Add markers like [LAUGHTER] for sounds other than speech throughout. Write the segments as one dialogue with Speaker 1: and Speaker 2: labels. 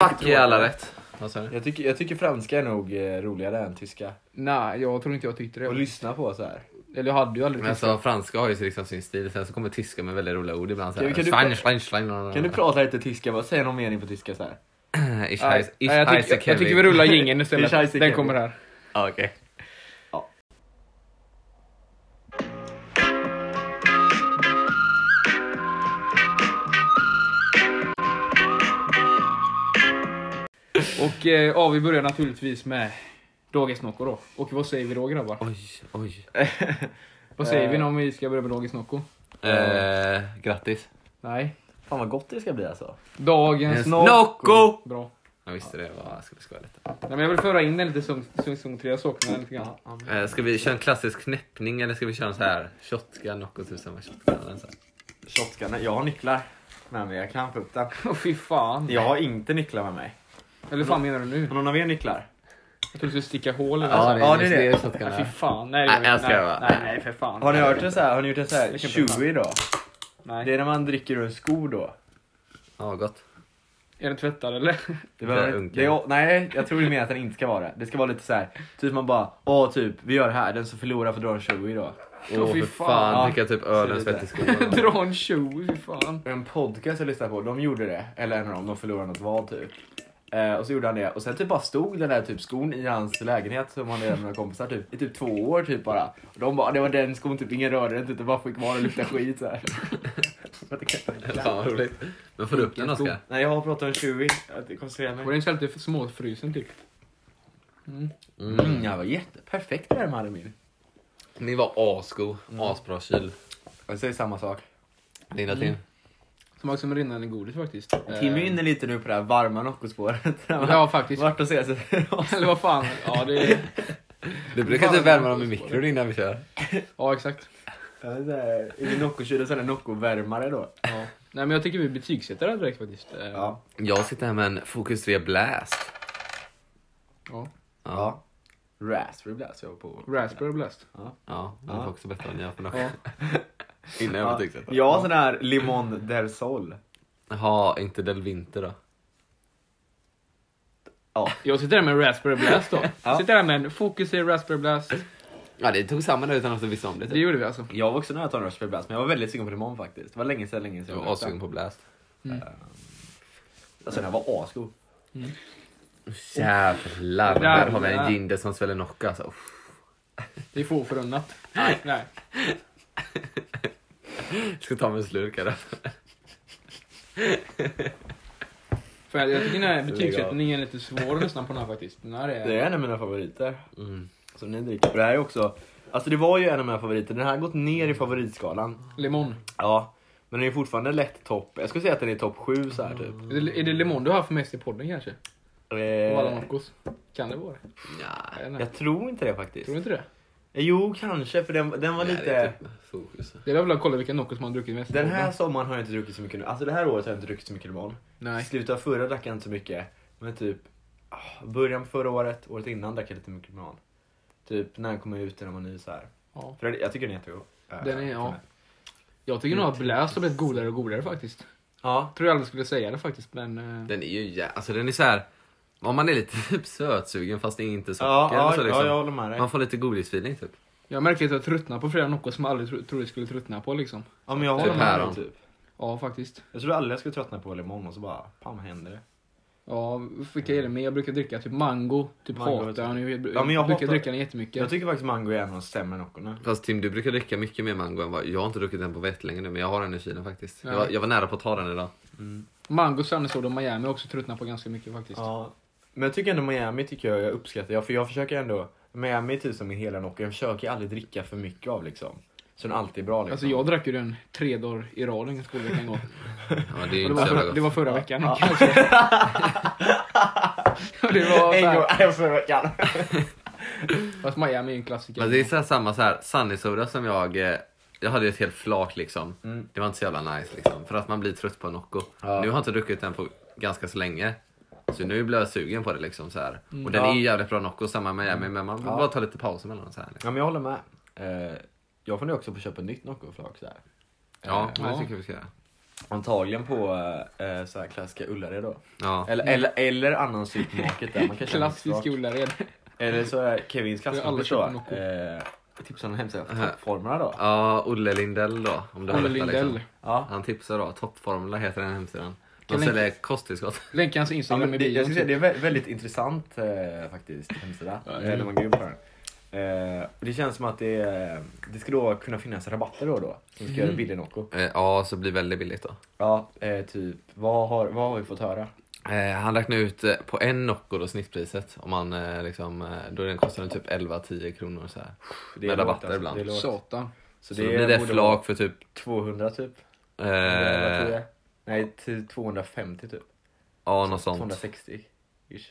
Speaker 1: Fuck är alla rätt. Vad sa du?
Speaker 2: Jag tycker, jag tycker franska är nog eh, roligare än tyska.
Speaker 3: Nej, jag tror inte jag tyckte det.
Speaker 2: Att lyssna på så här.
Speaker 3: Eller jag hade ju aldrig
Speaker 1: Men
Speaker 3: tyckt
Speaker 1: alltså, franska har ju liksom sin stil, sen så kommer tyska med väldigt roliga ord ibland.
Speaker 2: Kan- kan du-
Speaker 1: Schwein, schwein, schwein.
Speaker 2: Kan du
Speaker 1: [LAUGHS]
Speaker 2: prata lite tyska? Bara säg någon mening på tyska så här.
Speaker 1: Ich
Speaker 3: Nej,
Speaker 1: heiß- ich
Speaker 3: nej, jag,
Speaker 1: heiße
Speaker 3: tycker, jag tycker vi
Speaker 1: Kevin.
Speaker 3: rullar
Speaker 1: [LAUGHS]
Speaker 3: jingeln istället.
Speaker 2: Ish, Isaac
Speaker 3: Den
Speaker 2: Kevin.
Speaker 3: kommer här.
Speaker 1: Ja, Okej.
Speaker 3: Och eh, ja, vi börjar naturligtvis med Dagens Nocco då. Och vad säger vi då grabbar?
Speaker 1: Oj, oj.
Speaker 3: Vad säger vi om vi ska börja med Dagens Nocco?
Speaker 1: Eh, grattis.
Speaker 3: Nej.
Speaker 2: Fan vad gott det ska bli alltså.
Speaker 3: Dagens Nocco.
Speaker 1: Nocco!
Speaker 3: Bra.
Speaker 1: Jag visste det, var, jag skulle skoja lite.
Speaker 3: Nej, men jag vill föra in den lite som, som, som tre saker. Lite grann.
Speaker 1: Eh, ska vi köra en klassisk knäppning eller ska vi köra en så här shotgun, Nocco tusen vad shotgun eller så här?
Speaker 2: Shotgunner. Jag har nycklar med mig. Jag kan få upp den.
Speaker 3: Åh [LAUGHS] fy fan.
Speaker 2: Jag har inte nycklar med mig.
Speaker 3: Eller fan menar du nu?
Speaker 2: Har någon av er nycklar?
Speaker 3: Jag trodde du skulle sticka hål eller
Speaker 1: Ja,
Speaker 3: så.
Speaker 1: det,
Speaker 2: Ja,
Speaker 1: är
Speaker 2: det är
Speaker 1: det.
Speaker 2: det.
Speaker 1: är shotgun.
Speaker 3: Nej, fy
Speaker 1: här.
Speaker 3: fan. Nej,
Speaker 1: Nej,
Speaker 3: det
Speaker 1: jag skojar
Speaker 3: nej,
Speaker 1: bara.
Speaker 3: nej, nej, för fan.
Speaker 2: Har ni hört en så här? Har ni gjort en så här
Speaker 3: Vilken bra.
Speaker 2: chewy då?
Speaker 3: Nej.
Speaker 2: Det är när man dricker ur en sko då.
Speaker 1: Ja, gott.
Speaker 3: Är den tvättad eller? [LAUGHS]
Speaker 2: Det
Speaker 1: Det är
Speaker 2: behöver,
Speaker 1: unken.
Speaker 2: det är, nej, jag tror du menar att den inte ska vara det. Det ska vara lite så här. typ man bara, åh typ, vi gör det här, den som förlorar får dra en 20 då.
Speaker 1: Åh
Speaker 3: Åh, fy
Speaker 1: för
Speaker 3: fan.
Speaker 1: fan,
Speaker 2: Ja,
Speaker 1: dricka typ öl och en
Speaker 2: ser du
Speaker 1: svettig skola.
Speaker 3: [LAUGHS] Dra en tjo, fy fan.
Speaker 2: En podcast jag lyssnade på, de gjorde det, eller en av dem, de förlorade något val typ. Eh, och så gjorde han det, och sen typ bara stod den där typ skon i hans lägenhet som han hade med några kompisar typ, i typ två år typ bara. Och de bara, det var den skon typ, ingen rörde den typ, den bara fick vara och lukta skit så här. [LAUGHS] För att det kan-
Speaker 1: Fan vad roligt. Men får du upp den Oskar?
Speaker 2: Nej jag har pratat om 20, jag koncentrerar
Speaker 3: Var
Speaker 2: mig.
Speaker 3: den så här lite småfrusen typ?
Speaker 1: Mm.
Speaker 2: Mm, jag var jätteperfekt där med min.
Speaker 1: Min var asgo, Mm. asbra kyl.
Speaker 2: Jag säger samma sak.
Speaker 1: Linda Tim.
Speaker 3: Smakar som rinnande godis faktiskt.
Speaker 2: Tim är
Speaker 3: Eh,
Speaker 2: inne lite nu på det här varma Noccospåret.
Speaker 3: Ja faktiskt.
Speaker 2: Vart de senaste
Speaker 3: [LAUGHS] Eller vad fan. Ja, det är...
Speaker 1: Du brukar typ värma dem i mikron innan vi kör.
Speaker 3: ja exakt.
Speaker 2: Är det Noccokylen så är det Nocco-värmare då?
Speaker 3: Ja. Nej men jag tycker vi betygsätter det här direkt faktiskt. Eh,
Speaker 2: Ja.
Speaker 1: Jag sitter här med en Focus 3 Blast.
Speaker 3: ja.
Speaker 1: Ja.
Speaker 2: Raspberry Blast jag var på.
Speaker 3: Raspberry Blast.
Speaker 1: Ja, den
Speaker 2: Ja.
Speaker 1: var också bättre än jag för
Speaker 3: Ja.
Speaker 1: [LAUGHS] Innan jag betygsätter.
Speaker 2: Jag har sån här Limon del Sol.
Speaker 1: Jaha, inte Del Winter då.
Speaker 3: Jag sitter här med en Raspberry Blast då.
Speaker 2: [LAUGHS] Ja.
Speaker 3: Sitter här med en Focus i Raspberry Blast.
Speaker 1: Ja, det tog samman där utan att du visste om det.
Speaker 3: Det
Speaker 1: Typ.
Speaker 3: gjorde vi alltså.
Speaker 2: Jag var också nära att ta en Raspberry Blast men jag var väldigt sugen på Limon faktiskt. Det var länge sedan, länge sedan.
Speaker 1: Jag var assugen på Blast.
Speaker 3: Mm.
Speaker 2: Alltså den här var asgod.
Speaker 1: Jävlar, här har vi
Speaker 3: Jävlar.
Speaker 1: en Jinder som sväller Nocco alltså. Uff.
Speaker 3: Det är få förunnat. Nej. Nej.
Speaker 1: Jag ska ta mig en slurk här.
Speaker 3: För jag, jag tycker den här
Speaker 1: av.
Speaker 3: betygssättningen är lite svår att lyssna på den här faktiskt. Den här är...
Speaker 2: Det är en av mina favoriter.
Speaker 1: Mm.
Speaker 2: Som ni dricker. Och Det här är också, alltså det var ju en av mina favoriter. Den här har gått ner i favoritskalan.
Speaker 3: Limon.
Speaker 2: Ja. Men den är fortfarande lätt topp, jag skulle säga att den är topp 7 så här typ.
Speaker 3: Är det, är det limon du har haft mest i podden kanske? Av alla
Speaker 2: Eh,
Speaker 3: Noccos? Kan det vara det?
Speaker 1: Nja,
Speaker 3: Jag vet inte.
Speaker 2: jag tror inte det faktiskt.
Speaker 3: Tror du inte det?
Speaker 2: Jo, kanske för den, den var
Speaker 1: nej,
Speaker 2: lite...
Speaker 1: det är typ Fokus.
Speaker 3: Det är väl att kolla vilka Noccos man har druckit mest i
Speaker 2: Den
Speaker 3: podden.
Speaker 2: här sommaren har jag inte druckit så mycket nu. Alltså det här året har jag inte druckit så mycket limon. I
Speaker 3: Nej.
Speaker 2: slutet av förra drack jag inte så mycket. Men typ ah, början på förra året, året innan drack jag lite mycket limon. Typ när den kom ut, när man var ny så här.
Speaker 3: Ja.
Speaker 2: För jag, jag tycker den är jättegod. Eh,
Speaker 3: Den är- ja.
Speaker 2: den
Speaker 3: Jag tycker nog att Blast har blivit godare och godare faktiskt.
Speaker 2: Ja.
Speaker 3: Tror jag aldrig skulle säga det faktiskt men... eh,
Speaker 1: Den är ju jä... Alltså den är så här. Om man är lite [LAUGHS] typ sötsugen fast det är inte socker.
Speaker 2: Ja, ja,
Speaker 1: så liksom.
Speaker 2: ja, jag håller med dig.
Speaker 1: Man får lite godisfeeling typ.
Speaker 3: Jag märker att jag tröttnar på flera Noccos som jag aldrig tro- trodde jag skulle tröttna på liksom.
Speaker 2: Ja, men jag
Speaker 1: Typ
Speaker 2: håller med dig
Speaker 1: päron.
Speaker 2: typ.
Speaker 3: Ja faktiskt.
Speaker 2: Jag trodde aldrig jag skulle tröttna på limon och så bara, pam händer det.
Speaker 3: Ja, vilka är det med? Jag brukar dricka typ mango, typ
Speaker 2: Mango,
Speaker 3: hatar jag nu. Jag br-
Speaker 2: Ja, men jag
Speaker 3: brukar
Speaker 2: hatar-
Speaker 3: dricka den jättemycket.
Speaker 2: Jag tycker faktiskt mango är en av de sämre nockorna.
Speaker 1: Fast Tim, du brukar dricka mycket mer mango än vad... Jag har inte druckit den på väldigt länge nu men jag har den i kylen faktiskt.
Speaker 3: Ja.
Speaker 1: Jag, var, jag var nära på att ta
Speaker 3: [LAUGHS]
Speaker 1: den idag.
Speaker 3: Mm, Mango, Sunnysoda och Miami har jag också tröttnat på ganska mycket faktiskt.
Speaker 2: Ja. Men jag tycker ändå Miami tycker jag, jag uppskattar. Jag, för jag försöker ändå, Miami är typ som min hela Nocco. Jag försöker aldrig dricka för mycket av liksom. Så den alltid är bra liksom. [LAUGHS]
Speaker 3: Alltså jag drack ju den tre dagar i rad en skolvecka en gång.
Speaker 1: Ja, det är ju
Speaker 3: Och det,
Speaker 1: inte så
Speaker 3: var
Speaker 1: jävla
Speaker 3: förra,
Speaker 1: gott.
Speaker 3: det var förra veckan. [LAUGHS]
Speaker 2: Ja.
Speaker 3: kanske. Och det var så
Speaker 2: En
Speaker 3: här,
Speaker 2: gång, en förra veckan.
Speaker 3: [LAUGHS] Fast Miami är ju en klassiker.
Speaker 1: Men det är så här samma så här, Sunny Soda som jag... eh, Jag hade ett helt flak liksom.
Speaker 3: Mm.
Speaker 1: Det var inte så jävla nice liksom. För att man blir trött på Nocco.
Speaker 2: Ja.
Speaker 1: Nu har jag inte druckit den på ganska så länge. Så nu blir jag sugen på det liksom så här.
Speaker 3: Mm.
Speaker 1: Och den
Speaker 2: Ja.
Speaker 1: är ju jävligt bra Nocco, samma med Miami. Men man vill
Speaker 2: Ja.
Speaker 1: bara ta lite paus emellanåt så här. Liksom.
Speaker 2: Ja men jag håller med. Eh, jag funderar också på att köpa ett nytt Nocco-flak så här.
Speaker 1: Ja,
Speaker 3: Ja.
Speaker 1: det tycker jag vi ska göra.
Speaker 2: Antagligen på eh, så här klassiska Ullared då.
Speaker 1: Ja.
Speaker 2: Eller, eller, eller annan supermarket där man kan köpa
Speaker 3: Klassisk
Speaker 2: mat.
Speaker 3: Ullared.
Speaker 2: Eller så är Kevins
Speaker 3: alla
Speaker 2: klasskompis
Speaker 3: köper
Speaker 2: då.
Speaker 3: Nocco.
Speaker 2: Eh, tipsar om hemsidan för
Speaker 1: Aha.
Speaker 2: toppformerna då.
Speaker 1: ja, Olle Lindell då. Om du har
Speaker 3: Olle
Speaker 1: detta,
Speaker 3: Lindell.
Speaker 1: Liksom.
Speaker 2: Ja.
Speaker 1: Han tipsar då. Toppformula heter den hemsidan. De
Speaker 3: Kan länka-
Speaker 1: säljer kosttillskott.
Speaker 3: Länka hans
Speaker 2: Ja,
Speaker 3: Instagram
Speaker 2: men
Speaker 3: i
Speaker 2: det, jag
Speaker 3: bion.
Speaker 2: ska säga,
Speaker 3: typ.
Speaker 2: det är vä- väldigt intressant eh, faktiskt, hemsida.
Speaker 3: Ja,
Speaker 2: Eller man går in på den. Eh, och det känns som att det, eh, det ska då kunna finnas rabatter då och då. Som ska göra billig Nocco.
Speaker 1: Eh, Ja, så det blir väldigt billigt då.
Speaker 2: Ja, eh, typ. Vad har, vad har vi fått höra?
Speaker 1: Eh, han räknar ut eh, på en Nocco då snittpriset. Om man, eh, liksom, eh, då den kostar den typ 11-10 kronor. Så, här.
Speaker 2: Det är lågt,
Speaker 1: Med rabatter
Speaker 2: alltså.
Speaker 1: ibland.
Speaker 2: Det är lågt.
Speaker 3: Satan.
Speaker 1: så, då blir det
Speaker 2: borde
Speaker 1: flak för typ...
Speaker 2: vara 200 typ.
Speaker 1: Eh,
Speaker 2: Eh, Nej, till 250 typ.
Speaker 1: ja, något sånt.
Speaker 2: 260. -ish.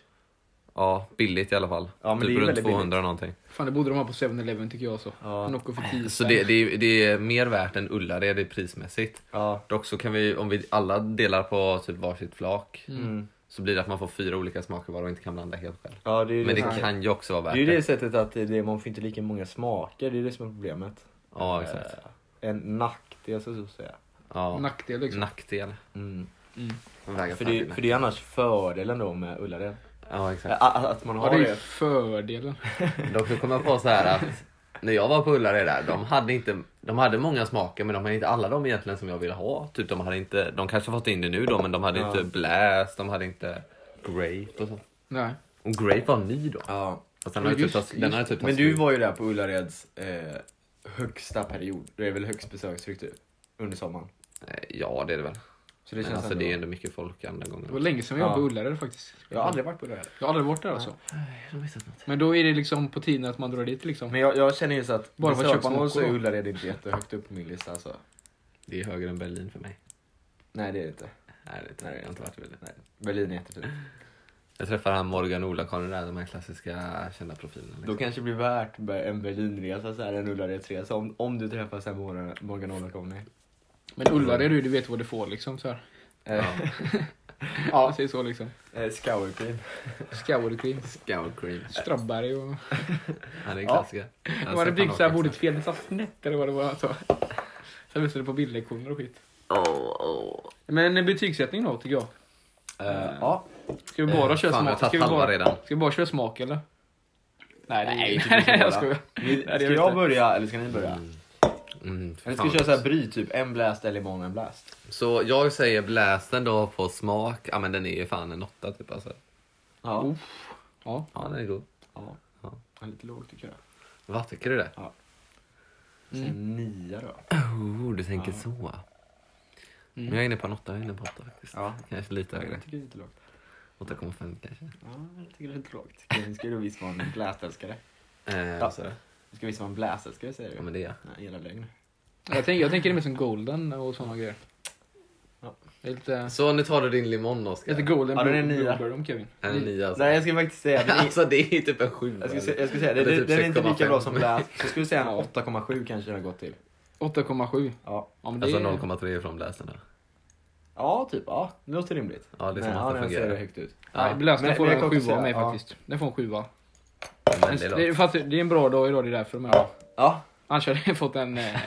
Speaker 1: Ja, billigt i alla fall.
Speaker 2: Ja, men
Speaker 1: typ
Speaker 2: det är ju
Speaker 1: runt
Speaker 2: väldigt
Speaker 1: 200 någonting.
Speaker 3: Fan det borde de ha på 7-Eleven tycker jag så.
Speaker 2: Ja.
Speaker 3: Nocco för 10
Speaker 1: Så
Speaker 3: spänn.
Speaker 1: alltså det, det, är, det är mer värt än Ullared i prismässigt.
Speaker 2: Ja.
Speaker 1: Dock så kan vi, om vi alla delar på typ varsitt flak,
Speaker 2: Mm.
Speaker 1: så blir det att man får fyra olika smaker var och inte kan blanda helt själv.
Speaker 2: ja, det är ju
Speaker 1: Men det
Speaker 2: det, som-
Speaker 1: kan ju också vara
Speaker 2: det,
Speaker 1: värt
Speaker 2: är ju det
Speaker 1: det.
Speaker 2: sättet att det, man får inte lika många smaker. Det är det som är problemet.
Speaker 1: Ja, exakt.
Speaker 2: Eh, en nackdel så att säga.
Speaker 1: Ja.
Speaker 3: Nackdel liksom.
Speaker 1: Nackdel.
Speaker 3: Mm.
Speaker 1: Man väger
Speaker 2: För,
Speaker 1: fan
Speaker 2: det,
Speaker 1: vinner.
Speaker 2: för det är annars fördelen då med Ullared.
Speaker 1: Ja, exakt.
Speaker 2: Ä- Att, att man
Speaker 3: Ja
Speaker 2: har
Speaker 3: det är ju
Speaker 2: det.
Speaker 3: fördelen.
Speaker 1: Dock så kom jag på så här att när jag var på Ullared där, de hade, inte, de hade många smaker men de hade inte alla de egentligen som jag ville ha. Typ de hade inte, de kanske har fått in det nu då men de hade
Speaker 2: Ja.
Speaker 1: inte Blast, de hade inte Grape och sånt.
Speaker 3: Nej.
Speaker 1: Och Grape var ny då.
Speaker 2: Ja.
Speaker 1: Fast den
Speaker 3: Men
Speaker 1: hade typ
Speaker 3: just-
Speaker 1: tagit- den hade typ
Speaker 2: Men
Speaker 1: tagit
Speaker 2: du
Speaker 1: slut.
Speaker 2: var ju där på Ullareds eh, högsta period. Det är väl högst besökstryck typ? Under sommaren.
Speaker 1: Eh, Ja det är det väl.
Speaker 2: Så det
Speaker 1: men
Speaker 2: känns
Speaker 1: alltså
Speaker 2: ändå...
Speaker 1: det är ändå mycket folk andra gånger.
Speaker 3: Det var länge sedan jag var
Speaker 2: Ja.
Speaker 3: på Ullared faktiskt.
Speaker 2: Jag har aldrig varit på Ullared.
Speaker 3: Jag har aldrig varit där alltså. Men då är det liksom på tiden att man drar dit liksom.
Speaker 2: Men jag, jag känner ju så att
Speaker 3: Bara för att köpa
Speaker 2: besöksmål så
Speaker 3: Nocco
Speaker 2: är
Speaker 3: då.
Speaker 2: Ullared inte jättehögt upp på min lista alltså.
Speaker 1: Det är högre än Berlin för mig.
Speaker 2: Nej det är det inte.
Speaker 1: Nej, det
Speaker 2: Nej,
Speaker 1: tror jag inte varit Berlin.
Speaker 2: Nej. Berlin är jättefint.
Speaker 1: Jag träffade han Morgan och Ola-Karin där, de här klassiska kända profilerna.
Speaker 2: Då
Speaker 1: Liksom.
Speaker 2: kanske det blir värt be- en Berlinresa så här, en Ullaredsresa om, om du träffar så här Morgan- Morgan Olakovny.
Speaker 3: Men Ullared du, du vet vad du får liksom så här.
Speaker 2: Eh,
Speaker 3: Ja. Säg så liksom.
Speaker 2: eh, Scourcream.
Speaker 3: Skauderkrim,
Speaker 1: Scour cream.
Speaker 3: Strabberg och...
Speaker 1: Han är en
Speaker 2: Ja.
Speaker 1: klassiker. Jag har
Speaker 3: Det var det
Speaker 1: sett
Speaker 3: byggt
Speaker 1: han
Speaker 3: såhär,
Speaker 1: åka
Speaker 3: bordet fel, det satt snett eller vad det var. Alltså. Sen visade det på bildlektioner och skit. Men betygssättning då tycker jag.
Speaker 2: Eh, ja.
Speaker 3: Ska vi bara
Speaker 1: Eh,
Speaker 3: köra
Speaker 1: fan,
Speaker 3: smak?
Speaker 1: jag har
Speaker 3: Ska vi
Speaker 1: tagit halva
Speaker 3: bara,
Speaker 1: redan.
Speaker 3: ska vi bara köra smak eller? Nej, det-
Speaker 2: Nej,
Speaker 3: nej,
Speaker 2: typ
Speaker 3: jag skojar.
Speaker 2: Ni,
Speaker 3: Nej, det
Speaker 2: ska
Speaker 3: vet
Speaker 2: jag
Speaker 3: jag.
Speaker 2: börja eller ska ni börja?
Speaker 1: Mm, fan
Speaker 2: Eller ska vi
Speaker 1: vad
Speaker 2: köra så här
Speaker 1: gott.
Speaker 2: bry typ, en blast eller imorgon en blast?
Speaker 1: Så jag säger blästen då på smak. Ja men den är ju fan en åtta typ alltså.
Speaker 2: Ja.
Speaker 3: Ja.
Speaker 1: Ja den är god.
Speaker 2: ja. Lite lågt tycker jag.
Speaker 1: Vad tycker du det?
Speaker 2: Sen nia då.
Speaker 1: Oh, du tänker så. Men jag är inne på en åtta, jag är inne på åtta faktiskt.
Speaker 2: Mm. Ja.
Speaker 1: Kanske lite högre.
Speaker 2: Jag tycker det är lite lågt.
Speaker 1: 8,5 kanske.
Speaker 2: Ja, jag tycker det är lite lågt. Kevin ska ju då visst vara en blastälskare.
Speaker 1: Eh,
Speaker 2: Ja.
Speaker 1: vad sa du?
Speaker 2: Du ska visst vara en blastälskare säger
Speaker 1: ja
Speaker 2: du.
Speaker 1: men det är jag.
Speaker 2: Nej, hela lögn.
Speaker 3: Jag, tänk, jag tänker det mer som golden och sådana grejer.
Speaker 2: Ja.
Speaker 3: Det är lite,
Speaker 1: Så nu tar du din limon Oskar.
Speaker 3: lite golden
Speaker 2: Ja, den är
Speaker 3: blue-
Speaker 2: nya.
Speaker 3: blueberry om Kevin.
Speaker 1: En nia alltså.
Speaker 2: Nej, jag ska faktiskt säga den är,
Speaker 1: [LAUGHS] Alltså det är ju typ en sjua.
Speaker 2: jag ska,
Speaker 1: eller?
Speaker 2: se- jag ska säga det.
Speaker 1: Eller
Speaker 2: det
Speaker 1: typ
Speaker 2: den är inte lika
Speaker 1: 6,5.
Speaker 2: bra som blast. Så jag skulle säga en 8,7 kanske den har gått till.
Speaker 3: 8,7.
Speaker 2: Ja.
Speaker 3: Ja, men det
Speaker 1: Alltså
Speaker 3: är-
Speaker 1: 0,3 från blästen då.
Speaker 2: Ja, typ. Ja, det låter rimligt.
Speaker 1: Ja, det är som
Speaker 2: Nej,
Speaker 1: att den
Speaker 2: den
Speaker 1: fungerar.
Speaker 2: ser högt ut.
Speaker 3: Nej, Blast, den
Speaker 2: Men-
Speaker 3: får
Speaker 2: men jag
Speaker 3: en
Speaker 2: kan också
Speaker 3: sjua
Speaker 2: säga,
Speaker 3: av mig
Speaker 2: ja.
Speaker 3: faktiskt. Den får en sjua.
Speaker 1: Men det
Speaker 3: Det,
Speaker 1: är
Speaker 3: det,
Speaker 1: lågt.
Speaker 3: fast det är en bra dag idag, det är därför de är bra.
Speaker 1: [LAUGHS]
Speaker 2: Ja.
Speaker 3: Annars hade jag fått en eh,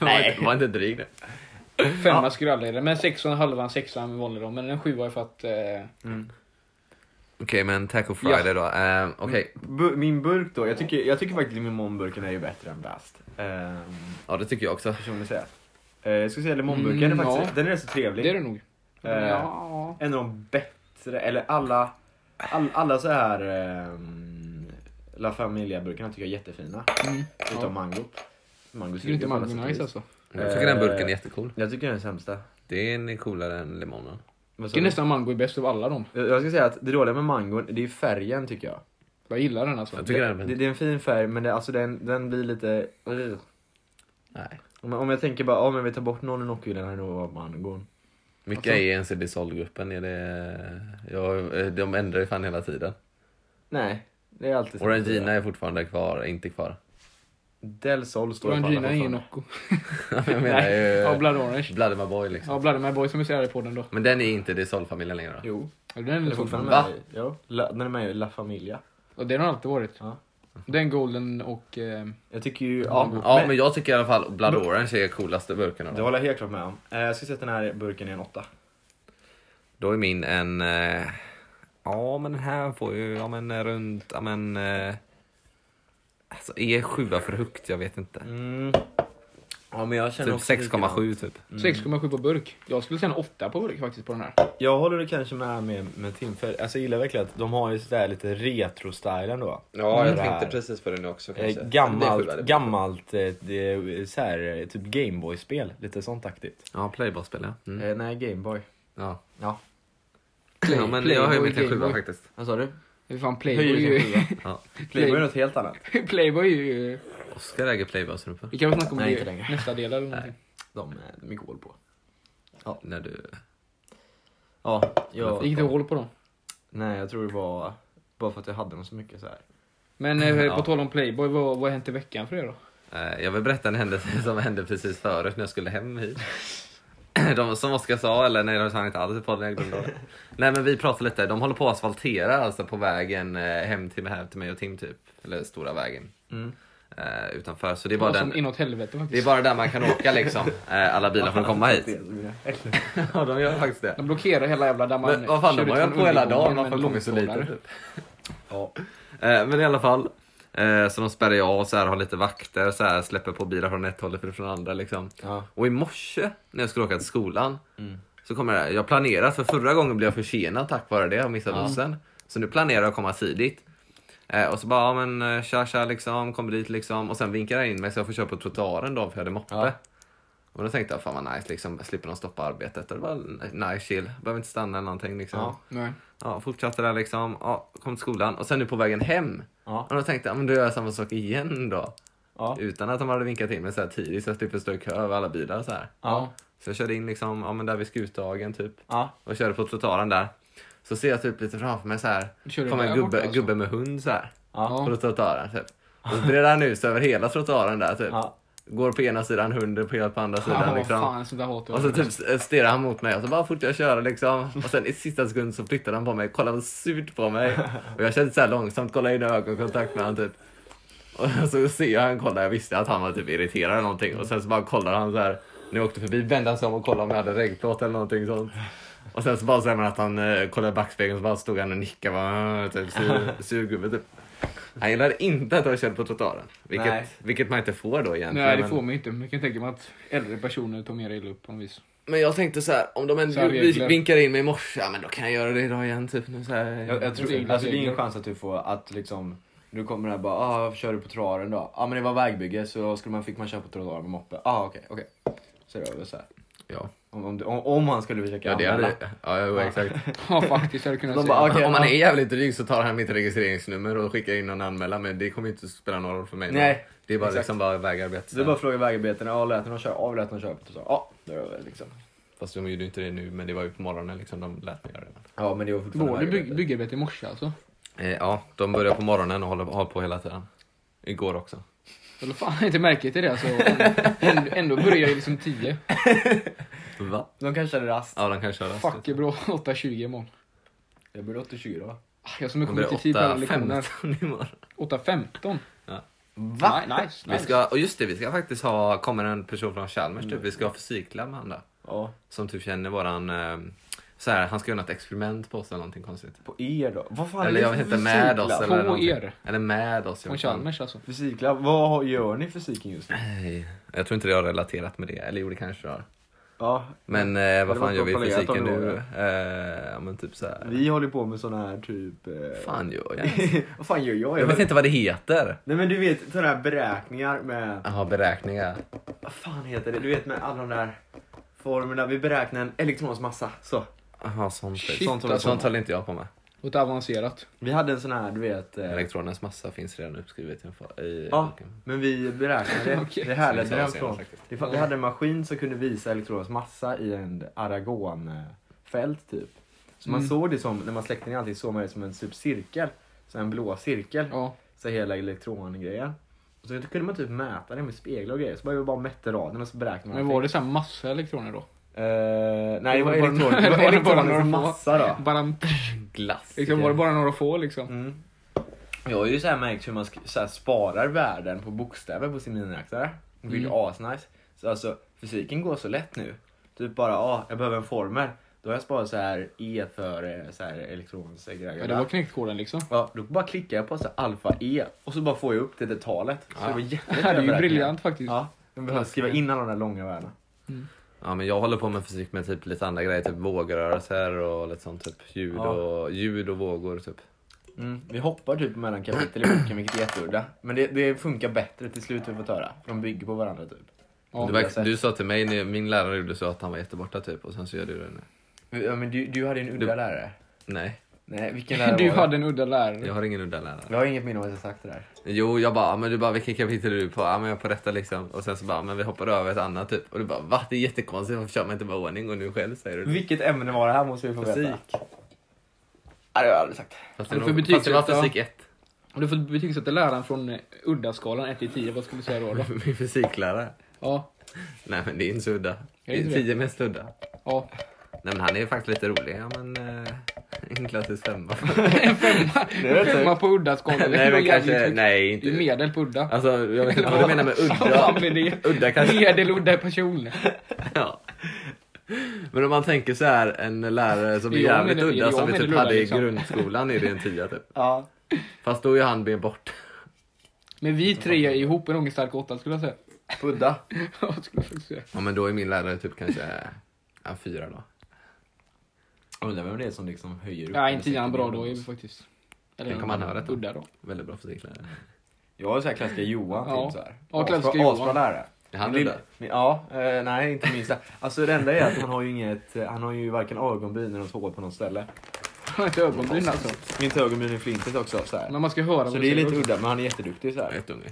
Speaker 1: Var inte- Var inte dryg det.
Speaker 3: femma skulle jag aldrig ge den. Men sexan, halvan, sexan valde de. Men en sjua är för att... Eh,
Speaker 2: Mm.
Speaker 1: Okej men Taco Friday då. Eh, Okej,
Speaker 2: Bu- min burk då. Jag tycker, jag tycker faktiskt limonburken är ju bättre än blast. Ehm,
Speaker 1: ja det tycker jag också.
Speaker 2: personligen säga. Eh, jag skulle säga limonburken.
Speaker 3: Mm,
Speaker 2: den, är faktiskt,
Speaker 3: ja.
Speaker 2: den är rätt så trevlig.
Speaker 3: det är det nog. Mm.
Speaker 2: Eh,
Speaker 3: ja.
Speaker 2: En av de bättre, eller alla, all, alla så här ehm, La Familia-burkarna tycker jag är jättefina.
Speaker 3: Mm.
Speaker 2: Utom mango. Mango
Speaker 3: Tycker du inte
Speaker 2: suger på alla
Speaker 3: mango
Speaker 2: sätt
Speaker 3: är
Speaker 2: och
Speaker 3: nice
Speaker 2: vis.
Speaker 3: alltså?
Speaker 1: Jag tycker den burken är jättecool.
Speaker 2: Jag tycker den är den sämsta.
Speaker 1: Eh. Den är coolare än limonen.
Speaker 2: Vad sa
Speaker 3: Det är
Speaker 2: du?
Speaker 3: nästan mango är bäst av alla dem.
Speaker 2: Jag jag ska säga att det dåliga med mangon, det är färgen tycker jag.
Speaker 3: Jag gillar den alltså.
Speaker 1: Jag tycker den är
Speaker 2: Det, det är en fin färg men det, alltså den, den blir lite... Ugh.
Speaker 1: Nej.
Speaker 2: Om, jag- om jag tänker bara, ja men vi tar bort någon i Nockyland här nog av mangon.
Speaker 1: Vilka
Speaker 3: Alltså-
Speaker 1: är ens i Dissolve-gruppen? Är det... ja, eh, de ändrar ju fan hela tiden.
Speaker 2: Nej, det är alltid samma
Speaker 1: Orangina
Speaker 2: sida.
Speaker 1: är fortfarande kvar, inte kvar. [LAUGHS]
Speaker 2: Del Sol står det på alla
Speaker 3: Orangina är ingen
Speaker 2: fortfarande.
Speaker 1: [LAUGHS]
Speaker 3: Nocco.
Speaker 1: jag menar eh.
Speaker 3: Nej, ja,
Speaker 1: ju
Speaker 3: Blood Orange.
Speaker 1: Bloody My Boy liksom.
Speaker 3: Ja, Bloody My Boy som vi ser här på den då.
Speaker 1: Men den är inte Dissolve-familjen längre då?
Speaker 2: Jo.
Speaker 3: Ja, Den är
Speaker 2: Den är fortfarande
Speaker 3: fortfarande
Speaker 1: Va?
Speaker 2: med i, jo. La, den är med i La Familia.
Speaker 3: Och det har den alltid varit.
Speaker 2: Ja.
Speaker 3: Den golden och...
Speaker 1: Mm.
Speaker 3: Eh,
Speaker 2: Jag tycker ju...
Speaker 1: Ja,
Speaker 2: Ja,
Speaker 1: ja,
Speaker 2: men,
Speaker 1: men jag tycker i alla fall Blood Orange är coolaste burken av
Speaker 2: Det
Speaker 1: dem.
Speaker 2: håller jag helt klart med om. Eh, Jag ska sätta den här burken i en åtta.
Speaker 1: Då är min en... eh, Ja, men den här får ju... Ja, men eh, runt... Ja, men... eh, Alltså, är sjua för högt? Jag vet inte.
Speaker 2: Mm. Ja, men jag känner
Speaker 1: Typ
Speaker 2: också
Speaker 1: 6,7 typ.
Speaker 3: 6,7 på burk. Jag skulle säga en 8 på burk faktiskt på den här.
Speaker 2: Jag håller det kanske med med, med Tim, för alltså, jag gillar verkligen att de har ju sådär lite retro-style ändå.
Speaker 1: Ja,
Speaker 2: jag tänkte
Speaker 1: precis på det nu också
Speaker 2: Mm. Eh, gammalt, gammalt eh, det är så här, eh, typ Gameboy-spel, lite sånt aktigt.
Speaker 1: Ja, Playboy-spel ja. Mm.
Speaker 2: Eh, nej, Gameboy.
Speaker 1: Ja.
Speaker 2: Ja,
Speaker 1: ja, men jag höjer mig till en sjua faktiskt.
Speaker 2: vad sa du?
Speaker 3: Hur fan Playboy är
Speaker 2: Höjer
Speaker 3: ju...
Speaker 2: din [LAUGHS] sjua.
Speaker 1: Ja.
Speaker 2: Playboy är något helt annat.
Speaker 1: liksom.
Speaker 3: [LAUGHS] Playboy är ju...
Speaker 1: Oskar äger Playboy-strumpor.
Speaker 3: Vi kan väl snacka om
Speaker 2: Nej,
Speaker 3: det
Speaker 2: inte
Speaker 3: i
Speaker 2: längre.
Speaker 3: nästa del eller någonting.
Speaker 2: De, eh, de är kol på.
Speaker 1: När du...
Speaker 2: Ja, jag,
Speaker 3: Gick det hål på dem?
Speaker 2: nej, jag tror det var bara för att jag hade dem så mycket så här.
Speaker 3: Men eh,
Speaker 1: Mm, Ja.
Speaker 3: på tal om Playboy, vad, vad har hänt i veckan för er då?
Speaker 1: Eh, Jag vill berätta en händelse [LAUGHS] som hände precis förut när jag skulle hem hit. [CLEARS THROAT] De, som Oskar sa, eller nej det sa han inte alls i podden, jag
Speaker 3: [LAUGHS]
Speaker 1: glömde det. Nej men vi pratade lite, de håller på att asfaltera alltså på vägen eh, hem till, här, till mig och Tim typ. Eller stora vägen
Speaker 2: Mm.
Speaker 1: eh, utanför. Så det är, bara
Speaker 3: Vad som
Speaker 1: den,
Speaker 3: inåt helvete
Speaker 1: det är
Speaker 3: faktiskt.
Speaker 1: bara där man kan åka
Speaker 3: [LAUGHS]
Speaker 1: liksom. eh, Alla bilar för att komma hit. [LAUGHS] Ja de gör faktiskt det.
Speaker 3: De blockerar hela jävla dammen.
Speaker 1: Men vad fan, de har ju hållit på hela dagen, varför kommer så lite?
Speaker 3: lite?
Speaker 1: Typ.
Speaker 2: Ja.
Speaker 1: Eh, Men i alla fall. eh, Så de spärrar ju av så här, har lite vakter, så här, släpper på bilar från ett håll och från andra liksom.
Speaker 2: Ja.
Speaker 1: Och i morse när jag skulle åka till skolan
Speaker 2: Mm.
Speaker 1: så kommer det här. Jag planerat, för förra gången blev jag försenad tack vare det och missade bussen. Så nu planerar jag att komma tidigt. Eh, och så bara, ja men eh, tja tja liksom, kommer dit liksom. Och sen vinkar han in mig så jag får köra på trottoaren då för jag hade moppe.
Speaker 2: Ja.
Speaker 1: Och då tänkte jag, fan vad nice liksom, slipper de stoppa arbetet. Det var nice chill, behöver inte stanna eller någonting liksom.
Speaker 2: Ja.
Speaker 1: Ja.
Speaker 3: Nej.
Speaker 1: fortsatte där liksom, ja, kom till skolan och sen nu på vägen hem.
Speaker 2: Ja.
Speaker 1: Och då tänkte jag, men då gör jag samma sak igen då.
Speaker 2: Ja.
Speaker 1: Utan att de hade vinkat in mig så här tidigt så jag slipper stå i kö över alla bilar så här.
Speaker 2: Ja.
Speaker 1: Så jag körde in liksom, ja, men där vid Skutdagen typ.
Speaker 2: Ja.
Speaker 1: Och körde på trottoaren där. Så ser jag typ lite framför mig så här.
Speaker 3: Du körde
Speaker 1: Kommer en
Speaker 3: där
Speaker 1: gubbe,
Speaker 3: borta, alltså?
Speaker 1: gubbe med hund så här.
Speaker 2: Ja.
Speaker 1: På trottoaren typ. Och så breder han ut sig över hela trottoaren där typ.
Speaker 2: Ja.
Speaker 1: Går på ena sidan hunden på helt på andra sidan
Speaker 3: Ja, vad
Speaker 1: liksom.
Speaker 3: fan, sånt där hatar
Speaker 1: Och
Speaker 3: jag.
Speaker 1: så typ stirrar han mot mig och så bara fortsätter jag köra liksom. Och sen i sista sekund så flyttar han på mig, kollar surt på mig. Och jag kände så här långsamt, kollar in i ögonkontakt med han typ. Och [LAUGHS] så ser jag han kolla, jag visste att han var typ irriterad eller någonting. Och sen så bara kollar han så här. När jag åkte förbi vände han sig om och kollade om jag hade regnplåt eller någonting sånt. Och sen så bara säger man att han eh, kollade i backspegeln så bara stod han och nickade. Bara, "Åh", typ,
Speaker 3: [LAUGHS]
Speaker 1: sur, sur gubbe typ. Han gillade inte att jag körde på trottoaren.
Speaker 2: Nej.
Speaker 1: Vilket, vilket man inte får då egentligen.
Speaker 3: Nej, det
Speaker 1: men-
Speaker 3: får man ju inte. Men jag kan tänka mig att äldre personer tar mer illa upp på något vis.
Speaker 1: men jag tänkte så här, om de
Speaker 3: Så
Speaker 1: ändå
Speaker 3: här
Speaker 1: vi-
Speaker 3: regler.
Speaker 1: vinkar in mig i morse, ja men då kan jag göra det idag igen typ. Nu, så här.
Speaker 2: Jag, jag tror,
Speaker 3: Regler,
Speaker 2: alltså, det är ingen
Speaker 3: regler.
Speaker 2: chans att du får att liksom nu kommer det här bara, ah, varför kör du på trottoaren då? Ja ah, men det var vägbygge så skulle man, fick man köra på trottoaren med moppe. Ah okej, okej. Så det var väl så här.
Speaker 1: ja.
Speaker 2: Om, om, du- om, om han skulle försöka
Speaker 1: ja, det hade,
Speaker 2: anmäla.
Speaker 1: ja, jo, exakt.
Speaker 3: Ja, faktiskt. Jag hade kunnat
Speaker 2: De
Speaker 3: säga.
Speaker 2: bara, okej.
Speaker 1: [LAUGHS] Om man
Speaker 2: ja.
Speaker 1: är jävligt dryg så tar han mitt registreringsnummer och skickar in någon anmälan men det kommer ju inte spela någon roll för mig.
Speaker 2: Nej,
Speaker 1: Det är bara
Speaker 2: exakt.
Speaker 1: liksom bara vägarbete.
Speaker 2: Så du bara frågar vägarbetarna, ja lät dem köra? Ja vi lät dem köra på trottoaren. Ja, det var väl liksom.
Speaker 1: Fast de gjorde ju inte det nu men det var ju på morgonen liksom de lät mig göra det.
Speaker 2: Ja men det var fortfarande
Speaker 3: Var det
Speaker 2: vägarbete.
Speaker 3: "Ah, bygg, byggarbete i morse alltså?
Speaker 1: Eh, ja, de börjar på morgonen och håller, håller på hela tiden. Igår också.
Speaker 3: Eller fan, inte märke till det [LAUGHS] alltså. Ändå, ändå börjar jag ju liksom 10.
Speaker 1: Va?
Speaker 2: De kanske hade rast.
Speaker 1: Ja, de kan köra.
Speaker 3: Fuck är bra. 8.20 imorgon.
Speaker 2: Jag började 8.20 då.
Speaker 3: Ah, Jag som är liksom,
Speaker 1: De blir
Speaker 3: kommit i tid på alla lektioner.
Speaker 1: 8.15 imorgon.
Speaker 3: 8.15?
Speaker 2: Va?
Speaker 3: Nej, Nice,
Speaker 1: Vi
Speaker 3: nice.
Speaker 1: ska, och just det, vi ska faktiskt ha, kommer en person från Chalmers typ, vi ska ha fysiklab med han där.
Speaker 2: Ja.
Speaker 1: Som typ känner våran... Eh, så här, han ska göra något experiment på oss eller någonting konstigt.
Speaker 2: På er då? Vad fan
Speaker 1: Eller
Speaker 2: är det
Speaker 1: jag vet
Speaker 2: för
Speaker 1: inte, med oss
Speaker 2: fysiklabb?
Speaker 1: eller
Speaker 3: På
Speaker 1: någonting.
Speaker 3: er.
Speaker 1: Eller med oss. jag
Speaker 3: Från
Speaker 1: vet inte.
Speaker 3: Chalmers alltså.
Speaker 2: Fysiklabb, vad har- gör ni i fysiken just nu?
Speaker 1: Nej, jag tror inte det har relaterat med det. Eller jo, det kanske det har.
Speaker 2: Ja,
Speaker 1: Men eh, vad
Speaker 2: Det låter
Speaker 1: fan gör vi i
Speaker 2: planerat
Speaker 1: fysiken
Speaker 2: om det
Speaker 1: nu?
Speaker 2: var
Speaker 1: Eh, ja, men typ så här.
Speaker 2: vi håller på med sån här typ... eh,
Speaker 1: fan gör jag?
Speaker 2: [LAUGHS] vad fan gör jag?
Speaker 1: Jag vet inte vad det heter.
Speaker 2: Nej men du vet sådana här beräkningar med,
Speaker 1: Jaha, beräkningar.
Speaker 2: vad fan heter det? Du vet med alla de där formlerna, vi beräknar en elektrons massa. Så.
Speaker 1: Jaha, sånt.
Speaker 3: Shit,
Speaker 1: sånt, håller-
Speaker 3: alltså.
Speaker 1: sånt håller inte jag på med.
Speaker 3: Något avancerat.
Speaker 2: Vi hade en sån här, du vet. Eh,
Speaker 1: Elektronens massa finns redan uppskrivet i en fa- i
Speaker 2: ja,
Speaker 1: boken.
Speaker 2: men vi
Speaker 1: [LAUGHS]
Speaker 2: beräknade,
Speaker 3: Okej.
Speaker 2: det härleds
Speaker 1: Så det är så
Speaker 2: härifrån.
Speaker 1: faktiskt.
Speaker 2: Det fa- Vi hade en maskin som kunde visa elektrons massa i en aragonfält typ. Så man
Speaker 3: Mm.
Speaker 2: såg det som, när man släckte ner allting såg man det som en typ cirkel. Så en blå cirkel.
Speaker 3: Ja.
Speaker 2: Så hela elektrongrejen. Och så kunde man typ mäta det med speglar och grejer. Så bara, vi bara mätte raden och så beräknade man
Speaker 3: Men var det så här massa elektroner då?
Speaker 2: Eh, nej, det var
Speaker 3: Var det- [LAUGHS]
Speaker 2: elektronik.
Speaker 3: var
Speaker 2: Det
Speaker 3: det
Speaker 2: var
Speaker 3: bara
Speaker 2: elektronens
Speaker 3: några få?
Speaker 2: massa då.
Speaker 3: Bara,
Speaker 1: Glass.
Speaker 3: liksom, var det bara några få liksom?
Speaker 2: Mm. Jag har ju så här märkt hur man sk- så här sparar värden på bokstäver på sin miniräknare. Vilket är asnice. Så alltså, fysiken går så lätt nu. Typ bara, ja, ah, jag behöver en formel. Då har jag sparat så här E för eh, så här elektroniska grejer.
Speaker 3: Ja, det var knäckt koden liksom.
Speaker 2: Ja, då bara klickar jag på så här alfa E och så bara får jag upp det där talet. Så det var jättelätt.
Speaker 3: Det är ju briljant faktiskt.
Speaker 2: Ja, man behöver skriva in alla de där långa värdena.
Speaker 1: Ja, men jag håller på med fysik med typ lite andra grejer, typ vågrörelser och lite sånt, typ ljud,
Speaker 2: Ja.
Speaker 1: och, ljud och vågor. Typ.
Speaker 2: Mm. Vi hoppar typ mellan kapitel i boken vilket är jätteudda. Men det, det funkar bättre till slut har vi fått höra. De bygger på varandra typ.
Speaker 3: Ja,
Speaker 2: det har
Speaker 1: du, verk-
Speaker 2: jag sett.
Speaker 1: du sa till mig, när- min lärare gjorde så att han var jätteborta typ och sen så gör du det nu.
Speaker 2: Ja, men du, du hade en udda
Speaker 1: Du-
Speaker 2: lärare.
Speaker 1: Nej,
Speaker 2: Nej, [LAUGHS] vilken lärare
Speaker 3: Du
Speaker 2: var det?
Speaker 3: hade en udda lärare.
Speaker 1: jag har ingen udda lärare.
Speaker 2: Jag har inget minne av att jag sagt det där.
Speaker 1: Jo, jag bara, "Ah, men du bara, vilken kapitel är du på? Ja, men jag är på detta liksom. Och sen så bara, men vi hoppar över ett annat typ. Och du bara, va? Det är jättekonstigt, varför kör man inte bara ordning? Och nu själv säger du det.
Speaker 2: Vilket ämne var det här måste vi få veta.
Speaker 1: Fysik.
Speaker 2: Nej, det har jag aldrig sagt.
Speaker 1: Fast det,
Speaker 3: Ja,
Speaker 1: nog,
Speaker 3: för
Speaker 1: betyg, fast det var
Speaker 3: betygssätta.
Speaker 1: fysik 1.
Speaker 3: Om du får betygsätta läraren från eh, udda-skalan 1 till 10, vad skulle du säga då? då?
Speaker 1: [LAUGHS] Min fysiklärare.
Speaker 3: Ja,
Speaker 1: Nej, men det är inte så udda.
Speaker 3: det
Speaker 1: Det är
Speaker 3: inte det?
Speaker 1: tio mest udda.
Speaker 3: ja.
Speaker 1: Nej, men han är ju faktiskt lite rolig. Ja, men eh, [LAUGHS] en klassisk femma.
Speaker 2: Det är typ- rätt
Speaker 3: Femma på udda-skalan.
Speaker 1: nej, men kanske,
Speaker 3: nej.
Speaker 1: nej,
Speaker 3: Det
Speaker 1: inte.
Speaker 3: är medel på udda.
Speaker 1: Alltså, jag vet inte vad du menar med
Speaker 3: Vad fan
Speaker 1: udda.
Speaker 3: blir det?
Speaker 1: Udda kanske.
Speaker 3: Medel udda person.
Speaker 1: [LAUGHS] Ja. Men om man tänker så här, en lärare som är
Speaker 3: Jag
Speaker 1: jävligt
Speaker 3: menar-
Speaker 1: udda
Speaker 3: jag
Speaker 1: som vi
Speaker 3: menar
Speaker 1: typ
Speaker 3: udda,
Speaker 1: hade i
Speaker 3: liksom.
Speaker 1: grundskolan är det en tia typ.
Speaker 2: Ja.
Speaker 1: Fast då är han ben bort.
Speaker 3: Men vi tre är ihop en ångeststark åtta skulle jag säga.
Speaker 2: Udda.
Speaker 3: Ja, skulle jag faktiskt säga.
Speaker 1: Ja men då är min lärare typ kanske en fyra då.
Speaker 2: Undrar vem det är som liksom höjer upp.
Speaker 3: Nej, inte gärna bra då är vi faktiskt. Eller
Speaker 1: Tänk om han hör detta.
Speaker 3: Udda då.
Speaker 1: Väldigt bra fysiklärare.
Speaker 2: Jag har så här klassiska Johan
Speaker 3: Ja.
Speaker 2: typ så här.
Speaker 3: Ja, klassiska
Speaker 2: Asbra-
Speaker 3: Johan.
Speaker 2: Asbra lärare.
Speaker 1: Är han
Speaker 2: Min-
Speaker 1: udda?
Speaker 2: min- Ja, eh, nej inte minst. Alltså det enda är att han har ju inget, eh, han har ju varken ögonbryn eller något hår på något ställe.
Speaker 3: Han har ett ögonbryn alltså.
Speaker 2: Inte ögonbryn i flintet också så här.
Speaker 3: Men man ska höra vad
Speaker 2: Så
Speaker 3: du
Speaker 2: det är
Speaker 3: säger
Speaker 2: lite
Speaker 3: också.
Speaker 2: udda men han är jätteduktig så här.
Speaker 1: Jätteunge.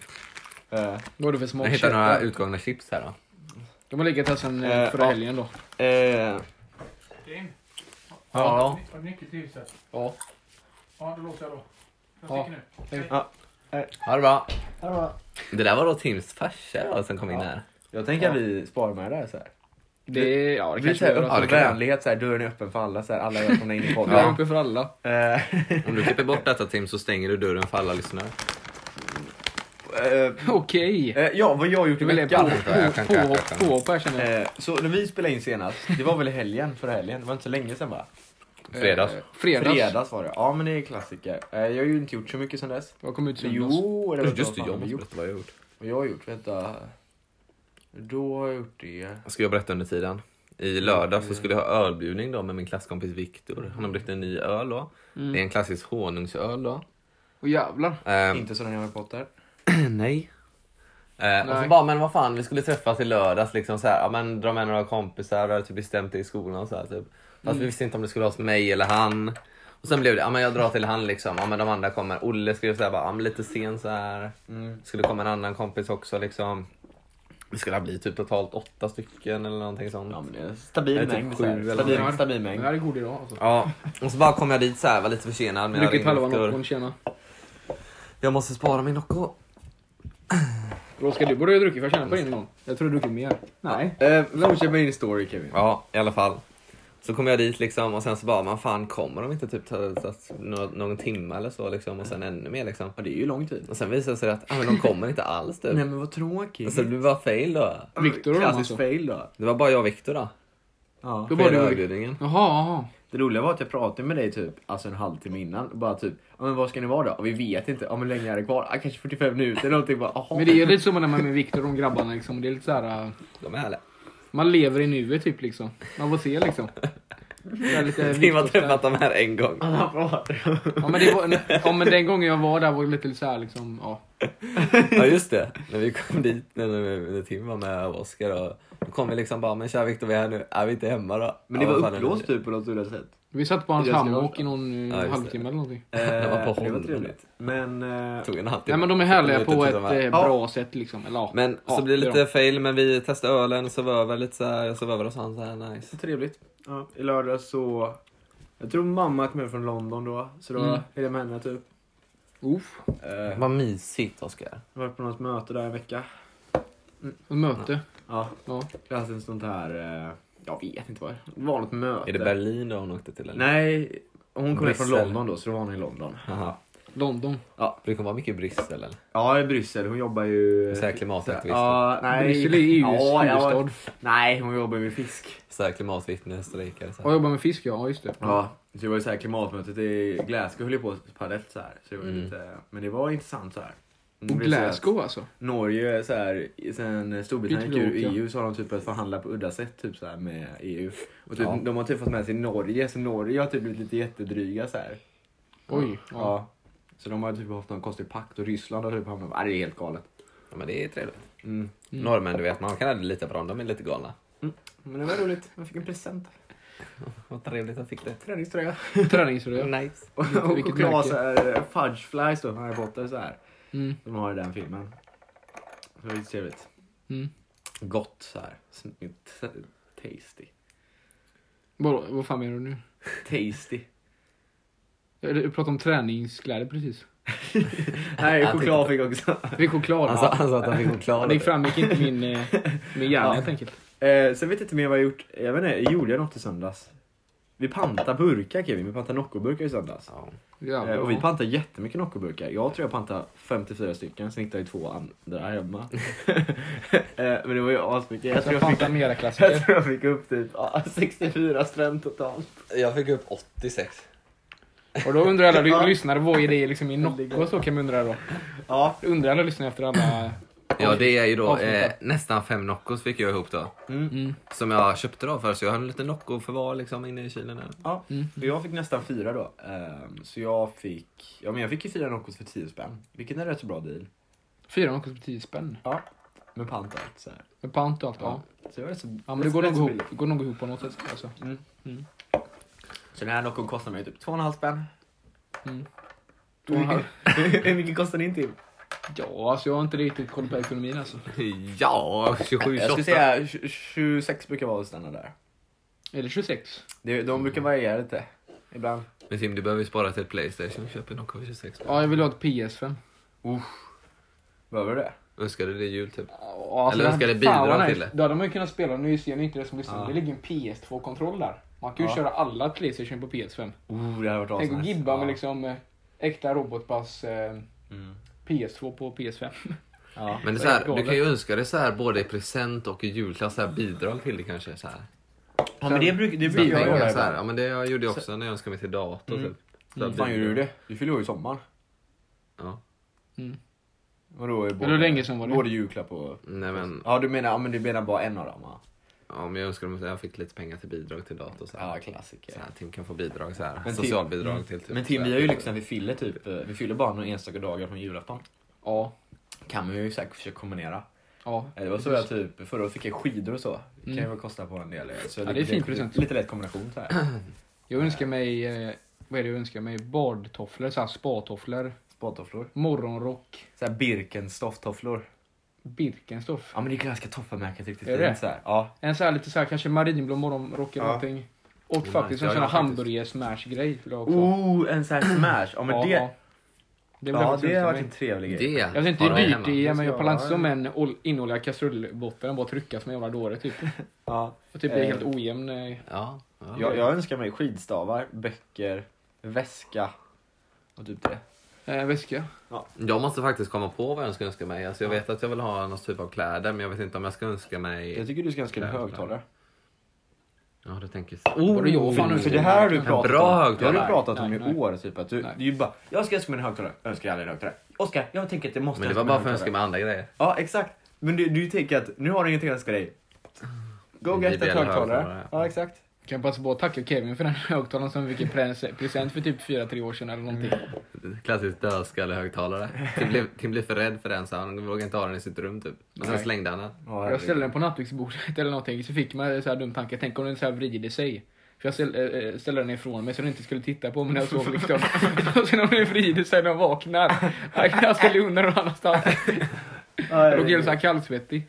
Speaker 2: Eh,
Speaker 3: Vad är det för
Speaker 1: Jag hittar några
Speaker 3: småkött?
Speaker 1: utgångna chips här då.
Speaker 3: De har legat här sedan eh,
Speaker 2: Eh,
Speaker 3: förra
Speaker 2: ja.
Speaker 3: helgen då.
Speaker 2: eh, ja.
Speaker 4: Har du nyckel till huset?
Speaker 3: Ja.
Speaker 4: Ja, då låter jag då. Jag
Speaker 3: Ja.
Speaker 4: sticker nu.
Speaker 1: Ha det bra.
Speaker 2: ja.
Speaker 1: Det där var då Tims farsa då, som kom in här.
Speaker 2: Jag tänker att vi sparar med det här så här.
Speaker 3: Det, är- ja,
Speaker 2: Vi
Speaker 3: det kanske
Speaker 2: säger
Speaker 3: gör
Speaker 1: ja,
Speaker 2: öppen
Speaker 1: det
Speaker 3: att
Speaker 1: kan vi göra.
Speaker 2: vänlighet, så här, dörren är öppen för alla, så här, alla är välkomna in i
Speaker 3: vi är
Speaker 2: podden.
Speaker 3: uppe för alla.
Speaker 2: Eh,
Speaker 1: Om du klipper bort detta Tim så stänger du dörren för alla lyssnare.
Speaker 2: eh,
Speaker 3: Okej.
Speaker 2: eh, ja, vad jag har gjort i
Speaker 3: Du vill ha
Speaker 2: veckan.
Speaker 1: på- Jag kan- jag kan-
Speaker 3: påhopp här känner jag.
Speaker 2: Eh, så när vi spelade in senast, det var väl i helgen, förra helgen, det var inte så länge sedan va?
Speaker 1: Fredags.
Speaker 3: Eh, Fredags.
Speaker 2: Fredags var det, ja men det är klassiker. Eh, jag har ju inte gjort så mycket sedan dess.
Speaker 3: Jag kom ut
Speaker 2: Så,
Speaker 3: som jo.
Speaker 2: jo, det
Speaker 1: Just
Speaker 2: vet
Speaker 1: det,
Speaker 2: jag vad fan
Speaker 1: jag måste
Speaker 2: har gjort.
Speaker 1: berätta vad jag har gjort.
Speaker 2: Vad jag har gjort, vänta. Då har jag gjort det.
Speaker 1: Ska jag berätta under tiden? I lördag så skulle jag ha ölbjudning då med min klasskompis Viktor. Han har bryggt en ny öl då. Det är en klassisk honungsöl då.
Speaker 3: Och jävlar.
Speaker 1: Ehm,
Speaker 2: Inte sådana Harry Potter.
Speaker 1: Nej. Ehm, Eh, och så
Speaker 3: Nej.
Speaker 1: bara, men vad fan, vi skulle träffas i lördags. Liksom så här, ja, men, dra med några kompisar, och typ bestämt det i skolan. Och så här, typ. Fast vi visste inte om det skulle vara hos mig eller han. Och sen blev det, ja men jag drar till han liksom. Ja men de andra kommer. Olle skrev såhär, bara, ja, men lite sen så här. Skulle komma en annan kompis också liksom. Vi skulle bli typ totalt åtta stycken eller någonting sånt.
Speaker 2: Ja men det är stabil
Speaker 1: Jag är typ
Speaker 2: mängd.
Speaker 1: sju
Speaker 2: så här.
Speaker 1: eller
Speaker 2: Stabil,
Speaker 3: något.
Speaker 2: stabil
Speaker 3: Det
Speaker 2: mängd.
Speaker 3: här är god idag alltså.
Speaker 1: Ja, och så bara kom jag dit så här, var lite försenad. Men jag,
Speaker 3: Druckit
Speaker 1: ringde
Speaker 3: halva
Speaker 1: efter.
Speaker 3: Noccon, tjena.
Speaker 1: jag måste spara min Nocco.
Speaker 3: Oskar, du borde ju ha druckit för jag känner på din någon. Jag tror du har druckit mer. Nej.
Speaker 2: Eh, Fortsätt med din story Kevin.
Speaker 1: Ja, i alla fall. Så kom jag dit liksom och sen så bara, man fan kommer de inte typ ta, ta, nå- någon timme eller så liksom och sen ännu mer liksom.
Speaker 2: Ja, det är ju lång tid.
Speaker 1: Och sen visade det sig att ah, men de kommer inte alls typ.
Speaker 2: Nej men vad tråkigt.
Speaker 1: Och så det blev bara fail då.
Speaker 3: Victor och dem,
Speaker 2: Klassisk
Speaker 3: alltså.
Speaker 2: Alltså, fail då.
Speaker 1: Det var bara jag och Viktor då.
Speaker 2: Ja.
Speaker 3: Då var
Speaker 1: Fredag
Speaker 3: du-
Speaker 1: överbjudningen.
Speaker 3: Jaha, jaha.
Speaker 2: Det roliga var att jag pratade med dig typ alltså en halvtimme innan. Bara typ, ja men var ska ni vara då? Och vi vet inte. Ja men hur länge är det kvar? Ja, kanske 45 minuter eller någonting. Bara, aha.
Speaker 3: Men
Speaker 2: [LAUGHS]
Speaker 3: det är lite som när man är med Viktor och de grabbarna liksom. Det är lite såhär.
Speaker 1: De är härliga.
Speaker 3: Man lever i nuet typ liksom. Man får se liksom. Det
Speaker 1: [LAUGHS]
Speaker 3: är lite
Speaker 1: Tim har
Speaker 3: Viktor-style.
Speaker 1: träffat dem här en gång.
Speaker 2: Alla pratar.
Speaker 3: Ja men, det var, ja men den gången jag var där var det lite såhär liksom. Ja.
Speaker 1: Ja just det, när vi kom dit, när, när, när Tim var med och Oskar och då kom vi liksom bara, men tja Viktor vi är här nu, är vi inte hemma då?
Speaker 2: Men det
Speaker 1: Ja, vad
Speaker 2: var
Speaker 1: fan är
Speaker 2: upplåst typ på något udda sätt.
Speaker 3: Vi satt på hans
Speaker 2: Jag ska
Speaker 3: hammock
Speaker 2: vara-
Speaker 3: i någon eh,
Speaker 1: Ja, just det.
Speaker 3: halvtimme eller någonting.
Speaker 1: Det var
Speaker 2: [LAUGHS]
Speaker 1: på
Speaker 2: Eh, det var
Speaker 1: honom.
Speaker 2: trevligt. Men... Eh,
Speaker 1: Det tog en halvtimme.
Speaker 3: Nej men de är härliga
Speaker 1: Lite
Speaker 3: på
Speaker 1: till
Speaker 3: ett
Speaker 1: de här.
Speaker 3: eh, bra sätt liksom. Eller, ja.
Speaker 1: Men
Speaker 3: ja,
Speaker 1: så blir det
Speaker 3: är
Speaker 1: lite
Speaker 3: de.
Speaker 1: fail, men vi testade ölen, sov över lite så här, jag sov över hos han så här, nice.
Speaker 2: trevligt. Ja, I lördag så... Jag tror mamma kom hem från London då. Så då
Speaker 3: Mm.
Speaker 2: är det med henne typ.
Speaker 3: Uff,
Speaker 2: Eh,
Speaker 1: Vad mysigt Oskar.
Speaker 2: jag har varit på något möte där en vecka.
Speaker 3: ett möte.
Speaker 2: Ja,
Speaker 3: Ja.
Speaker 2: klassiskt sånt här... Eh, jag vet inte vad det var. något möte.
Speaker 1: eh, Är det Berlin då hon åkte till eller?
Speaker 2: Nej, hon kom ner från
Speaker 1: Bryssel.
Speaker 2: London då, så då var hon i London.
Speaker 1: Aha.
Speaker 3: London.
Speaker 1: Det kommer vara mycket i Bryssel eller?
Speaker 2: Ja, i Bryssel. Hon jobbar ju...
Speaker 1: Så här klimataktivist.
Speaker 2: Ja, nej.
Speaker 3: Bryssel är EUs
Speaker 2: Ja, ja.
Speaker 3: huvudstad.
Speaker 2: Nej, hon jobbar ju med fisk.
Speaker 1: Så här klimatvittne, strejkare. Så
Speaker 3: Ja,
Speaker 1: här.
Speaker 3: jobbar med fisk ja, just det.
Speaker 2: Ja, så det var ju så här klimatmötet i Glasgow höll ju på parallellt så här. Så det var ju
Speaker 1: Mm.
Speaker 2: lite, men det var intressant så här. Mm, Det
Speaker 3: Och
Speaker 2: blir så här-
Speaker 3: Glasgow alltså.
Speaker 2: Norge, är så här, sen Storbritannien gick
Speaker 3: Byter
Speaker 2: ur
Speaker 3: vi åt, ja.
Speaker 2: EU så har de typ att förhandla på udda sätt typ så här med EU. Och typ,
Speaker 1: Ja.
Speaker 2: De har typ fått med sig Norge, så Norge har typ blivit lite jättedryga så här.
Speaker 3: Oj.
Speaker 2: Ja.
Speaker 3: Ja.
Speaker 2: Så de har typ haft någon konstig pakt och Ryssland har typ hamnat... Ah, det är helt galet.
Speaker 1: Ja, men det är trevligt.
Speaker 2: Mm.
Speaker 3: Mm.
Speaker 1: Norrmän, du vet, man kan aldrig lita på dem. De är lite galna. [LAUGHS]
Speaker 2: Men det var roligt. Jag fick en present.
Speaker 1: Vad trevligt att fick det.
Speaker 2: Träningströja.
Speaker 3: Träningsröja.
Speaker 1: Nice.
Speaker 2: [LAUGHS] Och
Speaker 3: vilket
Speaker 2: choklad
Speaker 3: märke?
Speaker 2: så här, fudge flies då, från Harry Potter så här.
Speaker 3: Mm.
Speaker 2: De har i den filmen. Så det är trevligt.
Speaker 3: Mm.
Speaker 2: Gott så här. Snyggt. Tasty.
Speaker 3: Vad, vad fan menar du nu?
Speaker 2: Tasty. [LAUGHS]
Speaker 3: Jag jag pratade om träningskläder precis.
Speaker 2: Nej,
Speaker 1: Jag
Speaker 2: choklad fick jag också.
Speaker 3: Vi är choklad.
Speaker 2: Alltså,
Speaker 1: Han sa, han sa att han fick
Speaker 3: Ja,
Speaker 1: choklad.
Speaker 3: det framgick inte min, eh, min hjärna
Speaker 2: Ja.
Speaker 3: helt enkelt.
Speaker 2: Eh, sen vet jag inte mer vad jag gjort. Jag vet inte, gjorde jag något i söndags? Vi pantade burkar Kevin, vi pantade Noccoburkar i söndags.
Speaker 1: Ja.
Speaker 3: Ja,
Speaker 2: Eh, och vi
Speaker 3: bra.
Speaker 2: pantade jättemycket Noccoburkar. Jag tror jag pantade 54 stycken, sen hittade jag ju två andra [LAUGHS] hemma. eh, men det var ju asmycket. Jag tror
Speaker 3: jag
Speaker 2: jag fick,
Speaker 3: pantar
Speaker 2: [LAUGHS]
Speaker 3: mera
Speaker 2: jag
Speaker 3: klassiker.
Speaker 2: tror jag fick upp typ ah, 64 spänn totalt.
Speaker 1: Jag fick upp 86.
Speaker 3: Och då undrar
Speaker 2: [LAUGHS]
Speaker 3: alla
Speaker 2: Ja.
Speaker 3: ly- lyssnare, vad är det liksom i Nocco? och Så kan man undra då.
Speaker 2: Ja.
Speaker 3: Då Undrar alla lyssnare efter alla...
Speaker 1: Ja, det är ju då
Speaker 3: Avsluta.
Speaker 1: eh, nästan fem Noccos fick jag ihop då.
Speaker 2: Mm.
Speaker 3: Mm.
Speaker 1: Som jag köpte då för så jag har lite Nocco-förvar liksom inne i kylen.
Speaker 2: [LAUGHS]
Speaker 1: Här.
Speaker 2: Ja,
Speaker 3: Mm.
Speaker 2: och jag fick nästan fyra då. Ehm, så jag fick, ja men jag fick ju fyra Noccos för 10 spänn. Vilket är en rätt så bra deal.
Speaker 3: Fyra Noccos för 10 spänn.
Speaker 2: Ja. Med pant och allt så här.
Speaker 3: Med pant och allt. Ja.
Speaker 2: Så det var rätt så,
Speaker 3: Ja, men det
Speaker 2: rätt-
Speaker 3: går
Speaker 2: rätt
Speaker 3: nog,
Speaker 2: så
Speaker 3: ihop,
Speaker 2: billigt.
Speaker 3: går nog ihop på något sätt. Alltså.
Speaker 2: Så den här Noccon kostar mig typ 2,5 spänn.
Speaker 3: Mm.
Speaker 2: Hur mycket- [LAUGHS] Hur mycket kostar din Tim?
Speaker 3: Ja, alltså jag har inte riktigt koll på ekonomin alltså.
Speaker 1: Ja, 27,
Speaker 2: Jag
Speaker 1: 28.
Speaker 2: skulle säga tj- 26 brukar vara standard där.
Speaker 3: Är det 26?
Speaker 2: Det- De brukar variera lite. Ibland.
Speaker 1: Men Tim, du behöver ju spara till ett Playstation. Köp en Nocco för 26
Speaker 3: Ja, jag vill ha ett PS5.
Speaker 2: Behöver du det?
Speaker 1: Önskar du det jul typ?
Speaker 3: Ja,
Speaker 1: Eller
Speaker 3: den-
Speaker 1: ska det bidra
Speaker 3: fan vad nice.
Speaker 1: till det?
Speaker 3: Då hade man ju kunnat spela, nu ser ni inte det som lyssnar,
Speaker 2: Ja.
Speaker 3: det ligger en PS2-kontroll där. Man kan ju
Speaker 2: Ja.
Speaker 3: köra alla Playstation på PS5.
Speaker 2: Oh, det hade varit
Speaker 3: Tänk att
Speaker 2: asnice.
Speaker 3: gibba med
Speaker 2: Ja.
Speaker 3: liksom eh, äkta robotbass eh,
Speaker 2: Mm.
Speaker 3: PS2 på PS5.
Speaker 2: Ja.
Speaker 1: Men det är så här, du kan ju önska dig så här både i present och i julklapp, så här bidrag till det kanske. Så här.
Speaker 2: ja, men det, bruk, det
Speaker 1: Så här
Speaker 2: brukar jag
Speaker 1: pengar,
Speaker 2: göra
Speaker 1: så här.
Speaker 2: ibland.
Speaker 1: Ja, men det jag gjorde jag också när jag önskade mig till dator.
Speaker 2: Mm.
Speaker 1: Typ. Så här
Speaker 2: Vad fan
Speaker 1: bidrag.
Speaker 2: gjorde du det? Du fyller år i sommar.
Speaker 1: Ja.
Speaker 2: Vadå? i Både,
Speaker 3: Eller hur länge sedan var det?
Speaker 2: Både julklapp och...
Speaker 1: Nej, men,
Speaker 2: Ja, du menar, ja, men du menar bara en av dem? Ja,
Speaker 1: ja, men jag önskade mig att jag fick lite pengar till bidrag till dator. Så här.
Speaker 2: ja
Speaker 1: Så
Speaker 2: klassiker.
Speaker 1: här, Tim kan få bidrag, så här,
Speaker 2: Men Tim- Mm.
Speaker 1: socialbidrag till typ.
Speaker 2: Men Tim,
Speaker 1: så här.
Speaker 2: vi har ju liksom, vi fyller typ, eh, vi fyller bara några enstaka dagar från julafton.
Speaker 3: Ja.
Speaker 2: Kan man ju säkert försöka kombinera.
Speaker 3: ja.
Speaker 2: Eh, Det var så jag typ, förra året fick jag skidor och så. Det kan ju
Speaker 3: Mm.
Speaker 2: väl kosta på en del. eh, Så
Speaker 3: Ja, det är fin present.
Speaker 2: Lite, lite lätt kombination så
Speaker 3: [CLEARS THROAT]
Speaker 2: här.
Speaker 3: Jag önskar mig, eh, vad är det jag önskar mig? Badtofflor, såhär spatofflor,
Speaker 2: Spatofflor.
Speaker 3: morgonrock,
Speaker 2: Så här Birkenstoff-tofflor.
Speaker 3: Birkenstoff.
Speaker 2: Ja men det är ganska toffamärket riktigt
Speaker 3: Är det?
Speaker 2: fint så här. Ja.
Speaker 3: En såhär lite såhär kanske marinblå morgonrock eller
Speaker 2: Ja.
Speaker 3: någonting. Och
Speaker 1: nice.
Speaker 3: faktiskt en
Speaker 1: Ja,
Speaker 3: sån här
Speaker 1: ja, faktiskt.
Speaker 3: hamburger-smash-grej vill jag också ha.
Speaker 2: Oh, en sån här smash. Ja men
Speaker 3: Ja,
Speaker 2: det,
Speaker 3: ja.
Speaker 2: ja,
Speaker 3: Det
Speaker 2: det,
Speaker 3: vill jag faktiskt
Speaker 2: har
Speaker 3: önska
Speaker 2: varit
Speaker 3: mig.
Speaker 2: en trevlig
Speaker 1: Det
Speaker 2: grej.
Speaker 1: har
Speaker 3: Jag vet Alltså, inte hur
Speaker 1: de
Speaker 3: dyrt
Speaker 1: hemma.
Speaker 3: det är,
Speaker 2: Det
Speaker 3: men jag
Speaker 2: ska-
Speaker 3: pallar inte som en ol- inoljad kastrullbotten och bara trycka som en jävla dåre typ.
Speaker 2: Ja.
Speaker 3: Och typ blir
Speaker 2: Eh.
Speaker 3: helt ojämn. eh.
Speaker 1: Ja, ja.
Speaker 2: Jag, jag önskar mig skidstavar, böcker, väska och typ det.
Speaker 3: Eh, väska.
Speaker 1: Jag måste faktiskt komma på vad jag ska önska mig. Alltså jag vet att jag vill ha någon typ av kläder, men jag vet inte om jag ska önska
Speaker 2: Jag
Speaker 1: mig...
Speaker 2: tycker du ska önska dig
Speaker 1: Kläder,
Speaker 2: högtalare.
Speaker 1: Ja, du tänker
Speaker 2: Oh,
Speaker 3: Var det jag? Fan, nu
Speaker 2: För
Speaker 3: ska
Speaker 2: det här har du
Speaker 1: En
Speaker 2: pratat
Speaker 1: bra
Speaker 2: om.
Speaker 1: högtalare.
Speaker 2: Det har du pratat om
Speaker 3: Nej,
Speaker 2: i
Speaker 3: nej.
Speaker 2: år. Typ, att du,
Speaker 3: Nej.
Speaker 2: det är ju bara, jag ska önska mig en högtalare. Jag önskar aldrig en högtalare. Oskar, jag tänker att det måste
Speaker 1: Men det
Speaker 2: önska
Speaker 1: var
Speaker 2: mig
Speaker 1: bara
Speaker 2: en
Speaker 1: för att önska
Speaker 2: högtalare.
Speaker 1: mig andra grejer.
Speaker 2: Ja, exakt. Men du, du tänker att nu har du ingenting att önska dig. Go
Speaker 1: Det
Speaker 2: get
Speaker 1: blir
Speaker 2: ett
Speaker 1: en
Speaker 2: högtalare.
Speaker 1: högtalare.
Speaker 2: Ja, exakt.
Speaker 3: Kan passa på att tacka Kevin för den högtalaren som vi fick i pres- present för typ 4-3 år sedan eller någonting.
Speaker 1: Klassisk dödskallehögtalare. Tim blev, Tim blev för rädd för den så han vågade inte ha den i sitt rum typ. Men sen
Speaker 3: Nej.
Speaker 1: slängde han den.
Speaker 2: Ja,
Speaker 3: Jag ställde den på nattduksbordet eller någonting, så fick man en så här dum tanke. Tänk om den så här vrider sig. För jag ställ, eh, eh, ställde den ifrån mig så den inte skulle titta på mig när jag sov liksom. [LAUGHS] Och sen om den vrider sig när jag vaknar. Jag ställer undan någon annanstans. Jag låg helt så här kallsvettig.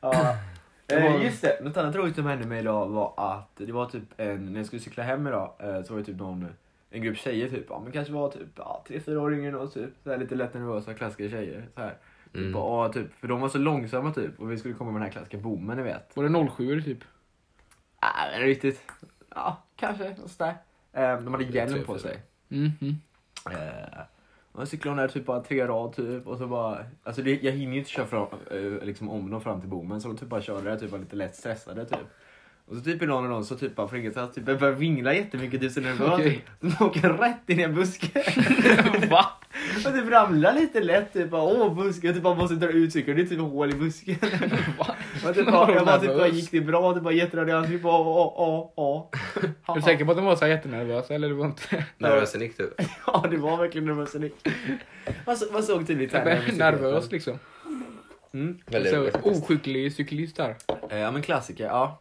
Speaker 2: Ja.
Speaker 3: [CLEARS THROAT] Det var-
Speaker 2: Eh, just det, något annat roligt som hände mig idag var att det var typ en, när jag skulle cykla hem idag eh, så var det typ någon, en grupp tjejer typ, ja men kanske var typ ja, tre, fyra år yngre än oss typ, så här, lite lätt nervösa klassiska tjejer så här.
Speaker 1: Mm.
Speaker 2: Typ, ja, typ, för de var så långsamma typ och vi skulle komma med den här klassiska bommen ni vet. Äh,
Speaker 3: Var det 07 typ?
Speaker 2: Nej men riktigt, ja kanske, och sådär. Eh, de hade
Speaker 1: Det är tre,
Speaker 2: hjälm på
Speaker 1: fyra.
Speaker 2: sig.
Speaker 3: Mhm.
Speaker 2: Eh, och jag cyklade hon där typ bara tre rad typ och så bara, alltså det, jag hinner ju inte köra fram, eh, liksom om dem fram till bommen så de typ bara körde där typ var lite lätt stressade typ. Och så typ i någon av dem så typ bara från ingenstans typ jag började vingla jättemycket typ så nervös.
Speaker 3: Okej.
Speaker 2: [LAUGHS] De åker rätt in i en buske.
Speaker 3: [LAUGHS] Va?
Speaker 2: Och typ ramlar lite lätt typ bara åh busken, typ bara måste dra ut cykeln, det är typ hål i busken.
Speaker 3: [LAUGHS] Va?
Speaker 2: Och typ,
Speaker 3: Var
Speaker 2: bara,
Speaker 3: de
Speaker 2: jag bara typ bara
Speaker 3: nervös?
Speaker 2: gick det bra, typ bara jättenervös, typ bara åh åh åh.
Speaker 3: Är du säker på att de var så här jättenervösa eller det
Speaker 1: [LAUGHS]
Speaker 3: var inte?
Speaker 1: Nervösen gick du.
Speaker 2: Ja, det var verkligen nervös i nick. Man, så, man såg tydligt här när vi cyklade.
Speaker 3: [LAUGHS] Nervös liksom.
Speaker 2: Mm.
Speaker 1: Väldigt
Speaker 3: Så, oh,
Speaker 1: roligt faktiskt.
Speaker 3: oskicklig cyklist där.
Speaker 2: Eh, Ja men klassiker, ja.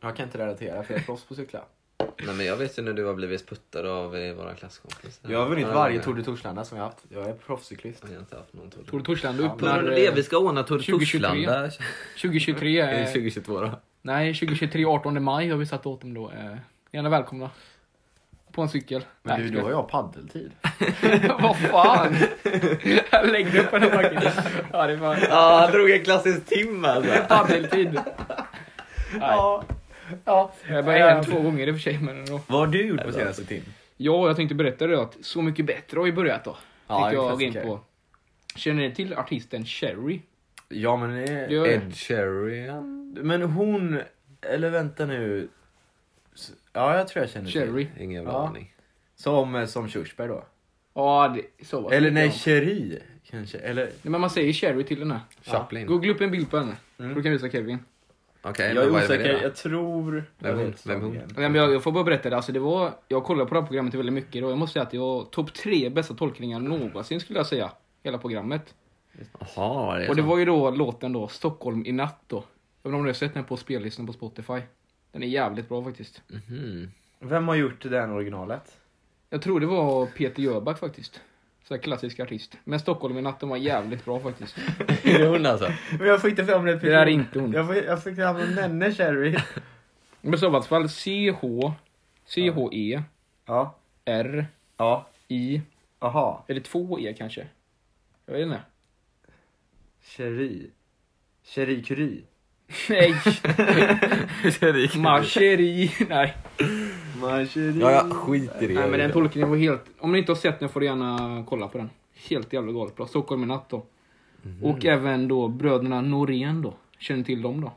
Speaker 2: Jag kan inte relatera för jag är proffs på att cykla.
Speaker 3: Mm.
Speaker 1: Nej, men jag vet ju när du har blivit puttad av eh, våra klasskompisar.
Speaker 2: Jag har vunnit
Speaker 1: Ja,
Speaker 2: varje
Speaker 1: ja.
Speaker 2: Tour de Torslanda som jag haft. Jag är proffscyklist.
Speaker 1: Jag har inte haft någon Tour de
Speaker 3: Tord
Speaker 1: På
Speaker 3: Torslanda
Speaker 1: grund av
Speaker 3: öppnar
Speaker 1: det,
Speaker 3: eh,
Speaker 1: vi ska ordna Tour
Speaker 3: 2023.
Speaker 1: Torslanda. [LAUGHS]
Speaker 3: 2023.
Speaker 1: Är det
Speaker 3: Eh,
Speaker 1: 2022 då?
Speaker 3: nej, 2023 18 maj har vi satt datum då. Eh, gärna välkomna. På en cykel.
Speaker 2: Men
Speaker 3: Nej,
Speaker 2: du, då har jag paddeltid.
Speaker 3: [LAUGHS] Vad fan! Lägg upp den här backen. Ja, det var
Speaker 1: Ja, han drog en klassisk tim alltså.
Speaker 3: paddeltid.
Speaker 2: Ja. ja. Ehm.
Speaker 3: Jag bara en två gånger i och för sig. Men ändå.
Speaker 2: Vad har du gjort på senaste timmen?
Speaker 3: Ja, jag tänkte berätta det att Så mycket bättre har ju börjat då.
Speaker 2: Ja,
Speaker 3: Tänkte
Speaker 2: en
Speaker 3: jag gå in
Speaker 2: klassiker.
Speaker 3: på. Känner ni till artisten Cherry?
Speaker 2: Ja men, eh,
Speaker 3: Det gör jag.
Speaker 1: Ed Sheeran.
Speaker 2: men hon, eller vänta nu. S- Ja jag tror jag känner till.
Speaker 3: Cherry.
Speaker 1: Ingen bra
Speaker 2: Ja.
Speaker 1: aning.
Speaker 2: Som, eh, som körsbär då.
Speaker 3: Ja, det, så var det.
Speaker 2: Eller
Speaker 3: Ja.
Speaker 2: nej, Cherry kanske. Eller,
Speaker 3: Nej, men man säger Cherry till den här.
Speaker 1: Chaplin. Okej,
Speaker 3: Googla upp en bild på henne.
Speaker 1: Mm.
Speaker 3: Då kan jag visa Kevin.
Speaker 2: jag
Speaker 1: men
Speaker 2: är
Speaker 1: vad det med det
Speaker 2: osäker,
Speaker 1: då?
Speaker 2: jag tror...
Speaker 1: Vem
Speaker 2: jag
Speaker 1: hon-
Speaker 2: vet
Speaker 1: vem
Speaker 2: inte.
Speaker 1: hon?
Speaker 3: Nej, men jag, jag får bara berätta det. Alltså, det var, jag kollade på det här programmet väldigt mycket. Och jag måste säga att det var topp tre bästa tolkningar någonsin skulle jag säga. Hela programmet.
Speaker 1: Jaha, det är
Speaker 3: Och det
Speaker 1: så.
Speaker 3: var ju då låten då, Stockholm i natt då. Jag vet inte om du har sett den på spellistan på Spotify. Den är jävligt bra faktiskt.
Speaker 1: Mhm.
Speaker 2: Vem har gjort den originalet?
Speaker 3: Jag tror det var Peter Jöback faktiskt. Så här klassisk artist. Men Stockholm i natt, den var jävligt bra faktiskt.
Speaker 1: Är det hon alltså?
Speaker 2: Men jag får inte fram det.
Speaker 3: Det där är inte hon.
Speaker 2: Jag, får, jag fick fram en nenne Cherry.
Speaker 3: Men så i alla fall CH, CHE,
Speaker 2: [LAUGHS] Ja.
Speaker 3: E R,
Speaker 2: Ja.
Speaker 3: I,
Speaker 2: Aha.
Speaker 3: eller två E kanske? Jag vet inte.
Speaker 2: Cherry. Cherry Curie.
Speaker 1: [LAUGHS]
Speaker 3: Nej,
Speaker 1: Cherry.
Speaker 3: Marcheri. Nej.
Speaker 2: My Cherry.
Speaker 1: Ja, jag skiter i det.
Speaker 3: Nej, men den tolkningen var helt... Om ni inte har sett den får du gärna kolla på den. Helt jävla galet bra. Stockholm i natt då.
Speaker 1: Mhm.
Speaker 3: Och även då bröderna Norén då. Känner ni till dem då?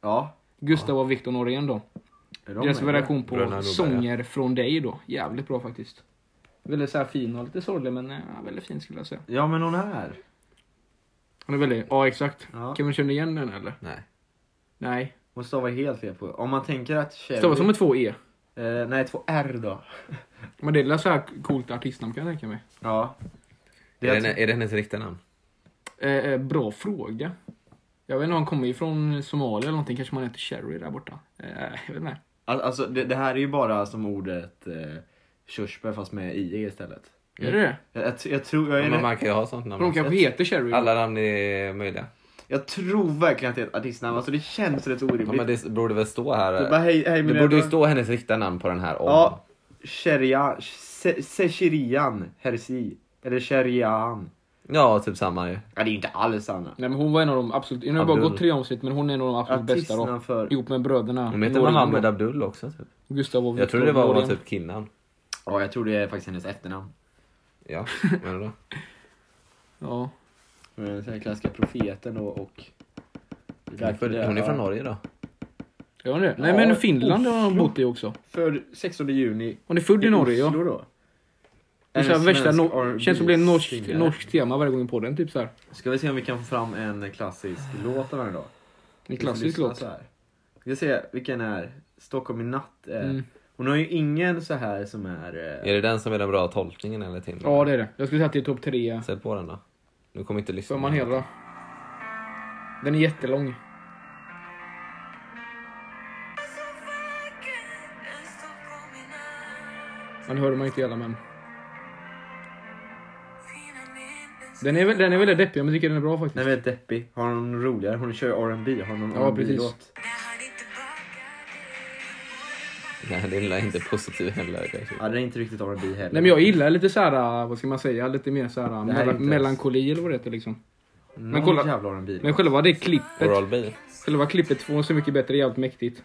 Speaker 2: Ja.
Speaker 3: Gustav och Viktor Norén då.
Speaker 2: är de
Speaker 3: Deras
Speaker 2: med?
Speaker 3: variation på
Speaker 1: Bröderna Norén.
Speaker 3: Sånger från dig då. Jävligt bra faktiskt. Väldigt så här fin och lite sorglig men eh, ja, väldigt fin skulle jag säga.
Speaker 2: Ja, men hon här.
Speaker 3: Hon är väldigt... Ja exakt.
Speaker 2: Ja.
Speaker 3: Kan man känna igen den eller?
Speaker 1: Nej.
Speaker 3: Nej.
Speaker 2: Hon stavar helt fel på. Om man tänker att Cherry...
Speaker 3: Stavas som med två E.
Speaker 2: eh, Nej, två R då.
Speaker 3: Men det är väl så här coolt artistnamn kan jag tänka mig.
Speaker 2: Ja. Det
Speaker 1: Är
Speaker 2: är alltså-
Speaker 1: det, är det hennes riktiga namn?
Speaker 3: Eh, eh, bra fråga. Jag vet inte, han kommer ju från Somalia eller någonting. Kanske man heter Cherry där borta. Eh, jag vet inte.
Speaker 2: Al- Alltså, det, det här är ju bara som ordet eh, körsbär fast med IE istället.
Speaker 3: Är det det?
Speaker 2: Jag, jag, jag tror... Jag, är
Speaker 1: Ja, men
Speaker 2: rätt-
Speaker 1: man kan ju ha sånt namn.
Speaker 3: För de
Speaker 1: också.
Speaker 3: kanske heter Cherry.
Speaker 1: Mm. Alla namn är möjliga.
Speaker 2: jag tror verkligen att det är ett artistnamn. Alltså, det känns rätt
Speaker 1: Ja,
Speaker 2: orimligt.
Speaker 1: men det borde väl stå här.
Speaker 2: Det är bara, hej, hej,
Speaker 1: Det
Speaker 2: mina
Speaker 1: borde ju
Speaker 2: jävlar.
Speaker 1: stå hennes riktiga namn på den här om.
Speaker 2: Ja, Sheria, Se- Sechirian Hersi. Eller Sherian.
Speaker 1: Ja, typ samma ju.
Speaker 2: Ja, det är ju inte alls samma.
Speaker 3: Nej men hon var en av de absolut, nu har jag bara
Speaker 1: Abdul.
Speaker 3: gått tre avsnitt men hon är en av de absolut bästa då.
Speaker 2: Artistnamn för...
Speaker 3: Ihop med bröderna.
Speaker 1: Hon heter
Speaker 3: Norén
Speaker 1: Mohammed
Speaker 3: då.
Speaker 1: Abdul också typ.
Speaker 3: Gustav och
Speaker 1: Jag
Speaker 3: Viktor
Speaker 1: trodde det var
Speaker 3: Norén.
Speaker 1: typ Kinnan.
Speaker 2: Ja, jag tror det är faktiskt hennes efternamn.
Speaker 1: Ja, men då.
Speaker 3: Ja.
Speaker 2: Men Den klassiska profeten och... och...
Speaker 1: Hon är född- hon är från Norge då.
Speaker 3: Gör hon det? Nej
Speaker 2: Ja,
Speaker 3: men Finland har hon
Speaker 2: Oslo.
Speaker 3: bott i också.
Speaker 2: Född 16 juni.
Speaker 3: Hon är född i Norge ja.
Speaker 2: Oslo då.
Speaker 3: Det är så här
Speaker 2: En
Speaker 3: värsta,
Speaker 2: svensk
Speaker 3: no-
Speaker 2: R&B
Speaker 3: känns som det blir en norsk,
Speaker 2: singare.
Speaker 3: norsk tema varje gång på den typ såhär.
Speaker 2: Ska vi se om vi kan få fram en klassisk låt av henne då?
Speaker 3: En
Speaker 2: Vi får
Speaker 3: klassisk
Speaker 2: lyssna
Speaker 3: låt.
Speaker 2: så här. Vi ska se vilken är Stockholm i natt. eh.
Speaker 3: Mm.
Speaker 2: Hon har ju ingen så här som är... eh,
Speaker 1: Är det den som är den bra tolkningen eller Tim?
Speaker 3: Ja det är det. Jag skulle säga att det är topp tre.
Speaker 1: Sätt på den då. Nu kommer inte lyssna.
Speaker 3: För man hela. Den är jättelång. Man hör man inte hela men. Den är, väl, den är väldigt deppig men jag tycker den är bra faktiskt.
Speaker 2: Nej men deppig. Har hon någon roligare? Hon kör ju R&B Har hon någon
Speaker 3: Ja,
Speaker 2: rb
Speaker 3: precis.
Speaker 2: låt
Speaker 1: [LAUGHS] Nej, det är inte positiv heller kanske.
Speaker 2: Ja, den är inte riktigt R&B heller.
Speaker 3: Nej men jag gillar lite såhär, vad ska man säga, lite mer såhär
Speaker 2: Det här är
Speaker 3: mela-
Speaker 2: inte ens-
Speaker 3: melankoli eller vad det heter liksom.
Speaker 2: Någon
Speaker 3: men kolla.
Speaker 2: jävla R&B.
Speaker 3: Men själva det klippet,
Speaker 1: Oral B.
Speaker 3: själva klippet får så mycket bättre, jävligt mäktigt.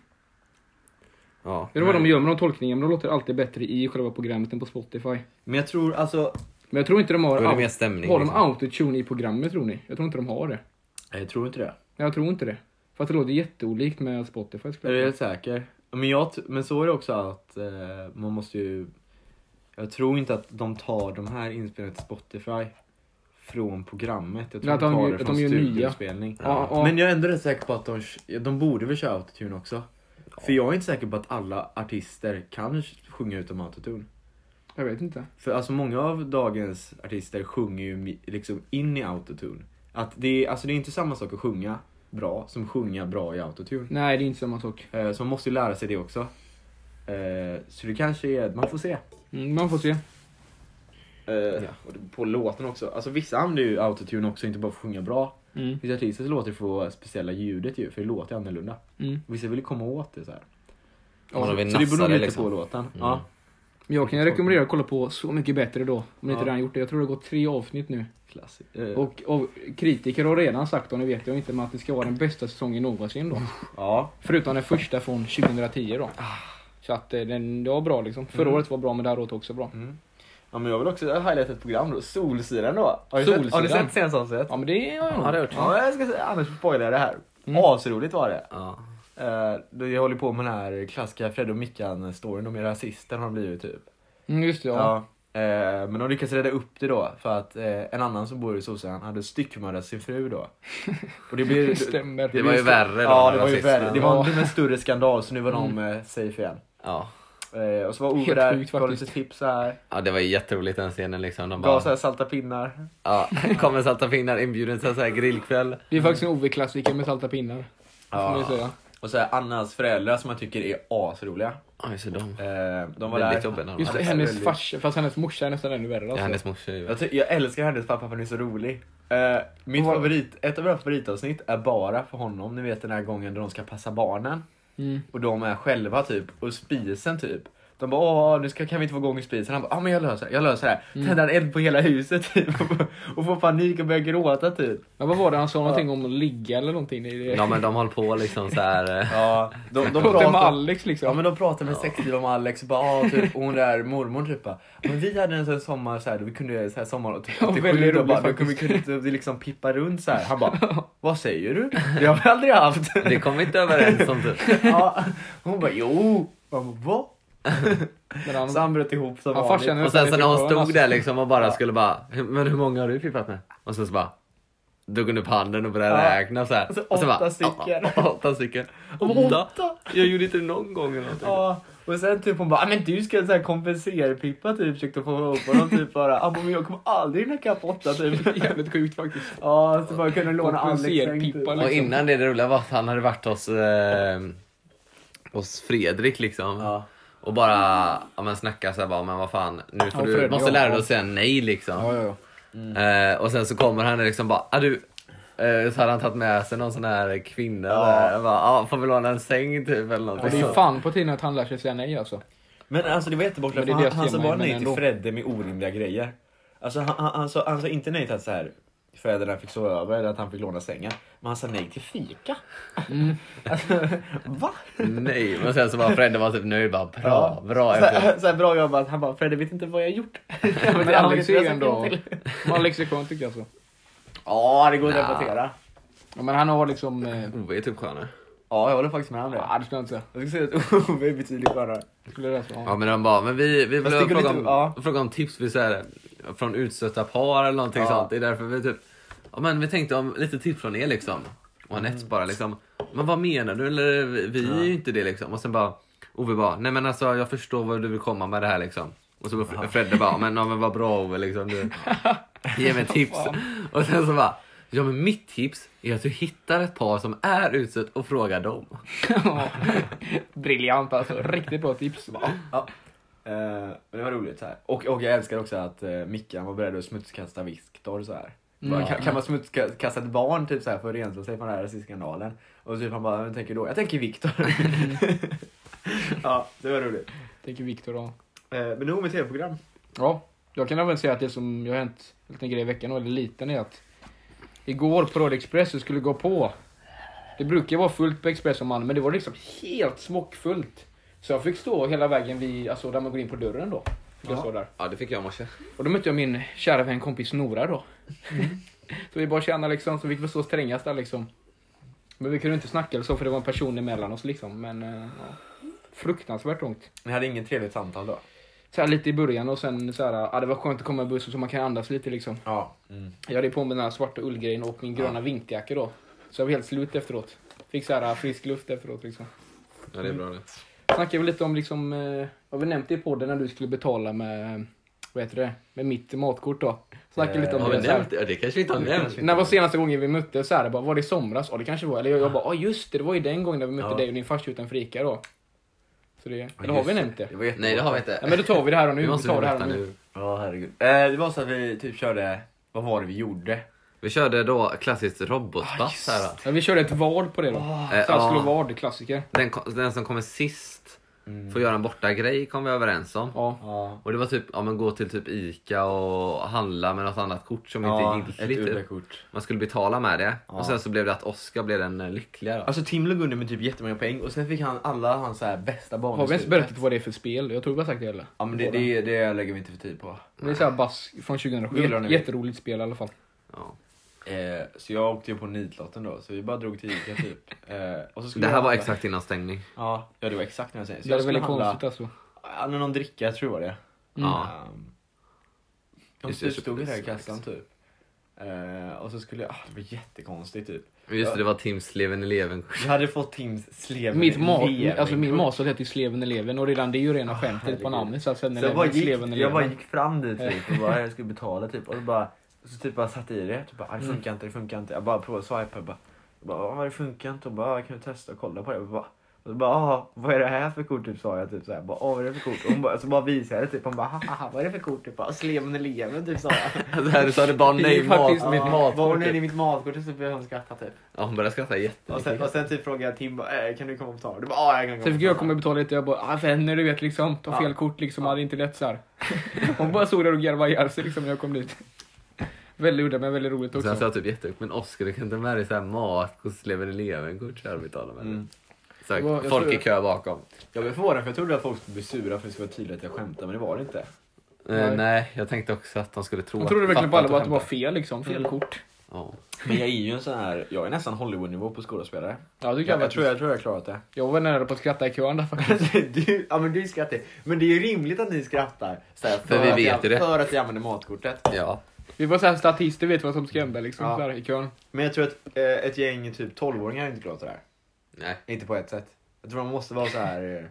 Speaker 1: Ja.
Speaker 3: Det är vad de gör med de tolkningarna, men de låter alltid bättre i själva programmet än på Spotify.
Speaker 2: Men jag tror alltså...
Speaker 3: Men jag tror inte de har...
Speaker 1: Då är det
Speaker 3: au-
Speaker 1: mer stämning.
Speaker 3: har de
Speaker 1: liksom.
Speaker 3: autotune i programmet tror ni? Jag tror inte de har det.
Speaker 2: Nej, Jag tror inte det.
Speaker 3: Nej, jag tror inte det. För att det låter jätteolikt med Spotify.
Speaker 2: Är
Speaker 3: Skulle
Speaker 2: du
Speaker 3: jag
Speaker 2: helt
Speaker 3: säga.
Speaker 2: säker? Men, jag, t- men så är det också att eh, man måste ju... Jag tror inte att de tar de här inspelningarna till Spotify från programmet. Jag tror
Speaker 3: Nej, att
Speaker 2: de
Speaker 3: de
Speaker 2: tar
Speaker 3: gör-
Speaker 2: det
Speaker 3: att
Speaker 2: från
Speaker 3: de gör nya.
Speaker 2: studioinspelning.
Speaker 3: Ja, ja.
Speaker 2: Men jag är ändå rätt säker på att de, de borde väl köra autotune också. För jag är inte säker på att alla artister kan sjunga utan autotune.
Speaker 3: Jag vet inte.
Speaker 2: För alltså många av dagens artister sjunger ju mi- liksom in i autotune. Att det, är, alltså det är inte samma sak att sjunga bra som sjunga bra i autotune.
Speaker 3: Nej, det är inte samma sak.
Speaker 2: Eh, Så man måste ju lära sig det också. Eh, Så det kanske är, man får se.
Speaker 3: Mm, man får se.
Speaker 2: Eh, och det- På låten också. Alltså vissa använder ju autotune också, inte bara för att sjunga bra.
Speaker 3: Mm.
Speaker 2: Vissa artister så låter det få speciella ljudet ju, för det låter ju annorlunda.
Speaker 3: Mm.
Speaker 2: Vissa vill ju komma åt det så här.
Speaker 1: Ja, de vill
Speaker 2: så det
Speaker 1: nassa
Speaker 2: beror
Speaker 1: det,
Speaker 2: lite
Speaker 1: liksom.
Speaker 2: på låten. Ja.
Speaker 3: Men Jag kan rekommendera att kolla på Så mycket bättre då. Om ni
Speaker 2: Ja.
Speaker 3: inte redan gjort det. Jag tror det har gått tre avsnitt nu.
Speaker 2: Klassik. Eh,
Speaker 3: Och, och kritiker har redan sagt, och nu vet jag inte, men att det ska vara den bästa säsongen någonsin då.
Speaker 2: ja.
Speaker 3: Förutom den första från 2010 då. Så att eh, den, det var bra liksom. Förra året var bra, men det här året också bra.
Speaker 2: ja, men jag vill också highlighta ett program då. Solsidan då. Har du sett, har du
Speaker 3: Solsidan?
Speaker 2: sett senaste avsnittet?
Speaker 3: Ja, men det har
Speaker 1: Ja,
Speaker 3: jag nog.
Speaker 1: det har jag hört.
Speaker 2: Ja, jag ska säga, annars spoilar jag det här.
Speaker 3: Mm.
Speaker 2: Asroligt var det.
Speaker 1: Ja.
Speaker 2: Eh, då jag håller på med den här klassiska Fred och Mickan-storyn. De är rasister har de blivit typ.
Speaker 3: Mm, just det, ja. [LAUGHS]
Speaker 2: Ja. Eh, men de lyckas rädda upp det då för att eh, en annan som bor i Solsidan hade styckmördat sin fru då. Och [LAUGHS] det blir...
Speaker 3: Det stämmer.
Speaker 1: Det var ju värre då,
Speaker 2: Ja, det var ju
Speaker 1: rasisterna.
Speaker 2: värre. Det var en större skandal så nu var
Speaker 1: Mm.
Speaker 2: de eh, safe igen.
Speaker 1: Ja.
Speaker 2: Eh, och så var Ove
Speaker 3: Helt
Speaker 2: där,
Speaker 3: sjukt
Speaker 2: gav lite
Speaker 3: faktiskt.
Speaker 2: tips här.
Speaker 1: ja, det var ju jätteroligt den scenen liksom. De
Speaker 2: Gav
Speaker 1: bara,
Speaker 2: så här salta pinnar.
Speaker 1: ja, [LAUGHS] kommer salta pinnar, inbjuden till en sån här grillkväll.
Speaker 3: Det är faktiskt en OV-klassiker med salta pinnar. Får man ju säga.
Speaker 2: Och så här, Annas föräldrar som jag tycker är asroliga.
Speaker 1: Oj, så de.
Speaker 2: Eh, de var
Speaker 1: Väldigt
Speaker 2: där.
Speaker 1: jobbiga när de
Speaker 3: Just det,
Speaker 2: det
Speaker 1: var.
Speaker 2: är
Speaker 3: hennes
Speaker 2: väldigt-
Speaker 3: farsa, fast hennes morsa är nästan ännu värre
Speaker 1: Ja,
Speaker 3: alltså.
Speaker 1: hennes morsa är ju...
Speaker 2: Jag, ty- jag älskar hennes pappa för han är så rolig. Eh, mitt
Speaker 3: Vad-
Speaker 2: favorit, ett av mina favoritavsnitt är bara för honom. Ni vet den här gången då de ska passa barnen.
Speaker 3: Mm.
Speaker 2: Och de är själva typ, och spisen typ. De bara åh nu ska, kan vi inte få igång spisen. Han bara ja men jag löser det, jag löser det. Mm. Tänder han eld på hela huset typ. [LAUGHS] Och, och får panik och börjar gråta typ.
Speaker 3: Ja, vad var det han sa någonting om att ligga eller någonting? I det.
Speaker 1: Ja, men de höll på liksom så här. eh,
Speaker 2: Ja, de, de
Speaker 3: Pratade med
Speaker 2: pratar,
Speaker 3: Alex liksom.
Speaker 2: ja men de pratar med sexliv om Alex och bara ah, typ, och hon där mormor typ bara, men vi hade en sån sommar så här, då vi kunde så här sommar typ,
Speaker 3: Ja,
Speaker 2: 87
Speaker 3: väldigt
Speaker 2: då
Speaker 3: rolig
Speaker 2: bara, då kunde vi
Speaker 3: faktiskt.
Speaker 2: kunde inte vi liksom pippa runt så här. Han
Speaker 3: [LAUGHS]
Speaker 2: bara vad säger du? Det har vi aldrig haft.
Speaker 1: Det kom vi inte överens om typ.
Speaker 2: [LAUGHS] ja. Hon bara jo. Man bara, "Va?"
Speaker 3: Men han,
Speaker 2: Så han bröt ihop som
Speaker 3: Ja,
Speaker 2: vanligt.
Speaker 3: farsan är-
Speaker 1: Och sen så när hon stod där liksom och bara
Speaker 2: typ Ja.
Speaker 1: skulle bara, "Hur- men hur många har du pippat med? Och sen så bara, drog hon upp handen och började
Speaker 2: Ja.
Speaker 1: räkna så här.
Speaker 2: Alltså,
Speaker 1: Och så bara,
Speaker 2: åtta stycken.
Speaker 1: "Ja, ja, [LAUGHS] Åtta stycken.
Speaker 2: Och åtta.
Speaker 1: Jag gjorde inte det någon gång eller någonting.
Speaker 2: Ja, och sen typ hon bara, "Ah, men du ska så här kompensera-pippa typ, försökte få ihop honom typ bara, "Ah, men jag kommer aldrig hinna ikapp åtta
Speaker 3: [LAUGHS]
Speaker 2: typ.
Speaker 3: jävligt sjukt faktiskt.
Speaker 2: Ja, så bara kunde låna Alex säng typ.
Speaker 3: Kompenserpippa,
Speaker 1: Och
Speaker 3: liksom.
Speaker 1: innan det, det roliga var att han hade varit hos, eh, hos Fredrik liksom.
Speaker 2: Ja.
Speaker 1: Och bara ja, men snacka så här bara, men vad fan, nu får
Speaker 3: Ja,
Speaker 1: du,
Speaker 3: Fredrik,
Speaker 1: måste
Speaker 3: ja,
Speaker 1: lära dig
Speaker 3: ja.
Speaker 1: att säga nej liksom.
Speaker 3: ja, ja.
Speaker 1: Eh, och sen så kommer han liksom bara, ah, du, eh, så hade han tagit med sig någon sån här kvinna
Speaker 2: Ja.
Speaker 1: där. Jag bara, ah, får vi låna en säng typ eller
Speaker 3: Och
Speaker 1: någonting.
Speaker 3: det är ju fan på tiden att han lär sig säga nej alltså.
Speaker 2: Men alltså det var jättebortskämt,
Speaker 3: Men det
Speaker 2: för han,
Speaker 3: är det jag
Speaker 2: han sa
Speaker 3: ser mig,
Speaker 2: bara
Speaker 3: men
Speaker 2: nej till
Speaker 3: ändå.
Speaker 2: Fredde med orimliga grejer. Alltså han, han, han, sa, han sa inte nej till att så här, föräldrarna fick sova över eller att han fick låna sängen. Men han sa nej till fika. Alltså, [LAUGHS] va?
Speaker 1: Nej, men sen så var Fredde var typ nöjd bara, bra,
Speaker 2: Ja.
Speaker 1: bra.
Speaker 2: så,
Speaker 1: Elfie."
Speaker 2: här, så här bra jobbat. Han bara, Fredde vet inte vad jag har gjort.
Speaker 3: Men
Speaker 2: Det är
Speaker 3: Alex
Speaker 2: aldrig
Speaker 3: är
Speaker 2: det jag
Speaker 3: ju ändå...
Speaker 2: säger
Speaker 3: Men Alex är skön tycker jag alltså.
Speaker 2: Ja, det går att
Speaker 1: Nja.
Speaker 2: debattera.
Speaker 3: Ja, men han har liksom... Eh,
Speaker 1: Ove är typ skönare.
Speaker 2: Ja, jag håller faktiskt med om det.
Speaker 3: ja, det skulle jag inte säga.
Speaker 2: Jag skulle säga att [LAUGHS] Ove är betydligt skönare.
Speaker 3: Det Skulle jag alltså, ja.
Speaker 1: Ja men de bara, men vi, vi vill
Speaker 2: det går
Speaker 1: fråga
Speaker 2: lite-
Speaker 1: om,
Speaker 2: ja.
Speaker 1: fråga om tips vi, så här, från utstötta par eller någonting
Speaker 2: Ja.
Speaker 1: sånt. Det är därför vi typ, ja men vi tänkte om lite tips från er liksom. Och Anette
Speaker 2: Mm.
Speaker 1: bara liksom, men vad menar du? Eller vi- vi är ju inte det liksom. Och sen bara, Ove bara, nej men alltså jag förstår vad du vill komma med det här liksom. Och så bara Fre- Fredde bara, men, ja, men vad bra Ove liksom.
Speaker 2: [LAUGHS]
Speaker 1: Du, ge mig tips. Och sen så bara, ja men mitt tips är att du hittar ett par som är utsatt och frågar dem.
Speaker 3: Ja. [LAUGHS] Briljant alltså. Riktigt bra tips. Va?
Speaker 2: Ja. Eh, men det var roligt så här. Och, och jag älskar också att uh, Mickan var beredd att smutskasta Viktor så här. Bara, kan, kan man smutskasta ett barn typ så här, för att rensa sig från den här rasistskandalen? Och typ han bara, vem tänker du då? Jag tänker Viktor. [LAUGHS] ja, det var roligt.
Speaker 3: Tänker Viktor då.
Speaker 2: Eh, men nog med tv-program.
Speaker 3: Ja, jag kan även säga att det som jag har hänt en liten grej i veckan, eller liten, är att igår på Radio Express så skulle gå på. Det brukar vara fullt på Expressen mannen, men det var liksom helt smockfullt. Så jag fick stå hela vägen vid, alltså där man går in på dörren då. Fick jag
Speaker 2: Ja.
Speaker 3: stå där.
Speaker 1: Ja, det fick jag i morse.
Speaker 3: Och då mötte jag min kära vän kompis Nora då.
Speaker 1: Mm.
Speaker 3: [LAUGHS] så vi bara tjena liksom, så vi fick stå strängast där liksom. Men vi kunde inte snacka eller så för det var en person emellan oss liksom. Men eh, ja. fruktansvärt långt.
Speaker 2: Ni hade ingen trevligt samtal då?
Speaker 3: Så här lite i början och sen så här, ja det var skönt att komma i bussen så man kan andas lite liksom.
Speaker 2: Ja. Mm.
Speaker 3: Jag hade på mig den här svarta ullgrejen och min gröna vinterjacka då. Så jag var helt slut efteråt. Fick så här frisk luft efteråt liksom.
Speaker 1: Ja, det är
Speaker 2: Mm.
Speaker 1: bra det.
Speaker 3: Snackade vi lite om liksom, eh, har vi nämnt det i podden när du skulle betala med, eh, vad heter det, med mitt matkort då? Snackade lite om
Speaker 1: Eh, Har
Speaker 3: det.
Speaker 1: vi
Speaker 3: så här.
Speaker 1: nämnt det? Ja, det kanske vi inte har nämnt.
Speaker 3: När var senaste gången vi möttes? Så här, bara, var det i somras? Ja, det kanske var. Eller jag, jag bara, ja just det, det var ju den gången när vi mötte
Speaker 2: Ja.
Speaker 3: dig och din farsa utan frika då. Så det, eller har vi nämnt det?
Speaker 2: var jättebra.
Speaker 1: Nej, det har vi
Speaker 3: Ja,
Speaker 1: inte.
Speaker 3: men då tar vi det här och
Speaker 1: [LAUGHS]
Speaker 3: nu.
Speaker 1: Vi
Speaker 3: Vi
Speaker 1: måste
Speaker 3: tar det här
Speaker 1: berätta
Speaker 3: och nu.
Speaker 1: nu.
Speaker 2: Ja, herregud. Eh, det var så att vi typ körde, vad var det vi gjorde?
Speaker 1: Vi körde då klassiskt
Speaker 3: Ah,
Speaker 1: robotbass här.
Speaker 3: Ja, vi körde ett vad på det då. Så
Speaker 1: Eh,
Speaker 3: här, slå
Speaker 1: ja.
Speaker 3: vad, klassiker.
Speaker 1: Den, ko- den som kommer sist får göra en borta grej kom vi överens om.
Speaker 3: Mm. Ja.
Speaker 2: Ja,
Speaker 1: Och det var typ, ja men gå till typ Ica och handla med något annat kort som inte är
Speaker 2: ett
Speaker 1: giltigt. typ.
Speaker 2: UB-kort.
Speaker 1: Man skulle betala med det.
Speaker 2: Ja.
Speaker 1: Och sen så blev det att Oskar blev den eh, lyckliga då.
Speaker 2: Alltså Tim låg under med typ jättemånga poäng och sen fick han alla hans så här bästa banor.
Speaker 3: Har
Speaker 2: i
Speaker 3: vi ens
Speaker 2: slutet.
Speaker 3: berättat vad det är för spel? Jag tror vi har sagt det eller?
Speaker 2: Ja men det, det, det lägger vi inte för tid på.
Speaker 3: Det är såhär bass från 2007.
Speaker 2: Gillar ni
Speaker 3: Jätte,
Speaker 2: det?
Speaker 3: jätteroligt spel i alla fall.
Speaker 1: Ja.
Speaker 2: Eh, så jag åkte ju på nitlotten då, så vi bara drog till Ica
Speaker 1: [LAUGHS]
Speaker 2: typ. Eh, och så skulle
Speaker 1: Det här
Speaker 2: jag
Speaker 1: var
Speaker 2: handla-
Speaker 1: exakt innan stängning.
Speaker 2: Ja, ja det var exakt när jag säger. Så
Speaker 3: Det
Speaker 2: jag
Speaker 3: är
Speaker 2: skulle
Speaker 3: väldigt
Speaker 2: handla,
Speaker 3: konstigt alltså.
Speaker 2: ja, någon dricka jag tror jag det.
Speaker 3: Mm.
Speaker 1: Ja.
Speaker 2: Um, de
Speaker 1: Just det, jag
Speaker 2: typ
Speaker 1: köpte
Speaker 2: stod ju där i
Speaker 1: snacks.
Speaker 2: kassan typ. Eh, och så skulle jag, ah, det var jättekonstigt typ.
Speaker 1: Just
Speaker 2: Ja.
Speaker 1: det, det var Tims Leven eleven
Speaker 3: [LAUGHS]
Speaker 2: Jag hade fått Tims sleven
Speaker 3: Mitt ma- alltså min masot heter ju Sleven Eleven och redan det är ju rena skämtet på
Speaker 2: herregud.
Speaker 3: namnet. Så att sen
Speaker 2: Så
Speaker 3: när
Speaker 2: jag
Speaker 3: det
Speaker 2: bara,
Speaker 3: var
Speaker 2: gick,
Speaker 3: Sleven
Speaker 2: jag bara
Speaker 3: Eleven.
Speaker 2: gick fram dit
Speaker 3: [LAUGHS]
Speaker 2: typ och bara jag skulle betala typ och så bara så typ bara satte i det. Typ bara, "Ah, det funkar inte, det funkar inte. Jag bara provade att swipa. Jag bara, jag bara "Ah, det funkar inte. Och bara, "Ah, kan du testa och kolla på det? Jag bara, och så bara, "Ah, vad är det här för kort? Typ sa jag typ så här. Bara, "Ah, vad är det för kort? Och hon bara, så bara visade jag det typ. Hon bara, haha, vad är det för kort? Typ bara, sleven eleven typ sa jag.
Speaker 1: [LAUGHS] Det här du sa det bara
Speaker 3: Det är
Speaker 1: nej,
Speaker 3: faktiskt
Speaker 1: mat,
Speaker 3: [LAUGHS] mitt
Speaker 2: Ja,
Speaker 1: mitt
Speaker 2: bara, "Åh,
Speaker 1: matkort.
Speaker 2: nej, det är mitt matkort. Och så började hon skratta typ.
Speaker 1: Ja, hon började skratta
Speaker 2: Och sen,
Speaker 1: jättemycket.
Speaker 2: och sen typ frågade jag Tim, bara, "Eh, kan du komma och betala? Du bara, ja jag kan komma
Speaker 3: Sen
Speaker 2: och
Speaker 3: fick Typ, jag
Speaker 2: betala."
Speaker 3: komma och betala lite. Jag bara, ah, vänner du vet liksom. Ta fel kort liksom. Hade inte lätt
Speaker 2: [LAUGHS]
Speaker 3: så här. Hon bara stod där och garvade ihjäl sig liksom när jag kom dit. Väldigt udda men väldigt roligt
Speaker 1: Sen sa
Speaker 3: också.
Speaker 1: jag typ jättehögt, men Oskar du kan inte ha med dig så här mat och Sleven eleven-kort så här betalar med
Speaker 2: Mm.
Speaker 1: det. Så här,
Speaker 3: Det var- jag
Speaker 1: folk
Speaker 3: tror-
Speaker 1: i kö bakom.
Speaker 2: Jag blev förvånad för jag trodde att folk skulle bli sura för det skulle vara tydligt att jag skämtade men det var det inte.
Speaker 1: Eh,
Speaker 3: Nej.
Speaker 1: nej, jag tänkte också att de skulle tro
Speaker 3: Hon trodde verkligen på
Speaker 1: fatta
Speaker 3: alla att det var
Speaker 1: skämtar.
Speaker 3: fel liksom. Fel
Speaker 2: Mm.
Speaker 3: kort.
Speaker 1: Ja.
Speaker 2: Men jag är ju en sån här, jag är nästan Hollywood-nivå på skådespelare.
Speaker 3: Ja det
Speaker 2: Jag,
Speaker 3: kan jag,
Speaker 2: tror,
Speaker 3: faktiskt.
Speaker 2: jag tror jag har klarat det.
Speaker 3: Jag var nära på att skratta i kön där faktiskt.
Speaker 2: [LAUGHS] du, ja men du skrattar Men det är ju rimligt att ni skrattar. Så här, för,
Speaker 1: För vi
Speaker 2: att
Speaker 1: vet
Speaker 2: jag,
Speaker 1: ju det.
Speaker 2: För att jag använder matkortet.
Speaker 1: ja.
Speaker 3: Vi var såhär statister vet vad som skrämde liksom.
Speaker 2: Ja.
Speaker 3: Så här, i kön.
Speaker 2: Men jag tror att eh, ett gäng typ 12-åringar inte klarat det här.
Speaker 1: Nej.
Speaker 2: Inte på ett sätt. Jag tror man måste vara så här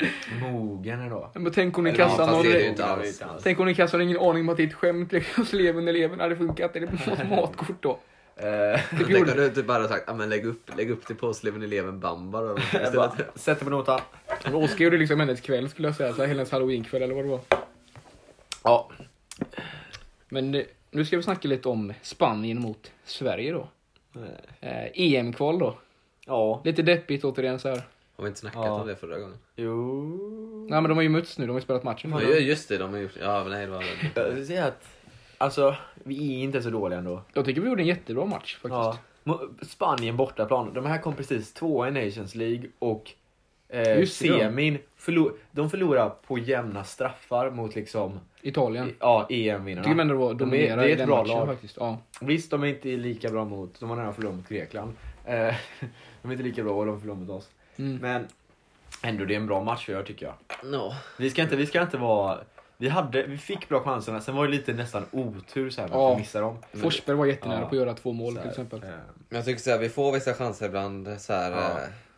Speaker 2: eh, mogen då.
Speaker 3: Men tänk om i
Speaker 1: Eller ja,
Speaker 3: kassan
Speaker 1: fast
Speaker 3: och
Speaker 1: det är
Speaker 3: det-
Speaker 1: ju inte alls.
Speaker 3: Tänk om ni kastar ingen aning om att det är ett skämt liksom. Så eleven eleven hade funkat. Eller
Speaker 1: [LAUGHS]
Speaker 3: något matkort då.
Speaker 2: Eh,
Speaker 1: Jag tänkte att du typ bara sagt, "Ja, men lägg upp, lägg upp det på Sleven eleven bamba
Speaker 2: [LAUGHS]
Speaker 1: då.
Speaker 3: [LAUGHS]
Speaker 2: jag
Speaker 1: Istället.
Speaker 2: bara, Sätt dig på notan.
Speaker 3: Men Oskar gjorde liksom hennes kväll skulle jag säga. Så här, hennes halloweenkväll eller vad det var.
Speaker 2: Ja.
Speaker 3: Men eh, nu ska vi snacka lite om Spanien mot Sverige då. Eh, EM-kval då.
Speaker 2: Ja.
Speaker 3: Lite deppigt återigen så här.
Speaker 1: Har vi inte snackat
Speaker 2: Ja.
Speaker 1: om det förra gången?
Speaker 2: Jo.
Speaker 3: Nej men de har ju mötts nu, de har ju spelat matchen.
Speaker 1: Ja, just det, de har gjort... Ja, men nej, det var...
Speaker 2: Jag vill säga att, alltså vi är inte så dåliga ändå.
Speaker 3: Jag tycker vi gjorde en jättebra match faktiskt.
Speaker 2: Ja. Mo- Spanien bortaplan. De här kom precis tvåa i Nations League och eh,
Speaker 3: Just det, ja.
Speaker 2: semin. Förlo- de förlorar på jämna straffar mot liksom
Speaker 3: Italien.
Speaker 2: i- ja,
Speaker 3: Jag tycker
Speaker 2: EM-vinnarna.
Speaker 3: ändå det var
Speaker 2: De är-
Speaker 3: dominerade
Speaker 2: det
Speaker 3: i
Speaker 2: är ett
Speaker 3: den
Speaker 2: bra
Speaker 3: matchen
Speaker 2: lag.
Speaker 3: faktiskt. Ja.
Speaker 2: Visst, de är inte lika bra mot... De har nära förlorat mot Grekland. Eh, [LAUGHS] de är inte lika bra och de förlorar mot oss.
Speaker 3: Mm.
Speaker 2: Men ändå, det är en bra match för er tycker jag.
Speaker 1: No.
Speaker 2: Vi ska inte, vi ska inte vara... Vi, hade, vi fick bra chanserna, sen var det lite nästan otur så här med att
Speaker 3: Ja.
Speaker 2: vi missade dem.
Speaker 3: Forsberg var jättenära
Speaker 2: Ja.
Speaker 3: på att göra två mål
Speaker 2: Så här,
Speaker 3: till exempel.
Speaker 2: eh,
Speaker 1: Men jag tycker så här, vi får vissa chanser ibland. Så här,
Speaker 2: Ja.
Speaker 1: eh,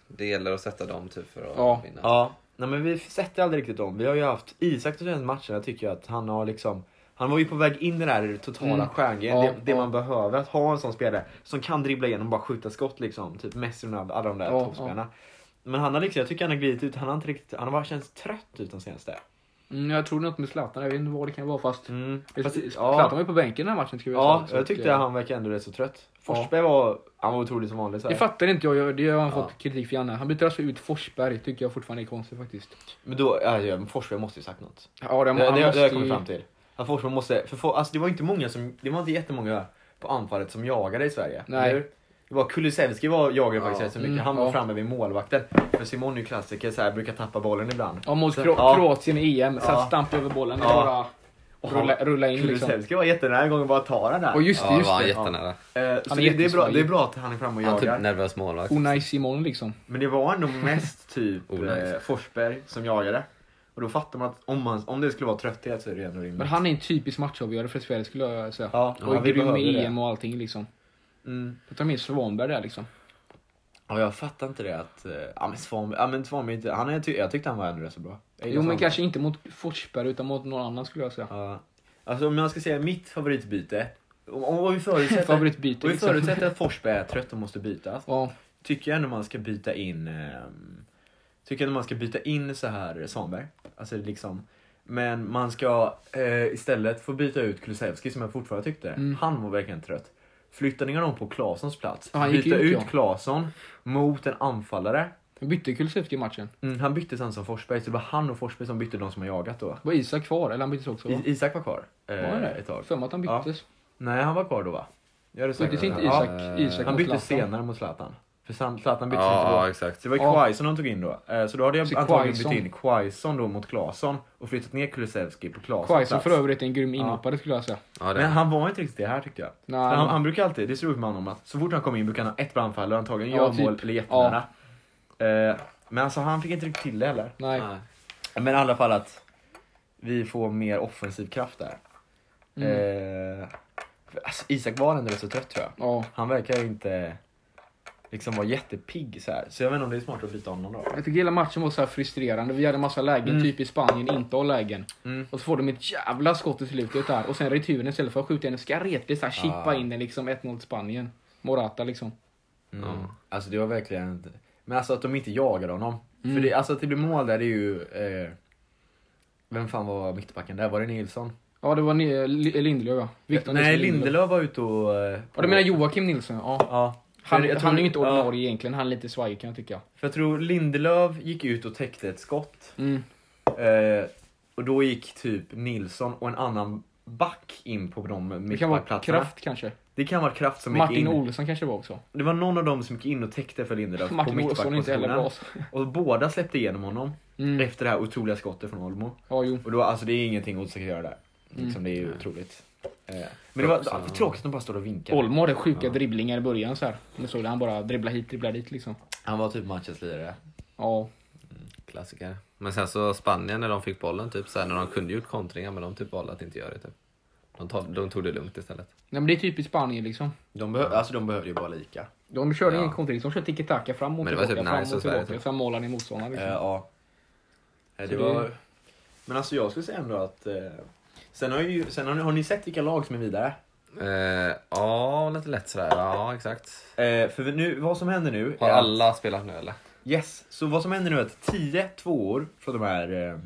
Speaker 1: Det gäller att sätta dem typ för att
Speaker 3: Ja.
Speaker 1: vinna.
Speaker 2: Ja, nej men vi sätter aldrig riktigt om. Vi har ju haft Isak de senaste matcherna tycker jag att han har liksom han var ju på väg in i det här totala
Speaker 3: Mm.
Speaker 2: stjärngrejen,
Speaker 3: Ja,
Speaker 2: det, det
Speaker 3: ja.
Speaker 2: man behöver. Att ha en sån spelare som kan dribbla igenom och bara skjuta skott liksom. Typ Messi, Ronaldo, alla de där
Speaker 3: Ja,
Speaker 2: toppspelarna. Men han har liksom, jag tycker han har glidit ut, han har inte riktigt, han har bara känts trött ut de senaste.
Speaker 3: Mm, jag tror något med Zlatan, jag vet inte vad det kan vara fast.
Speaker 2: Mm.
Speaker 3: Fast,
Speaker 2: Fast,
Speaker 3: Zlatan var
Speaker 2: ja,
Speaker 3: ju på bänken den här matchen ska vi
Speaker 2: ja,
Speaker 3: säga. Så
Speaker 2: jag
Speaker 3: att,
Speaker 2: tyckte
Speaker 3: eh,
Speaker 2: han verkade ändå rätt så trött. Forsberg var, han var otrolig som vanligt. Så
Speaker 3: Det
Speaker 2: här.
Speaker 3: fattar inte jag, jag, det har han
Speaker 1: Ja.
Speaker 3: fått kritik för Janne. Han byter alltså ut Forsberg, tycker jag fortfarande är konstigt faktiskt.
Speaker 2: Men då, ja, ja, men Forsberg måste ju sagt något.
Speaker 3: Ja, det,
Speaker 2: det,
Speaker 3: han
Speaker 2: det, det har
Speaker 3: måste
Speaker 2: jag
Speaker 3: ju-
Speaker 2: kommit fram till. Att Forsberg måste, för, for, alltså det var inte många som, det var inte jättemånga på anfallet som jagade i Sverige.
Speaker 3: Nej.
Speaker 2: eller hur? Det var Kulusevski var jagade faktiskt
Speaker 1: Ja.
Speaker 2: rätt så mycket.
Speaker 3: Mm,
Speaker 2: Han var
Speaker 3: ja.
Speaker 2: framme vid målvakten. För Simon är ju klassiker, så här, brukar tappa bollen ibland.
Speaker 3: Ja, mot
Speaker 2: Så-
Speaker 3: Kro-
Speaker 2: ja.
Speaker 3: Kroatien i EM. Så
Speaker 2: Ja.
Speaker 3: här stamp över bollen.
Speaker 2: Ja.
Speaker 3: Ja. Bara, och rulla, rulla in liksom.
Speaker 2: Kulusevski var jättenära gången bara tar den där.
Speaker 3: Och just
Speaker 1: Ja,
Speaker 3: det,
Speaker 1: det
Speaker 3: just
Speaker 1: var han
Speaker 3: det.
Speaker 1: jättenära.
Speaker 2: Eh, så
Speaker 3: Han
Speaker 2: det,
Speaker 3: är
Speaker 2: det, är bra,
Speaker 3: jättesvag.
Speaker 2: det är bra att han är framme och
Speaker 1: Han typ
Speaker 2: jagar.
Speaker 1: nervös målvakt.
Speaker 3: Unai Simon liksom.
Speaker 2: Men det var ändå mest
Speaker 3: [LAUGHS]
Speaker 2: typ
Speaker 1: Oh, nice.
Speaker 2: eh, Forsberg som jagade. Och då fattar man att om, man, om det skulle vara trötthet så är det ändå rimligt.
Speaker 3: Men han är en typisk matchavgörare för Sverige skulle jag säga.
Speaker 2: Ja,
Speaker 3: och
Speaker 2: ja,
Speaker 3: är
Speaker 2: vi
Speaker 3: grym
Speaker 2: behöver
Speaker 3: i
Speaker 2: det.
Speaker 3: EM och allting liksom.
Speaker 2: Mm.
Speaker 3: Då tar med Svanberg där liksom.
Speaker 2: Ja, jag fattar inte det att... eh, Ja men Svanberg, ja, men Svanberg inte... Han är, ty- jag tyckte han var ändå rätt så bra. Jag gillar
Speaker 3: Jo men
Speaker 2: Svanberg.
Speaker 3: kanske inte mot Forsberg utan mot någon annan skulle jag säga.
Speaker 2: Ja. Alltså om jag ska säga mitt favoritbyte. Om,
Speaker 3: [LAUGHS]
Speaker 2: om vi förutsätter,
Speaker 3: Favoritbyte
Speaker 2: om vi
Speaker 3: liksom.
Speaker 2: förutsätter att Forsberg är trött och måste bytas.
Speaker 3: Ja,
Speaker 2: Tycker jag ändå man ska byta in... ehm, tycker jag ändå man ska byta in så här Svanberg. Alltså liksom. Men man ska eh, istället få byta ut Kulusevski som jag fortfarande tyckte.
Speaker 3: Mm.
Speaker 2: Han var verkligen trött. Flyttade ner honom på Claessons plats.
Speaker 3: Ja, han gick
Speaker 2: byta
Speaker 3: ut,
Speaker 2: ut
Speaker 3: ja.
Speaker 2: Claesson mot en anfallare.
Speaker 3: vi bytte Kulusevski i matchen.
Speaker 2: Mm, han bytte sen som Forsberg, så det var han och Forsberg som bytte de som har jagat då.
Speaker 3: Var Isak kvar? Eller han byttes också va?
Speaker 2: I, Isak var kvar eh,
Speaker 3: Var han det?
Speaker 2: ett tag.
Speaker 3: För mig att han
Speaker 2: Ja.
Speaker 3: byttes.
Speaker 2: Nej, han var kvar då va? Jag hade sagt
Speaker 3: Byttes
Speaker 2: det.
Speaker 3: inte
Speaker 2: Ja.
Speaker 3: Isak, Isak
Speaker 2: Han
Speaker 3: mot
Speaker 2: bytte
Speaker 3: Zlatan?
Speaker 2: senare mot Zlatan. För San- Zlatan bytte inte
Speaker 1: Ja,
Speaker 2: då.
Speaker 1: exakt.
Speaker 2: Så det var
Speaker 3: Ja.
Speaker 2: Quaison han tog in då. Eh, Så då hade jag
Speaker 3: Så
Speaker 2: antagligen bytt
Speaker 3: Quaison.
Speaker 2: in Quaison då mot Claesson och flyttat ner Kulusevski på Claessons
Speaker 3: Quaison
Speaker 2: plats.
Speaker 3: för övrigt är en grym
Speaker 2: Ja.
Speaker 3: inhoppare skulle jag säga.
Speaker 1: Ja, det
Speaker 2: Men
Speaker 1: är
Speaker 2: han var inte riktigt det här tyckte jag.
Speaker 3: Nej.
Speaker 2: För Han, han brukar alltid, det är så roligt med honom att så fort han kommer in brukar han ha ett bra anfall och antagligen
Speaker 3: Ja,
Speaker 2: gör mål
Speaker 3: typ.
Speaker 2: eller jättenära. Eh, Men alltså han fick inte riktigt till det heller.
Speaker 3: Nej.
Speaker 1: Nej.
Speaker 2: Men i alla fall att vi får mer offensiv kraft där.
Speaker 3: Mm.
Speaker 2: Eh, alltså, Isak var ändå rätt så trött tror jag.
Speaker 3: Ja.
Speaker 2: Han verkar inte liksom vara jättepigg så här. Så jag vet inte om det är smart att byta honom då.
Speaker 3: Jag tycker hela matchen var så här frustrerande. Vi hade massa lägen,
Speaker 2: Mm.
Speaker 3: typ i Spanien, inte har lägen.
Speaker 2: Mm.
Speaker 3: Och så får de ett jävla skott i slutet där. Och sen returen istället för att skjuta den ska Rete så här chippa in den liksom 1-0 till Spanien. Morata liksom.
Speaker 2: Mm.
Speaker 1: Ja.
Speaker 2: Alltså det var verkligen inte... Men alltså att de inte jagade honom.
Speaker 3: Mm.
Speaker 2: För det, alltså att det blir mål där det är ju... Eh, vem fan var mittbacken där? Var det Nilsson?
Speaker 3: Ja, det var ni- eh, Li- Lindelöf ja. Victor
Speaker 2: Nej,
Speaker 3: Nilsson
Speaker 2: Lindelöf var ute och... Eh,
Speaker 3: Ja, du menar Joakim Nilsson? Ja.
Speaker 2: Ja. För
Speaker 3: Han,
Speaker 2: jag tror-
Speaker 3: han är ju inte
Speaker 2: ja,
Speaker 3: ordinarie egentligen. Han är lite svajig kan jag tycka.
Speaker 2: för jag tror Lindelöf gick ut och täckte ett skott.
Speaker 3: Mm.
Speaker 2: Eh, och då gick typ Nilsson och en annan back in på de
Speaker 3: Det kan vara
Speaker 2: mittbackplatserna.
Speaker 3: Kraft kanske.
Speaker 2: Det kan vara kraft som gick
Speaker 3: Martin
Speaker 2: in.
Speaker 3: Olsson kanske det var också.
Speaker 2: Det var någon av dem som gick in och täckte för Lindelöf på
Speaker 3: Martin Olsson är inte heller bra.
Speaker 2: mittbackpositionen.
Speaker 3: så.
Speaker 2: Och båda släppte igenom honom
Speaker 3: Mm.
Speaker 2: efter det här otroliga skottet från Olmo.
Speaker 3: Ja, jo.
Speaker 2: Och då, alltså det är ingenting Olsson kan göra där.
Speaker 3: Mm.
Speaker 2: Liksom, det är ju otroligt. Eh, Men det var
Speaker 1: Också-
Speaker 2: ah, för tråkigt att de bara står och vinkar.
Speaker 3: Olmo hade sjuka dribblingar i början så här. Men såg det, han bara dribblar hit, dribblar dit liksom.
Speaker 2: Han var typ matchens lirare.
Speaker 3: Ja.
Speaker 1: Klassiker. Men sen så Spanien när de fick bollen, typ så här, när de kunde gjort kontringar men de typ valde att inte göra det. Typ. De, tog, de tog det lugnt istället.
Speaker 3: Nej, men det är typiskt Spanien liksom.
Speaker 2: De, behö- alltså, de behövde ju bara lika.
Speaker 3: De körde
Speaker 1: Ja.
Speaker 3: ingen kontring, de körde tiki-taka fram och
Speaker 1: Men det var
Speaker 3: tillbaka,
Speaker 1: typ
Speaker 3: fram
Speaker 1: nice
Speaker 3: och
Speaker 1: och så här,
Speaker 3: tillbaka.
Speaker 1: typ.
Speaker 3: Sen målade han i motståndaren
Speaker 2: Eh,
Speaker 3: liksom.
Speaker 2: ja. Eh,
Speaker 3: Så
Speaker 2: det
Speaker 3: det-
Speaker 2: var... Men alltså jag skulle säga ändå att... Eh... Sen, har, ju, sen har, ni, har ni sett vilka lag som är vidare?
Speaker 1: Eh, Ja, lite lätt sådär. Ja, exakt.
Speaker 2: Eh, för nu, vad som händer nu...
Speaker 1: Har
Speaker 2: är att-
Speaker 1: alla spelat nu eller?
Speaker 2: Yes, så vad som händer nu är att 10 tvåor från de här eh,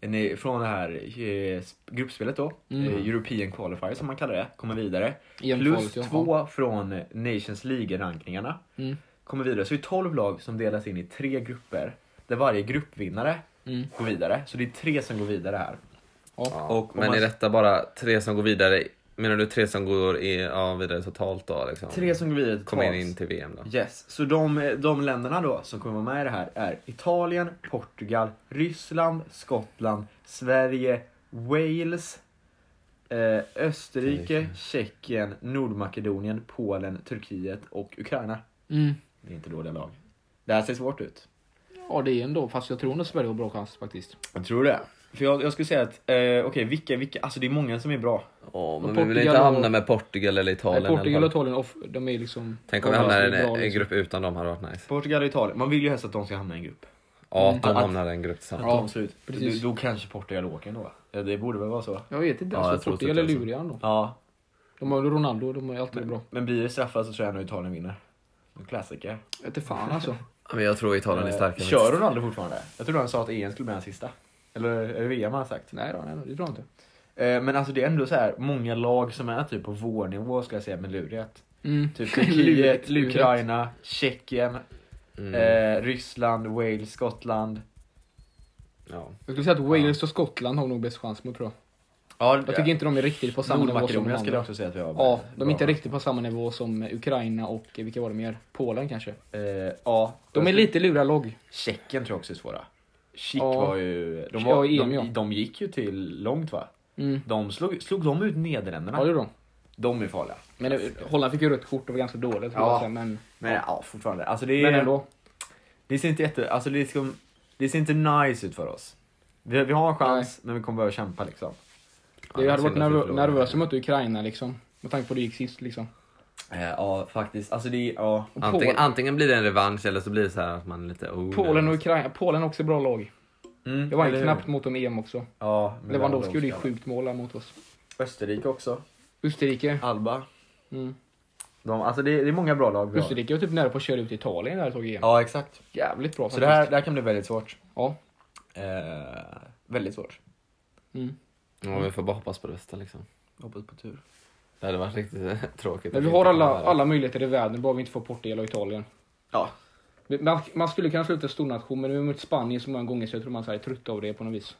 Speaker 2: nej, från det här eh, sp- gruppspelet då,
Speaker 3: Mm.
Speaker 2: eh, European Qualifier som man kallar det, kommer vidare.
Speaker 3: EM
Speaker 2: Plus
Speaker 3: kvalet, ja.
Speaker 2: två från eh, Nations League-rankningarna
Speaker 3: Mm.
Speaker 2: kommer vidare. Så det är 12 lag som delas in i tre grupper där varje gruppvinnare
Speaker 3: Mm.
Speaker 2: går vidare. Så det är tre som går vidare här.
Speaker 1: Ja.
Speaker 2: Och om
Speaker 1: men
Speaker 2: man-
Speaker 1: är detta bara tre som går vidare? Menar du tre som går i, ja, vidare totalt då? Liksom?
Speaker 2: Tre som går vidare
Speaker 1: Kommer in,
Speaker 2: totalt.
Speaker 1: in till VM då?
Speaker 2: Yes, så de, de länderna då som kommer vara med i det här är Italien, Portugal, Ryssland, Skottland, Sverige, Wales, eh, Österrike, Tjeckien, Nordmakedonien, Polen, Turkiet och Ukraina.
Speaker 3: Mm.
Speaker 2: Det är inte dåliga lag. Det här ser svårt ut.
Speaker 3: Ja, det är ändå. Fast jag tror nog Sverige har bra chans faktiskt.
Speaker 2: Jag tror det. För jag, jag skulle säga att, eh, okej, vilka, vilka, alltså det är många som är bra.
Speaker 1: Ja, men
Speaker 3: Och
Speaker 1: vi vill inte
Speaker 3: Portugal och-
Speaker 1: hamna med Portugal eller Italien.
Speaker 3: Nej, Portugal
Speaker 1: eller
Speaker 3: och Italien, off, de är liksom...
Speaker 1: Tänk om vi
Speaker 3: de
Speaker 1: hamnar i
Speaker 3: är bra,
Speaker 1: en, en
Speaker 3: liksom.
Speaker 1: grupp utan dem hade varit nice.
Speaker 2: Portugal och Italien, man vill ju helst att de ska hamna i en grupp.
Speaker 1: Mm. Ja,
Speaker 3: Mm.
Speaker 1: att de
Speaker 2: Att-
Speaker 1: hamnar i en grupp
Speaker 2: Att
Speaker 1: tillsammans.
Speaker 3: Ja,
Speaker 2: de ser ut.
Speaker 3: precis.
Speaker 2: Då, då kanske Portugal åker ändå. Ja, det borde väl vara så.
Speaker 3: Jag vet inte.
Speaker 1: Ja, jag
Speaker 3: Alltså,
Speaker 1: tror
Speaker 3: Portugal
Speaker 1: typ
Speaker 3: är
Speaker 1: det, alltså.
Speaker 3: luriga ändå.
Speaker 2: Ja,
Speaker 3: De har ju Ronaldo, de är alltid bra.
Speaker 2: Men blir det straffar så tror jag nog Italien vinner. En klassiker.
Speaker 3: Jag vet
Speaker 1: [LAUGHS]
Speaker 3: inte fan alltså.
Speaker 1: Ja, Men jag tror Italien är
Speaker 2: Eh,
Speaker 1: starkare.
Speaker 2: Kör Ronaldo fortfarande? Jag tror han sa att EM skulle bli hans sista. Eller är det VM han har sagt.
Speaker 3: Nej då, nej då, det tror jag inte.
Speaker 1: Typ
Speaker 2: Eh, Men alltså det är ändå så här många lag som är typ på vår nivå ska jag säga med lurighet.
Speaker 3: Mm.
Speaker 2: Typ
Speaker 3: Lurigt,
Speaker 2: Turkiet,
Speaker 3: [LAUGHS] lurigt.
Speaker 2: Ukraina, Tjeckien,
Speaker 1: Mm.
Speaker 2: eh, Ryssland, Wales, Skottland.
Speaker 1: Ja.
Speaker 3: Jag skulle säga att Wales och Skottland har nog bäst chans mot tror jag.
Speaker 2: Ja,
Speaker 3: Jag tycker inte de är riktigt på samma nivå som de
Speaker 2: Nordmakedonien skulle jag
Speaker 3: andra.
Speaker 2: också säga att vi har.
Speaker 3: Ja, de är inte
Speaker 2: bra.
Speaker 3: riktigt på samma nivå som Ukraina och eh, vilka var det mer? Polen kanske.
Speaker 2: Eh, ja.
Speaker 3: De är lite luralogg.
Speaker 2: Tjeckien tror jag också är svåra. Tjeck
Speaker 3: Ja.
Speaker 2: var ju... De,
Speaker 3: Ja,
Speaker 2: var,
Speaker 3: EM, ja.
Speaker 2: de, de gick ju till långt va?
Speaker 3: Mm.
Speaker 2: De slog, slog de ut Nederländerna?
Speaker 3: Ja, det är de.
Speaker 2: De är farliga.
Speaker 3: Men eh, Holland fick ju rött kort och var ganska dåligt.
Speaker 2: Ja.
Speaker 3: Ja. Men,
Speaker 2: Men ja, fortfarande. Alltså det,
Speaker 3: men
Speaker 2: är-
Speaker 3: ändå.
Speaker 2: det ser inte jätte... Alltså det, är liksom, det ser inte nice ut för oss. Vi, vi har en chans, men vi kommer behöva kämpa liksom.
Speaker 3: Jag hade varit
Speaker 1: synd att vi
Speaker 3: nervö-
Speaker 1: förlorade.
Speaker 3: nervös om att möta Ukraina liksom. Med tanke på hur det gick sist liksom.
Speaker 2: Eh, ja, faktiskt. Alltså det är... Ja.
Speaker 3: Och
Speaker 1: Antingen,
Speaker 3: Polen,
Speaker 1: antingen blir det en revansch eller så blir det så här att man är lite... Oh,
Speaker 3: Polen och
Speaker 1: nervös.
Speaker 3: Ukraina. Polen är också bra lag.
Speaker 2: Mm,
Speaker 3: Det var
Speaker 2: eller
Speaker 3: ju
Speaker 2: hur?
Speaker 3: knappt mot dem i EM också.
Speaker 2: Ja, men
Speaker 3: Lewandowski gjorde ju
Speaker 2: Lewandowski.
Speaker 3: sjukt mål här mot oss.
Speaker 2: Österrike också.
Speaker 3: Österrike.
Speaker 2: Alba.
Speaker 3: Mm.
Speaker 2: De, alltså det, är- det är många bra lag vi har.
Speaker 3: Österrike var typ nära på att köra ut Italien där ett tag i EM.
Speaker 2: Ja, exakt.
Speaker 3: Jävligt bra
Speaker 2: Så det här, det här kan bli väldigt svårt.
Speaker 3: Ja.
Speaker 2: Eh, väldigt svårt.
Speaker 3: Mm.
Speaker 1: Ja, vi får bara hoppas på det bästa liksom.
Speaker 2: Hoppas på tur.
Speaker 1: Det hade varit riktigt eh, [LAUGHS] tråkigt.
Speaker 3: Men
Speaker 1: att
Speaker 3: vi
Speaker 1: inte
Speaker 3: har alla,
Speaker 1: komma vidare.
Speaker 3: alla möjligheter i världen, bara vi inte får Portugal och Italien.
Speaker 2: Ja.
Speaker 3: Man, man skulle kunna sluta en stornation, men vi har mött Spanien så många gånger så jag tror man så här är trött av det på något vis.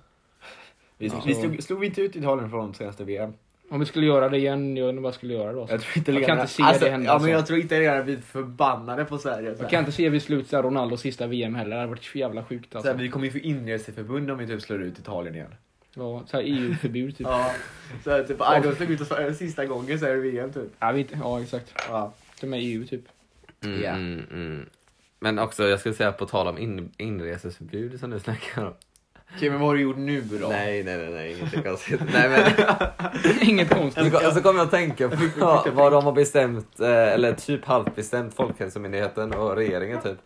Speaker 2: Vi,
Speaker 3: Ja.
Speaker 2: vi slog, slog vi inte ut Italien från senaste VM?
Speaker 3: Om vi skulle göra det igen, jag undrar vad jag skulle göra då.
Speaker 2: Jag tror inte Alltså,
Speaker 3: Jag kan inte se det hända
Speaker 2: Ja,
Speaker 3: så.
Speaker 2: men jag tror inte redan vi är förbannade på Sverige. Så
Speaker 3: Jag
Speaker 2: här.
Speaker 3: kan inte se vid slut så här Ronaldos sista VM heller, det hade varit så jävla sjukt
Speaker 2: så
Speaker 3: alltså.
Speaker 2: här, vi kommer ju få inreseförbund om vi typ slår ut Italien igen.
Speaker 3: Ja, så här EU-förbud typ.
Speaker 2: Ja. Så här, typ, aj, de slog ut oss för- sista gången så är det VM typ.
Speaker 3: Ja, vi, inte- ja exakt.
Speaker 2: Ja.
Speaker 3: De är EU typ. [LAUGHS]
Speaker 1: Mm,
Speaker 2: Ja.
Speaker 1: mm, mm. Men också, jag skulle säga på tal om in, inreseförbud som du snackar om.
Speaker 2: Okej, men vad har du gjort nu då?
Speaker 1: Nej, nej, nej, nej, inget konstigt. nej,
Speaker 3: [LAUGHS]
Speaker 1: men,
Speaker 3: Inget
Speaker 1: Och
Speaker 3: konstigt.
Speaker 1: så- och så kommer jag att tänka på vad de har bestämt, eh, eller typ halvt bestämt Folkhälsomyndigheten och regeringen typ.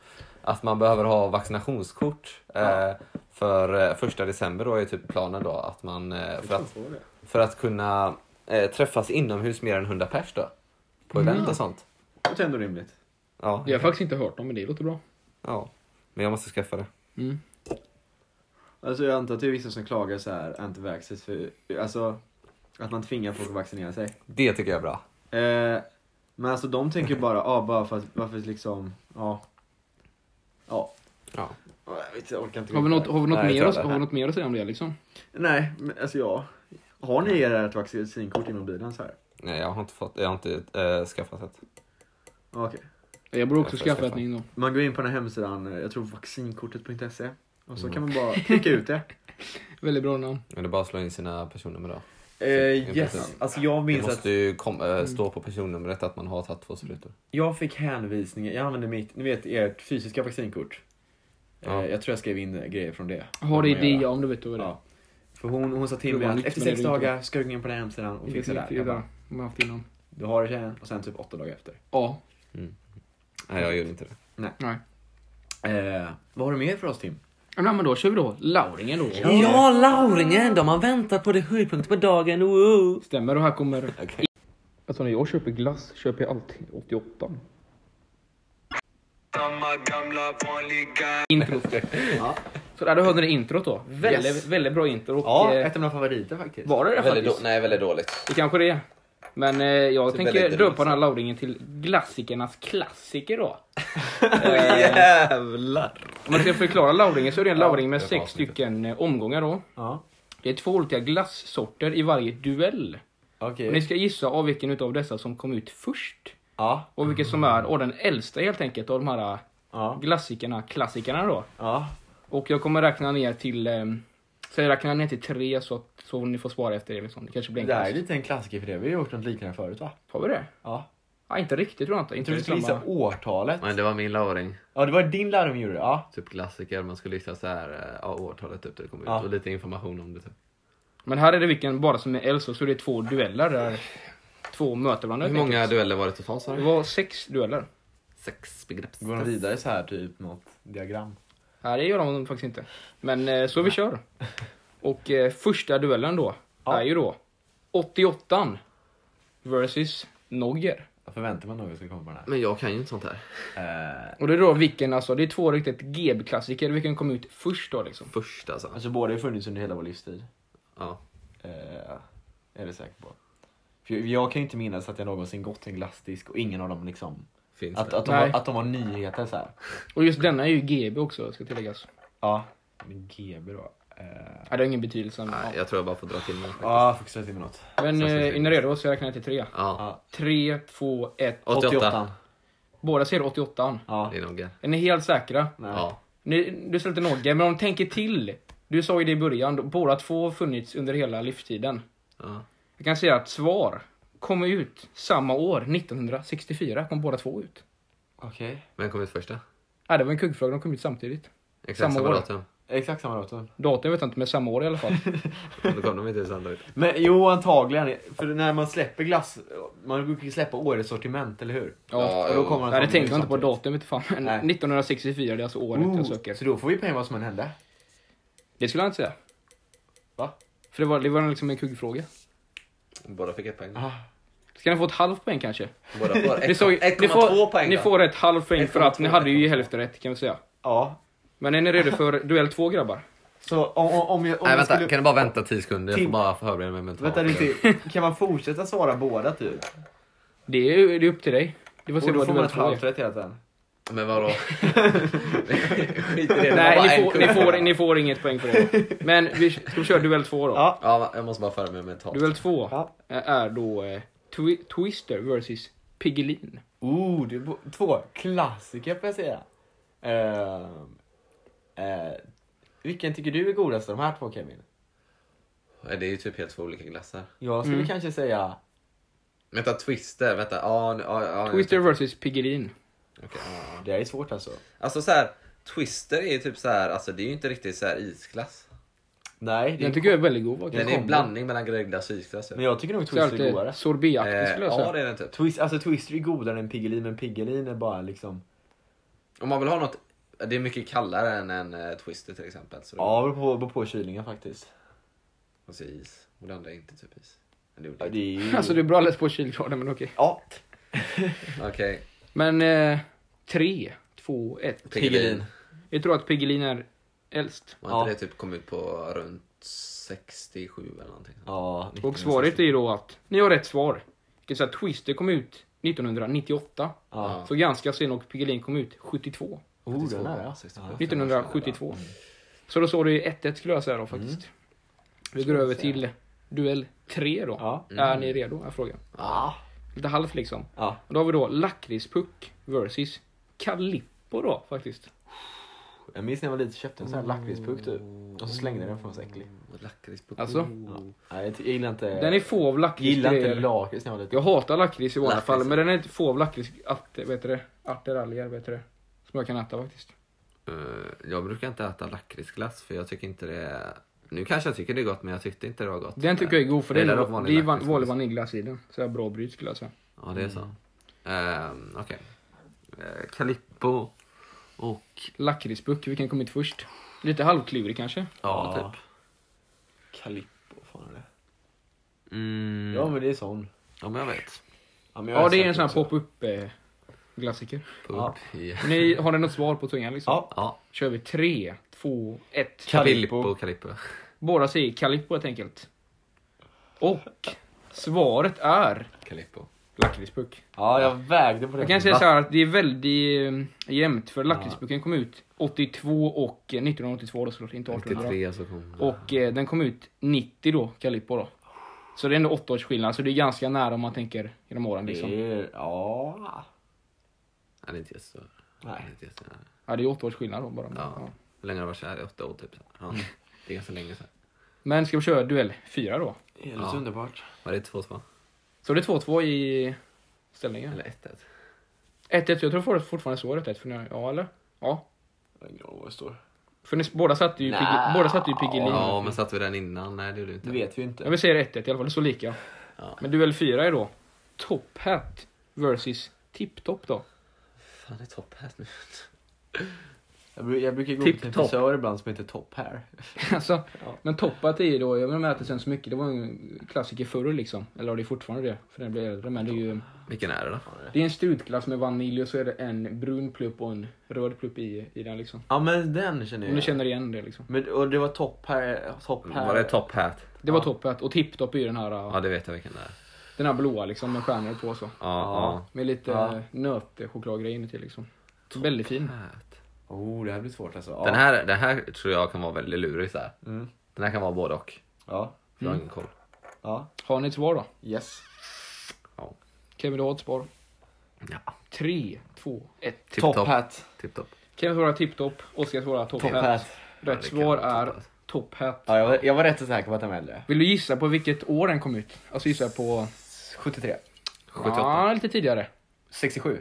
Speaker 1: Att man behöver ha vaccinationskort. eh, För eh, första december då är typ planen då att man, eh, för att, för att kunna eh, träffas inomhus mer än 100 pers då. På event och sånt.
Speaker 2: Det låter ändå rimligt.
Speaker 1: Ja,
Speaker 3: Jag har faktiskt inte hört dem, men det låter bra.
Speaker 1: ja. Men jag måste skaffa det.
Speaker 3: Mm.
Speaker 2: Alltså jag antar att det är vissa som klagar så här antivaxxers för, alltså att man tvingar folk att vaccinera sig.
Speaker 1: Det tycker jag är bra.
Speaker 2: Eh, men alltså de tänker bara, ja bara för att, varför liksom, ja. Ja.
Speaker 1: Ja.
Speaker 2: Ja, Jag, vet, inte, jag orkar inte. gå
Speaker 3: Har vi
Speaker 2: in på
Speaker 3: något,
Speaker 2: det.
Speaker 3: har vi något,
Speaker 1: Nej, jag
Speaker 3: mer,
Speaker 1: tror
Speaker 3: att,
Speaker 1: det.
Speaker 3: har vi något mer att säga om det liksom?
Speaker 2: Nej, men alltså ja. Har ni ert vaccinkort i mobilen så här?
Speaker 1: Nej, jag har inte, fått, jag har inte eh, skaffat ett.
Speaker 2: Ja, Okej.
Speaker 3: Jag borde också
Speaker 1: Jag får
Speaker 3: skaffa ett
Speaker 1: skaffa.
Speaker 3: nytt då.
Speaker 2: Man går in på den här hemsidan, eh, jag tror vaccinkortet.se. Och så kan man [LAUGHS] bara klicka ut det.
Speaker 3: Väldigt bra namn.
Speaker 1: Men det är bara att slå in sina personnummer då.
Speaker 2: Eh, yes,
Speaker 1: Precis.
Speaker 2: alltså jag
Speaker 1: Det
Speaker 2: minns att
Speaker 1: måste ju kom, eh, stå på personnumret att man har tagit två sprutor.
Speaker 2: jag fick hänvisningar, jag använde mitt, ni vet ert fysiska vaccinkort.
Speaker 1: Ja.
Speaker 2: Eh, jag tror jag skrev in eh, grejer från det.
Speaker 3: Har det
Speaker 2: Vad man
Speaker 3: idé
Speaker 2: gör.
Speaker 3: om du vet vad det är.
Speaker 2: Ja. För hon, hon sa till
Speaker 3: Det
Speaker 2: mig
Speaker 3: var
Speaker 2: att
Speaker 3: nytt,
Speaker 2: efter
Speaker 3: men det
Speaker 2: sex
Speaker 3: är det inte.
Speaker 2: dagar ska du gå in på den här hemsidan och fixa det här.
Speaker 3: Det är
Speaker 2: Jag
Speaker 3: bra.
Speaker 2: bara,
Speaker 3: Om jag haft innan.
Speaker 2: Du har det tjejen och sen typ åtta dagar efter.
Speaker 3: Ja.
Speaker 1: Nej, jag gjorde inte det.
Speaker 3: Nej.
Speaker 2: Eh, vad har du mer för oss Tim?
Speaker 3: Ja, Nej men då kör vi då. Lauringen då.
Speaker 1: Ja, Lauringen! De har väntat på det höjdpunkt på dagen. Woo!
Speaker 3: Stämmer och här kommer...
Speaker 1: Okej.
Speaker 3: Alltså när jag köper glass köper jag alltid 88.
Speaker 1: [LAUGHS]
Speaker 3: Introt.
Speaker 2: Ja.
Speaker 3: Så där, då hörde ni introt då. Väldigt, väldigt bra intro. Och,
Speaker 2: Ja,
Speaker 3: eh,
Speaker 2: ett av mina favoriter faktiskt.
Speaker 3: var det det
Speaker 1: Väldigt
Speaker 3: faktiskt?
Speaker 1: då- nej, väldigt dåligt.
Speaker 3: Det kanske det är. Men eh, jag
Speaker 1: Så
Speaker 3: tänker
Speaker 1: väldigt
Speaker 3: döpa
Speaker 1: roligt.
Speaker 3: den här lauringen till glassikernas klassiker då.
Speaker 1: Jävlar!
Speaker 3: Om man ska förklara lauringen så är det en lauring med
Speaker 1: det var
Speaker 3: sex
Speaker 1: avsnittet.
Speaker 3: stycken eh, omgångar då.
Speaker 2: Ja.
Speaker 3: Det är två olika glassorter i varje duell.
Speaker 2: Okej.
Speaker 3: Och ni ska gissa av vilken utav dessa som kom ut först.
Speaker 2: Ja.
Speaker 3: Och vilken som är och den äldsta helt enkelt av de här
Speaker 2: Ja.
Speaker 3: glassikerna, klassikerna då.
Speaker 2: Ja.
Speaker 3: Och jag kommer räkna ner till... ehm, Så jag räknar ner till tre så, att, så ni får svara efter det. Liksom. Det kanske blir
Speaker 2: Det här är
Speaker 3: enklast.
Speaker 2: lite en klassiker för det. Vi har gjort något liknande förut va?
Speaker 3: Har vi det?
Speaker 2: Ja.
Speaker 3: Ja, inte riktigt tror jag inte.
Speaker 2: Jag
Speaker 3: Inte
Speaker 2: tror du
Speaker 3: riktigt
Speaker 2: skulle gissa
Speaker 3: samma.
Speaker 2: årtalet.
Speaker 1: Men det var min lauring.
Speaker 2: Ja, det var din lärdom gjorde det. Ja.
Speaker 1: Typ klassiker. Man skulle lyssna så här, eh, ja, årtalet typ, det kom ut.
Speaker 2: Ja.
Speaker 1: Och lite information om det typ.
Speaker 3: Men här är det vilken bara som är äldst och så är det två dueller där. Två möter varandra.
Speaker 1: Hur
Speaker 3: helt
Speaker 1: många
Speaker 3: enkelt.
Speaker 1: dueller var det totalt sa
Speaker 3: Det
Speaker 1: du?
Speaker 3: var sex dueller.
Speaker 1: Sex begrepps...
Speaker 2: Går de vidare så här typ något diagram?
Speaker 3: Nej, det gör de faktiskt inte. Men eh, så vi kör. Och eh, första duellen då
Speaker 2: Ja.
Speaker 3: är ju då 88 versus Nogger.
Speaker 2: Jag förväntar mig att någon ska komma på den här.
Speaker 1: Men jag kan ju inte sånt här.
Speaker 2: Eh,
Speaker 3: Och det är då vilken, alltså det är två riktigt GB-klassiker, vilken kom ut först då liksom.
Speaker 1: Först alltså.
Speaker 2: alltså båda har ju funnits under hela vår livstid.
Speaker 1: Ja.
Speaker 2: Eh, är det säker på. För jag, jag kan ju inte minnas att jag någonsin gått till en glassdisk och ingen av dem liksom...
Speaker 1: Finns
Speaker 2: Att,
Speaker 1: det.
Speaker 2: att, de,
Speaker 3: Nej.
Speaker 2: var, att de var nyheter så här.
Speaker 3: Och just denna är ju GB också, ska tilläggas.
Speaker 2: Ja. Men GB då? Eh,
Speaker 3: Ja, det har ingen betydelse. Men,
Speaker 1: Nej,
Speaker 3: ja.
Speaker 1: jag tror jag bara får dra till mig. faktiskt.
Speaker 2: Ja, fokusera till med något.
Speaker 3: men
Speaker 1: så-
Speaker 3: eh, är ni redo? Så jag räknar till tre.
Speaker 1: Ja.
Speaker 3: Tre, två, ett.
Speaker 1: 88.
Speaker 3: Båda ser 88.
Speaker 2: Ja.
Speaker 1: Det är nog det.
Speaker 3: Är ni helt säkra?
Speaker 2: Nej.
Speaker 1: Ja.
Speaker 3: Ni, du sa lite nogge, men om du tänker till. Du sa ju det i början, då- båda två har funnits under hela livstiden.
Speaker 1: ja.
Speaker 3: Jag kan säga att svar kom ut samma år, 1964, kom båda två ut.
Speaker 2: Okej.
Speaker 1: Vem kom ut första?
Speaker 3: Ja, det var en kuggfråga, de kom ut samtidigt.
Speaker 1: Exakt
Speaker 3: Samma
Speaker 1: samma
Speaker 3: år.
Speaker 1: datum.
Speaker 2: Exakt samma datum.
Speaker 3: Datum vet jag inte, men samma år
Speaker 2: [LAUGHS]
Speaker 3: i alla fall.
Speaker 1: Då kom de inte ens andra ut.
Speaker 2: Men jo, antagligen. För när man släpper glass, man brukar ju släppa årets sortiment, eller hur?
Speaker 1: Ja,
Speaker 3: Ja,
Speaker 2: Och då kommer
Speaker 3: Nej, det tänkte jag inte på
Speaker 2: samtidigt.
Speaker 3: datumet fan. Men
Speaker 2: Nej.
Speaker 3: 1964, det är alltså året jag
Speaker 2: Ooh,
Speaker 3: söker.
Speaker 2: Så då får vi pengar vad som än hände.
Speaker 3: Det skulle jag inte säga.
Speaker 2: Va?
Speaker 3: För det var, det var liksom en kuggfråga.
Speaker 1: Båda fick ett poäng.
Speaker 2: Ah,
Speaker 3: Ska ni få ett halvt poäng kanske?
Speaker 1: Båda får
Speaker 3: Ni sa ju- ni
Speaker 1: 1,2
Speaker 3: får,
Speaker 1: poäng.
Speaker 3: Ni
Speaker 1: då.
Speaker 3: får ett halvt poäng för att ni
Speaker 1: 1,2,
Speaker 3: hade ju
Speaker 1: 1,2.
Speaker 3: hälften rätt kan vi säga.
Speaker 2: Ja.
Speaker 3: Men är ni redo
Speaker 2: [LAUGHS]
Speaker 3: för duell två grabbar?
Speaker 2: Så om, om, om jag, om
Speaker 1: Nej
Speaker 2: jag
Speaker 1: vänta,
Speaker 2: skulle...
Speaker 1: kan du bara vänta 10 sekunder? Jag
Speaker 2: Tim-
Speaker 1: får bara förbereda mig mentalt.
Speaker 2: Vänta
Speaker 3: [LAUGHS]
Speaker 2: lite, kan man fortsätta svara båda typ?
Speaker 3: Det är, ju- det är upp till dig. Du får
Speaker 2: Och
Speaker 3: se
Speaker 2: då
Speaker 3: vad
Speaker 2: får man
Speaker 3: duell
Speaker 2: ett
Speaker 3: två är.
Speaker 2: halvt rätt hela tiden.
Speaker 1: Men [LAUGHS] vadå? Skit i det. det. var bara
Speaker 3: Nej,
Speaker 1: en
Speaker 3: ni får,
Speaker 1: kugg.
Speaker 3: ni, får, ni får inget poäng för det. Men vi, ska vi köra duell två då?
Speaker 2: Ja.
Speaker 1: Ja, jag måste bara förbereda mig mentalt.
Speaker 3: Duell två
Speaker 2: Ja.
Speaker 3: är då eh, twi- Twister versus Piggelin.
Speaker 2: Oh, det är bo- två klassiker får jag säga. Ehm, eh, vilken tycker du är godast av de här två Kevin?
Speaker 1: Det är ju typ helt två olika glassar.
Speaker 2: Jag skulle
Speaker 3: Mm.
Speaker 2: kanske säga...
Speaker 1: Vänta, Twister. Vänta. Ja, nu- ja, ja, jag
Speaker 3: Twister
Speaker 1: vet
Speaker 3: versus Piggelin.
Speaker 1: inte. Okej, ja, ja.
Speaker 2: Det här är svårt alltså.
Speaker 1: Alltså så här, Twister är ju typ så här, alltså det är ju inte riktigt så här isglass.
Speaker 2: Nej, det är
Speaker 3: Den tycker jag är väldigt god faktiskt.
Speaker 1: Den är en blandning mellan gräddglass och isglass.
Speaker 2: men jag tycker nog
Speaker 3: Så jag
Speaker 2: Twister är godare.
Speaker 3: alltid sorbetaktig
Speaker 1: Eh,
Speaker 3: skulle jag
Speaker 1: ja,
Speaker 3: säga.
Speaker 1: det är den typ.
Speaker 2: Twist, alltså Twister är godare än Piggelin, men Piggelin är bara liksom...
Speaker 1: Om man vill ha något, det är mycket kallare än en eh, Twister till exempel. Så det
Speaker 2: Ja, det beror på, beror på kylningen faktiskt.
Speaker 1: Och så is. Och det andra är inte typ is. Men det gjorde
Speaker 2: Ja,
Speaker 1: jag.
Speaker 2: det är ju...
Speaker 3: Alltså du är bra läst på kylgraden men okej.
Speaker 2: Ja,
Speaker 1: Okej.
Speaker 3: Men eh, tre, två, ett.
Speaker 1: Piggelin.
Speaker 3: Jag tror att Piggelin är äldst.
Speaker 1: Var inte
Speaker 2: Ja.
Speaker 1: det typ kom ut på runt 67 eller någonting?
Speaker 2: Ja,
Speaker 3: Och svaret är ju då att ni har rätt svar. Jag kan säga att Twister kom ut 1998.
Speaker 2: Ja.
Speaker 3: Så ganska sen och Piggelin kom ut 72.
Speaker 2: Oh, den är det.
Speaker 1: 62.
Speaker 2: Ja.
Speaker 3: 1972. Så då står det ju 1-1 skulle jag säga då faktiskt. Vi går över till duell 3 då.
Speaker 2: Ja.
Speaker 3: Är ni redo? Är frågan.
Speaker 2: Ja.
Speaker 3: Lite halvt liksom.
Speaker 2: Ja.
Speaker 3: Och då har vi då lakritspuck versus Calippo då faktiskt.
Speaker 2: Jag minns när jag var liten köpte en sån här lakritspuck typ. Och så slängde jag den för att den var så äcklig.
Speaker 1: Lakritspuck.
Speaker 3: Alltså?
Speaker 2: Nej, jag ty- jag gillar inte...
Speaker 3: Den är få av
Speaker 2: Eh, gillar inte
Speaker 3: lakritsgrejer.
Speaker 2: lakrits när jag var liten.
Speaker 3: Jag hatar lakrits i vanliga
Speaker 1: Lakrits.
Speaker 3: fall men den är inte få av lakrits att, vet du det, arteraljer, vet du det. Som jag kan äta faktiskt.
Speaker 1: Eh, jag brukar inte äta lakritsglass för jag tycker inte det är... Nu kanske jag tycker det är gott men jag tyckte inte det var gott.
Speaker 3: Den tycker jag är god för det är,
Speaker 1: gillar
Speaker 3: det
Speaker 1: dock vanlig
Speaker 3: är van-
Speaker 1: lakrits.
Speaker 3: vanlig vaniljglass i den. Så jag bra bryt skulle jag säga.
Speaker 1: Ja, det är
Speaker 2: Mm.
Speaker 1: så. Ehm, Okej. Eh, Calippo och...
Speaker 3: Lakritspuck, vilken kom hit först? Lite halvklurig kanske?
Speaker 1: Ja,
Speaker 2: Ja.
Speaker 1: typ.
Speaker 2: Kalippo, vad fan är det?
Speaker 1: Mm.
Speaker 2: Ja men det är sån.
Speaker 1: Ja, men jag vet.
Speaker 2: men jag
Speaker 3: Ja
Speaker 2: har
Speaker 3: det är
Speaker 2: sett
Speaker 3: en sån
Speaker 2: också.
Speaker 3: här pop-up eh, glassiker.
Speaker 1: Pump. Ja.
Speaker 3: Ni, har ni något svar på tungan liksom?
Speaker 2: Ja.
Speaker 1: ja.
Speaker 3: Kör vi 3, 2, 1.
Speaker 2: Calippo.
Speaker 1: Calippo. Calippo.
Speaker 3: Båda säger Calippo helt enkelt. Och svaret är
Speaker 1: Calippo.
Speaker 3: lakritspuck.
Speaker 2: Ja, jag vägde på det.
Speaker 3: Jag kan säga så här att det är väldigt eh, jämnt för lakritspucken kom ut 82 och eh, 1982 då såklart, inte 1800.
Speaker 1: 93 så kom...
Speaker 3: Och eh, den kom ut 90 då, Calippo då. Så det är ändå 8 års skillnad, så det är ganska nära om man tänker genom åren liksom.
Speaker 2: Det är... Ja.
Speaker 1: Nej, det är inte jättestor. Det är
Speaker 2: Nej.
Speaker 1: inte jättestor.
Speaker 3: Ja det är 8 års skillnad då bara. men,
Speaker 1: Ja.
Speaker 3: Ja.
Speaker 1: Hur länge har det varit så här? I Åtta år typ. Ja. Det är ganska länge sedan.
Speaker 3: Men ska vi köra duell 4 då?
Speaker 2: Helt
Speaker 1: Ja.
Speaker 2: underbart.
Speaker 1: Var det 2-2?
Speaker 3: Så det är 2-2 i ställningen.
Speaker 1: Eller 1-1?
Speaker 3: 1-1, jag tror folk fortfarande står 1-1 för ni, ja eller? Ja.
Speaker 2: Jag har ingen aning vad det står.
Speaker 3: För ni båda satte ju, Pigge-
Speaker 2: Nä.
Speaker 3: båda satte ju Piggelin.
Speaker 1: Ja, men satte vi den innan? Nej, det gjorde vi
Speaker 2: Det
Speaker 1: inte.
Speaker 2: vet vi ju
Speaker 3: Jag
Speaker 2: inte.
Speaker 3: vill säga 1-1 i alla fall, det står lika.
Speaker 1: Ja.
Speaker 3: Men duell 4 är då Top Hat versus Tip Top då. [LAUGHS]
Speaker 1: Fan, det är top hat nu.
Speaker 2: Jag, bru- jag brukar gå
Speaker 3: Tip
Speaker 2: till en
Speaker 3: top.
Speaker 2: frisör ibland som heter Top Hair.
Speaker 3: alltså,
Speaker 2: Ja.
Speaker 3: men Top Hat är ju då, jag vet inte om jag äter sen så mycket, det var en klassiker förr liksom. Eller ja, det är fortfarande det, för den blir äldre. Men det är ju,
Speaker 1: Vilken är det då?
Speaker 3: det är en strutglass med vanilj och så är det en brun plupp och en röd plupp i, i den liksom.
Speaker 2: Ja men den känner jag.
Speaker 3: Om du känner igen det liksom.
Speaker 2: Men, och det var Top Hair. Top hair.
Speaker 1: Mm, Var det top hat?
Speaker 3: Det var
Speaker 2: Ja.
Speaker 3: Top Hat och Tip Top är ju den här,
Speaker 1: Ja, det vet jag vilken det är.
Speaker 3: den här blåa liksom med stjärnor på och så.
Speaker 1: Ja,
Speaker 2: Ja.
Speaker 1: ja.
Speaker 3: Med lite
Speaker 2: Ja.
Speaker 3: ja. nötchokladgrej inuti liksom. Väldigt fin.
Speaker 1: Hat.
Speaker 2: Oh, det här blir svårt alltså. Ja.
Speaker 1: Den, här, den här tror jag kan vara väldigt lurig. Så här.
Speaker 2: Mm.
Speaker 1: Den här kan vara både och.
Speaker 2: Ja.
Speaker 1: för Jag har ingen koll.
Speaker 2: Ja.
Speaker 3: Har ni ett svar då?
Speaker 2: Yes.
Speaker 3: Kevin, du har ett svar.
Speaker 1: Ja.
Speaker 3: Tre, två, ett.
Speaker 1: Tipptopp.
Speaker 2: Top hat.
Speaker 1: Tipptopp.
Speaker 3: Kevin svarar tipptopp, Oskar svarar top,
Speaker 2: Top
Speaker 3: hat.
Speaker 2: hat.
Speaker 1: Ja,
Speaker 3: Rätt
Speaker 1: det kan
Speaker 3: svar
Speaker 1: vara
Speaker 3: är
Speaker 1: top hat.
Speaker 3: top hat.
Speaker 2: Ja, jag, var, jag var rätt så säker på att den var äldre.
Speaker 3: Vill du gissa på vilket år den kom ut? Alltså gissa på...
Speaker 2: 73.
Speaker 1: 78.
Speaker 3: Ja, lite tidigare.
Speaker 2: 67.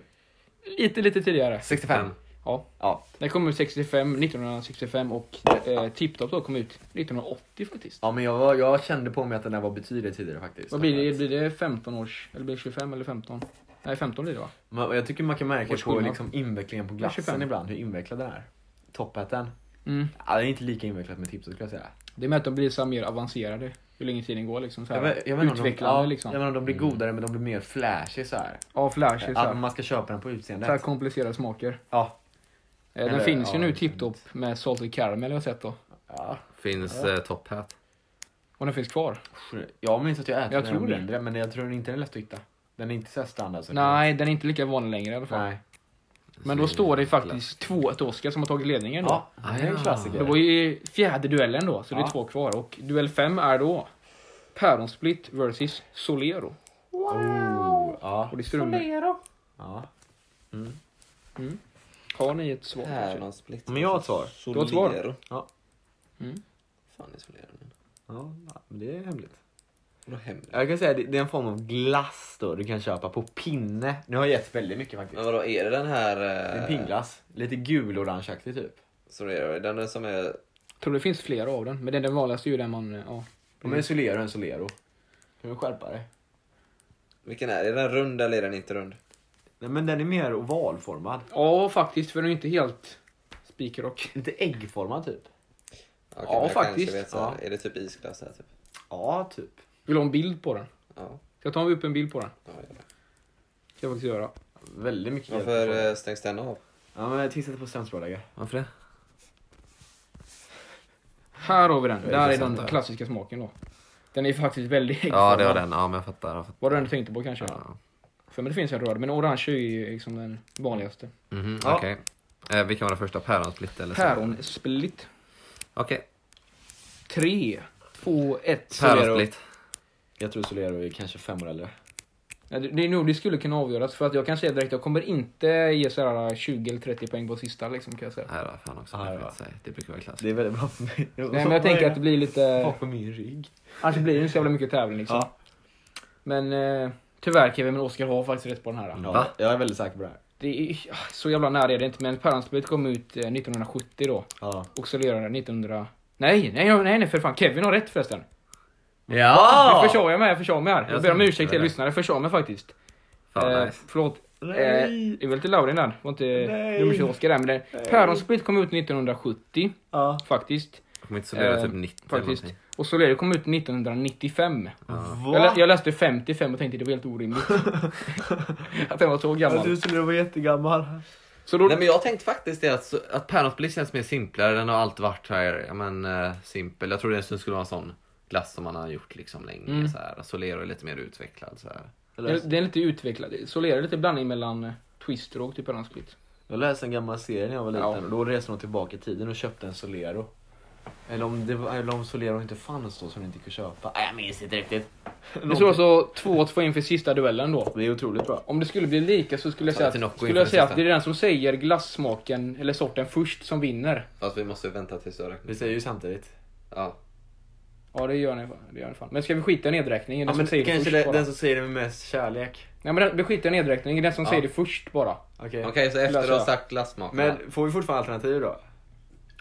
Speaker 3: Lite, lite tidigare.
Speaker 2: 65.
Speaker 3: Ja.
Speaker 2: Ja.
Speaker 3: Den kom ut 65, 1965 och eh, Tiptop då kom ut 1980 faktiskt.
Speaker 2: Ja, men jag, var, jag kände på mig att den här var betydligt tidigare faktiskt.
Speaker 3: Vad blir det? Blir det 15 års? Eller blir det 25 eller 15? Nej, 15 blir det va?
Speaker 2: Men jag tycker man kan märka på
Speaker 3: Årsskillnad.
Speaker 2: liksom invecklingen på glassen
Speaker 3: 25.
Speaker 2: ibland, hur invecklad den är. Top hatten.
Speaker 3: Mm.
Speaker 2: Ja, den är inte lika invecklad med tipset skulle jag säga.
Speaker 3: Det är med att de blir så här mer avancerade ju längre tiden går liksom. Så här,
Speaker 2: Jag vet- jag vet inte om de-
Speaker 3: utvecklande
Speaker 2: ja,
Speaker 3: liksom.
Speaker 2: Jag menar, de blir godare men de blir mer flashy så här.
Speaker 3: Ja, flash. Så
Speaker 2: Att
Speaker 3: här,
Speaker 2: man ska köpa den på
Speaker 3: så här
Speaker 2: utseendet.
Speaker 3: komplicerade smaker.
Speaker 2: Ja.
Speaker 3: Eh, Den
Speaker 2: Eller,
Speaker 3: finns ju
Speaker 2: ja,
Speaker 3: nu
Speaker 2: exakt.
Speaker 3: Tiptop med Salted Caramel har jag sett då.
Speaker 2: ja.
Speaker 1: Finns eh, top hat.
Speaker 3: Och den finns kvar.
Speaker 2: Jag minns att jag äter
Speaker 3: Jag
Speaker 2: den
Speaker 3: tror
Speaker 2: när jag
Speaker 3: det.
Speaker 2: var mindre men jag tror inte den är lätt att hitta. Den är inte så här standard. Så
Speaker 3: Nej, den är inte lika vanlig längre i alla fall.
Speaker 2: Nej.
Speaker 3: Men då står det faktiskt 2-1 Oskar som har tagit ledningen då.
Speaker 2: Ja, det är en
Speaker 1: Ah,
Speaker 2: klassiker.
Speaker 3: Det var ju fjärde duellen då, så det
Speaker 2: Ja.
Speaker 3: är två kvar. Och duell fem är då Päronsplit versus Solero.
Speaker 2: Oh, ja.
Speaker 3: Och det står under.
Speaker 2: ja.
Speaker 3: Har ni ett svar? kanske?
Speaker 5: Päronsplitt.
Speaker 2: Men jag har ett svar.
Speaker 3: Du har ett svar.
Speaker 5: Solero.
Speaker 2: Ja.
Speaker 3: Mm.
Speaker 5: Fan isolerar den.
Speaker 2: Ja, men det är hemligt.
Speaker 5: Vadå hemligt?
Speaker 2: Jag kan säga det, det är en form av glass då du kan köpa på pinne. Nu har jag gett väldigt mycket faktiskt.
Speaker 5: Men vadå är det den här...
Speaker 2: Det är
Speaker 5: eh,
Speaker 2: en pingglass. Lite gulorangeaktig typ.
Speaker 5: Solero, är det den som är...
Speaker 3: Jag tror det finns flera av den, men det är den vanligaste ju den man... eh, Ja.
Speaker 2: De är solero en solero. Kan du skärpa dig?
Speaker 5: Vilken är det? Är den rund eller är den inte rund?
Speaker 2: Nej men den är mer ovalformad.
Speaker 3: ja, faktiskt, för den är inte helt spikrock.
Speaker 2: Lite äggformad typ.
Speaker 5: Okej, men
Speaker 3: Ja,
Speaker 5: jag kanske
Speaker 3: faktiskt.
Speaker 5: Vet, så här,
Speaker 2: Ja.
Speaker 5: Är det typ isglass här typ?
Speaker 2: Ja, typ.
Speaker 3: Vill du ha en bild på den?
Speaker 5: Ja.
Speaker 3: Ska jag ta upp en bild på den?
Speaker 5: ja gör det.
Speaker 3: Ska jag faktiskt göra.
Speaker 2: Väldigt mycket hjälp att få.
Speaker 5: Varför eh, stängs den av?
Speaker 2: Ja men tillsätt på strömstrålägare.
Speaker 1: Varför det?
Speaker 3: Här har vi den. Där är
Speaker 1: intressant
Speaker 3: den
Speaker 1: där.
Speaker 3: klassiska smaken då. Den är faktiskt väldigt
Speaker 1: Ja, det var
Speaker 3: äggformad.
Speaker 1: den. Ja, men jag fattar. Jag fattar.
Speaker 3: Vad du än tänkte på kanske?
Speaker 1: Ja.
Speaker 3: För mig det finns en röd, men orange är ju liksom den vanligaste.
Speaker 1: Mhm,
Speaker 2: Ja.
Speaker 1: Okej. Eh, vilken var den första? Päronsplitt eller? så?
Speaker 3: Päronsplitt.
Speaker 1: Okej.
Speaker 3: Tre, två, ett.
Speaker 1: Päronsplitt.
Speaker 2: Jag tror solero är kanske fem år äldre.
Speaker 3: Ja, Det det är nog det skulle kunna avgöras för att jag kan säga direkt jag kommer inte ge så här 20 eller 30 poäng på sista liksom kan jag säga.
Speaker 1: Nej då, fan också.
Speaker 2: Ja,
Speaker 1: det,
Speaker 2: ja.
Speaker 1: får jag säga. det brukar vara klassiskt.
Speaker 2: Det är väldigt bra för mig.
Speaker 3: Nej men jag tänker att det blir lite,
Speaker 2: Bakom min rygg.
Speaker 3: annars blir det inte så jävla mycket tävling liksom.
Speaker 2: Ja.
Speaker 3: Men eh, tyvärr Kevin men Oskar har faktiskt rätt på den här. då.
Speaker 1: Va?
Speaker 2: Ja, jag är väldigt säker på det här.
Speaker 3: Det är, ah, så jävla nära är det inte men Päronsplitt kom ut eh, 1970 då
Speaker 2: Ja.
Speaker 3: och så gör den 1900... Nej, nej, nej, nej för fan Kevin har rätt förresten.
Speaker 1: Ja!
Speaker 3: Nu försade jag mig, jag försade mig här.
Speaker 1: Jag
Speaker 3: Jag ber om
Speaker 1: ser.
Speaker 3: ursäkt till
Speaker 1: Det
Speaker 3: er
Speaker 1: där.
Speaker 3: lyssnare, jag försade mig faktiskt.
Speaker 1: Fan,
Speaker 3: eh,
Speaker 1: nice.
Speaker 3: Förlåt. Eh,
Speaker 2: Nej.
Speaker 3: det var lite Laurin där, det var inte
Speaker 2: Nej.
Speaker 3: nummer 20 där. Men det- Päronsplitt kom ut 1970
Speaker 2: Ja.
Speaker 3: faktiskt.
Speaker 1: Kommer inte solera
Speaker 3: eh,
Speaker 1: typ 90
Speaker 3: faktiskt.
Speaker 1: eller någonting.
Speaker 3: Och Solero kom ut 1995. Jag,
Speaker 2: Va?
Speaker 3: lä- jag läste 55 och tänkte det var
Speaker 1: [LAUGHS]
Speaker 3: helt orimligt. att den var så
Speaker 2: Jag tror
Speaker 3: gammal.
Speaker 2: solero var jättegammal.
Speaker 3: Så då,
Speaker 1: Nej, men jag tänkte faktiskt det att, att päronsplitt känns mer simplare. Den har alltid varit så här, ja, men, eh, simpel. Jag trodde den skulle vara en sån glass som man har gjort liksom länge.
Speaker 3: Mm.
Speaker 1: Så här. Solero är lite mer utvecklad. Så här.
Speaker 2: Jag läste,
Speaker 3: den den är lite utvecklad. Solero är lite blandning mellan eh, Twister och typ Päronsplitt.
Speaker 2: jag läste en gammal serie när jag var liten
Speaker 3: Ja.
Speaker 2: och då reste de tillbaka i tiden och köpte en Solero. Eller om, det var, eller om Solero inte fanns då som det inte gick att köpa. Nej, Jag minns inte riktigt.
Speaker 3: Det står alltså 2-2 inför sista duellen då.
Speaker 2: Det är otroligt bra.
Speaker 3: Om det skulle bli lika så skulle jag
Speaker 1: Ta
Speaker 3: säga,
Speaker 1: lite
Speaker 3: att,
Speaker 1: Nocco
Speaker 3: skulle
Speaker 1: inför
Speaker 3: jag säga
Speaker 1: den
Speaker 3: att det är den som säger glassmaken eller sorten först som vinner.
Speaker 5: Fast vi måste vänta tills jag räknar.
Speaker 2: Vi säger ju samtidigt.
Speaker 5: Ja.
Speaker 3: Ja, det gör ni, fan- det gör ni fan. Men ska vi skita i nedräkningen?
Speaker 2: Ja,
Speaker 3: Den som
Speaker 2: men
Speaker 3: säger
Speaker 2: kanske
Speaker 3: först
Speaker 2: det,
Speaker 3: bara.
Speaker 2: den som säger det med mest kärlek.
Speaker 3: Nej, men den, vi skiter i nedräkningen. Den som
Speaker 1: Ja.
Speaker 3: säger det först bara.
Speaker 2: Okej.
Speaker 5: Okej, så efter att
Speaker 3: Löser
Speaker 5: ha
Speaker 3: jag.
Speaker 5: sagt glassmaken. Men,
Speaker 2: Men får vi fortfarande alternativ då?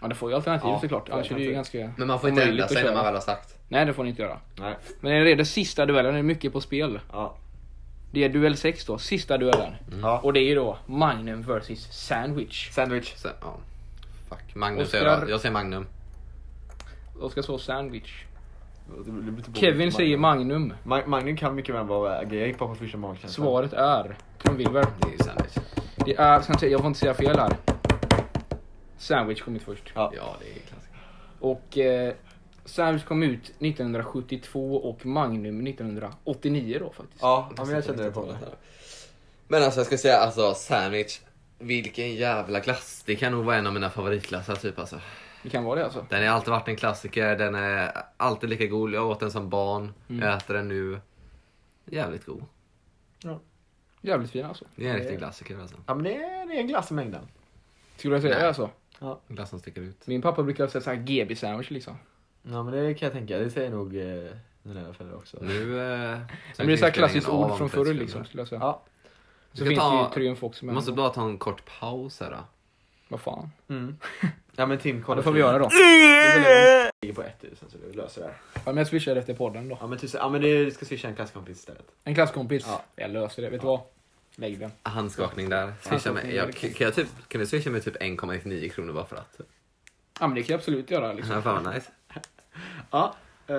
Speaker 3: Ja, det får ju alternativ
Speaker 2: Ja,
Speaker 3: såklart.
Speaker 2: får
Speaker 3: Annars är det ju
Speaker 2: alternativ.
Speaker 3: ganska
Speaker 5: men man får inte
Speaker 3: omöjligt
Speaker 5: ändra
Speaker 3: att
Speaker 5: sig när
Speaker 3: köra.
Speaker 5: man väl har sagt.
Speaker 3: Nej, det får ni inte göra.
Speaker 2: Nej.
Speaker 3: Men när det är den sista duellen, det är mycket på spel.
Speaker 2: Ja.
Speaker 3: Det är duell 6 då, sista duellen.
Speaker 2: Ja.
Speaker 3: Och det är ju då Magnum vs Sandwich.
Speaker 2: Sandwich.
Speaker 1: Så, ja. Fuck. Magnum säger
Speaker 3: Oscar-
Speaker 1: jag. Jag säger Magnum.
Speaker 3: Och ska så Sandwich.
Speaker 2: Det blir lite på-
Speaker 3: Kevin säger Magnum.
Speaker 2: Ma- Magnum kan mycket väl vara väg. Jag gick bara på första magkänslan.
Speaker 3: Svaret är trumvirvel.
Speaker 1: Det är ju sandwich.
Speaker 3: Det är, ska inte säga- jag får inte säga fel här. Sandwich kom ut först.
Speaker 2: Ja.
Speaker 1: Ja, det är klassiskt.
Speaker 3: Och eh, Sandwich kom ut 1972 och Magnum 1989 då faktiskt.
Speaker 2: Ja, ja men jag kände det på mig.
Speaker 5: Men alltså jag ska säga alltså sandwich.
Speaker 1: Vilken jävla klass. Det kan nog vara en av mina favoritklasser typ alltså.
Speaker 3: Det kan vara det alltså.
Speaker 1: Den har alltid varit en klassiker. Den är alltid lika god. Jag åt den som barn.
Speaker 3: Mm.
Speaker 1: Jag äter den nu. Jävligt god.
Speaker 3: Jävligt fin alltså.
Speaker 1: Det är en riktig klassiker alltså.
Speaker 2: Ja men det är, det är en glass i mängden.
Speaker 3: Skulle jag säga
Speaker 1: Nej.
Speaker 3: alltså.
Speaker 1: En glass som sticker ut.
Speaker 3: Min pappa brukar säga såhär GB-sandwich liksom.
Speaker 2: Ja men det kan jag tänka, det säger nog eh, mina föräldrar också.
Speaker 1: Nu... Eh,
Speaker 3: Men det är såhär klassiskt ord från förr liksom skulle jag säga.
Speaker 2: Ja.
Speaker 1: Ska
Speaker 3: Så finns
Speaker 1: ta-
Speaker 3: det ju triumf också
Speaker 1: Vi
Speaker 3: men
Speaker 1: måste bara ta en kort paus här då.
Speaker 3: vad fan.
Speaker 2: Mm. Ja men Tim
Speaker 3: Ja,
Speaker 2: kolla.
Speaker 3: det får vi göra då.
Speaker 2: Det ligger på 1000 så du löser det. här.
Speaker 3: Ja, men jag swishar efter podden då.
Speaker 2: Ja men tusen, ja men du ska swisha en klasskompis istället.
Speaker 3: En klasskompis.
Speaker 2: Ja.
Speaker 3: Jag löser det. Vet du vad? Lägg den.
Speaker 1: Handskakning där. Swisha
Speaker 3: Handskakning,
Speaker 1: mig.
Speaker 3: ja,
Speaker 1: Jag,
Speaker 3: det
Speaker 1: kan, jag typ, kan du swisha mig typ 1,99 kronor bara för att?
Speaker 3: Ja men det kan jag absolut göra liksom.
Speaker 1: Ja, fan vad nice.
Speaker 2: Ja. eh,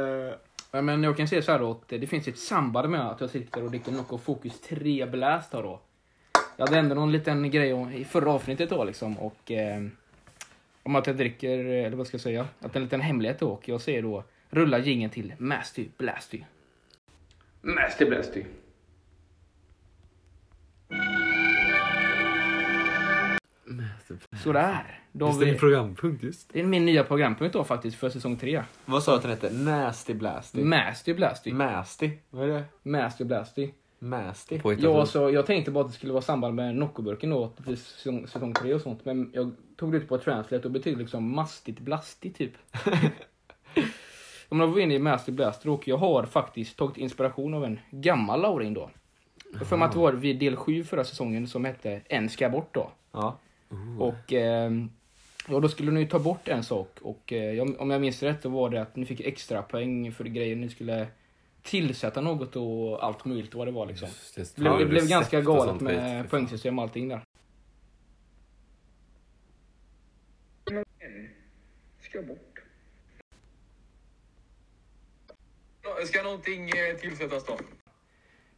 Speaker 3: Ja, Men jag kan säga så här då att det finns ett samband med att jag sitter och dricker Nocco Focus 3 Blast här då. Jag hade ändå någon liten grej om, i förra avsnittet då liksom och eh, om att jag dricker, eh, eller vad ska jag säga, att en liten hemlighet då och jag säger då rulla gingen till Masty Blasty. Masty Blasty. Sådär. Då har
Speaker 1: Just det,
Speaker 3: vi,
Speaker 1: min programpunkt just.
Speaker 3: det är min nya programpunkt då faktiskt för säsong 3.
Speaker 2: vad sa du att den hette? Nasty Blasty?
Speaker 1: Mm.
Speaker 3: Masty Blasty.
Speaker 2: Masty? Vad är det?
Speaker 3: Masty Blasty.
Speaker 2: Masty?
Speaker 1: På
Speaker 3: Ja, alltså, jag tänkte bara att det skulle vara samband med Noccoburken då, att det är säsong, säsong tre och sånt. Men jag tog det ut på Translate och betyder liksom mastigt blastig [LAUGHS] typ. Om jag var inne i Master Blaster och jag har faktiskt tagit inspiration av en gammal Laurin då. Jag för mig att det var vid del 7 förra säsongen som hette En ska bort då.
Speaker 2: Ja.
Speaker 3: Och ehm, ja, då skulle ni ju ta bort en sak och eh, jag- om jag minns rätt så var det att ni fick extra poäng för grejer ni skulle tillsätta något och allt möjligt vad det var liksom. Det blev, det blev ganska galet
Speaker 1: liksom.
Speaker 3: med poängsystem och allting där.
Speaker 6: Ska någonting eh, tillsättas då?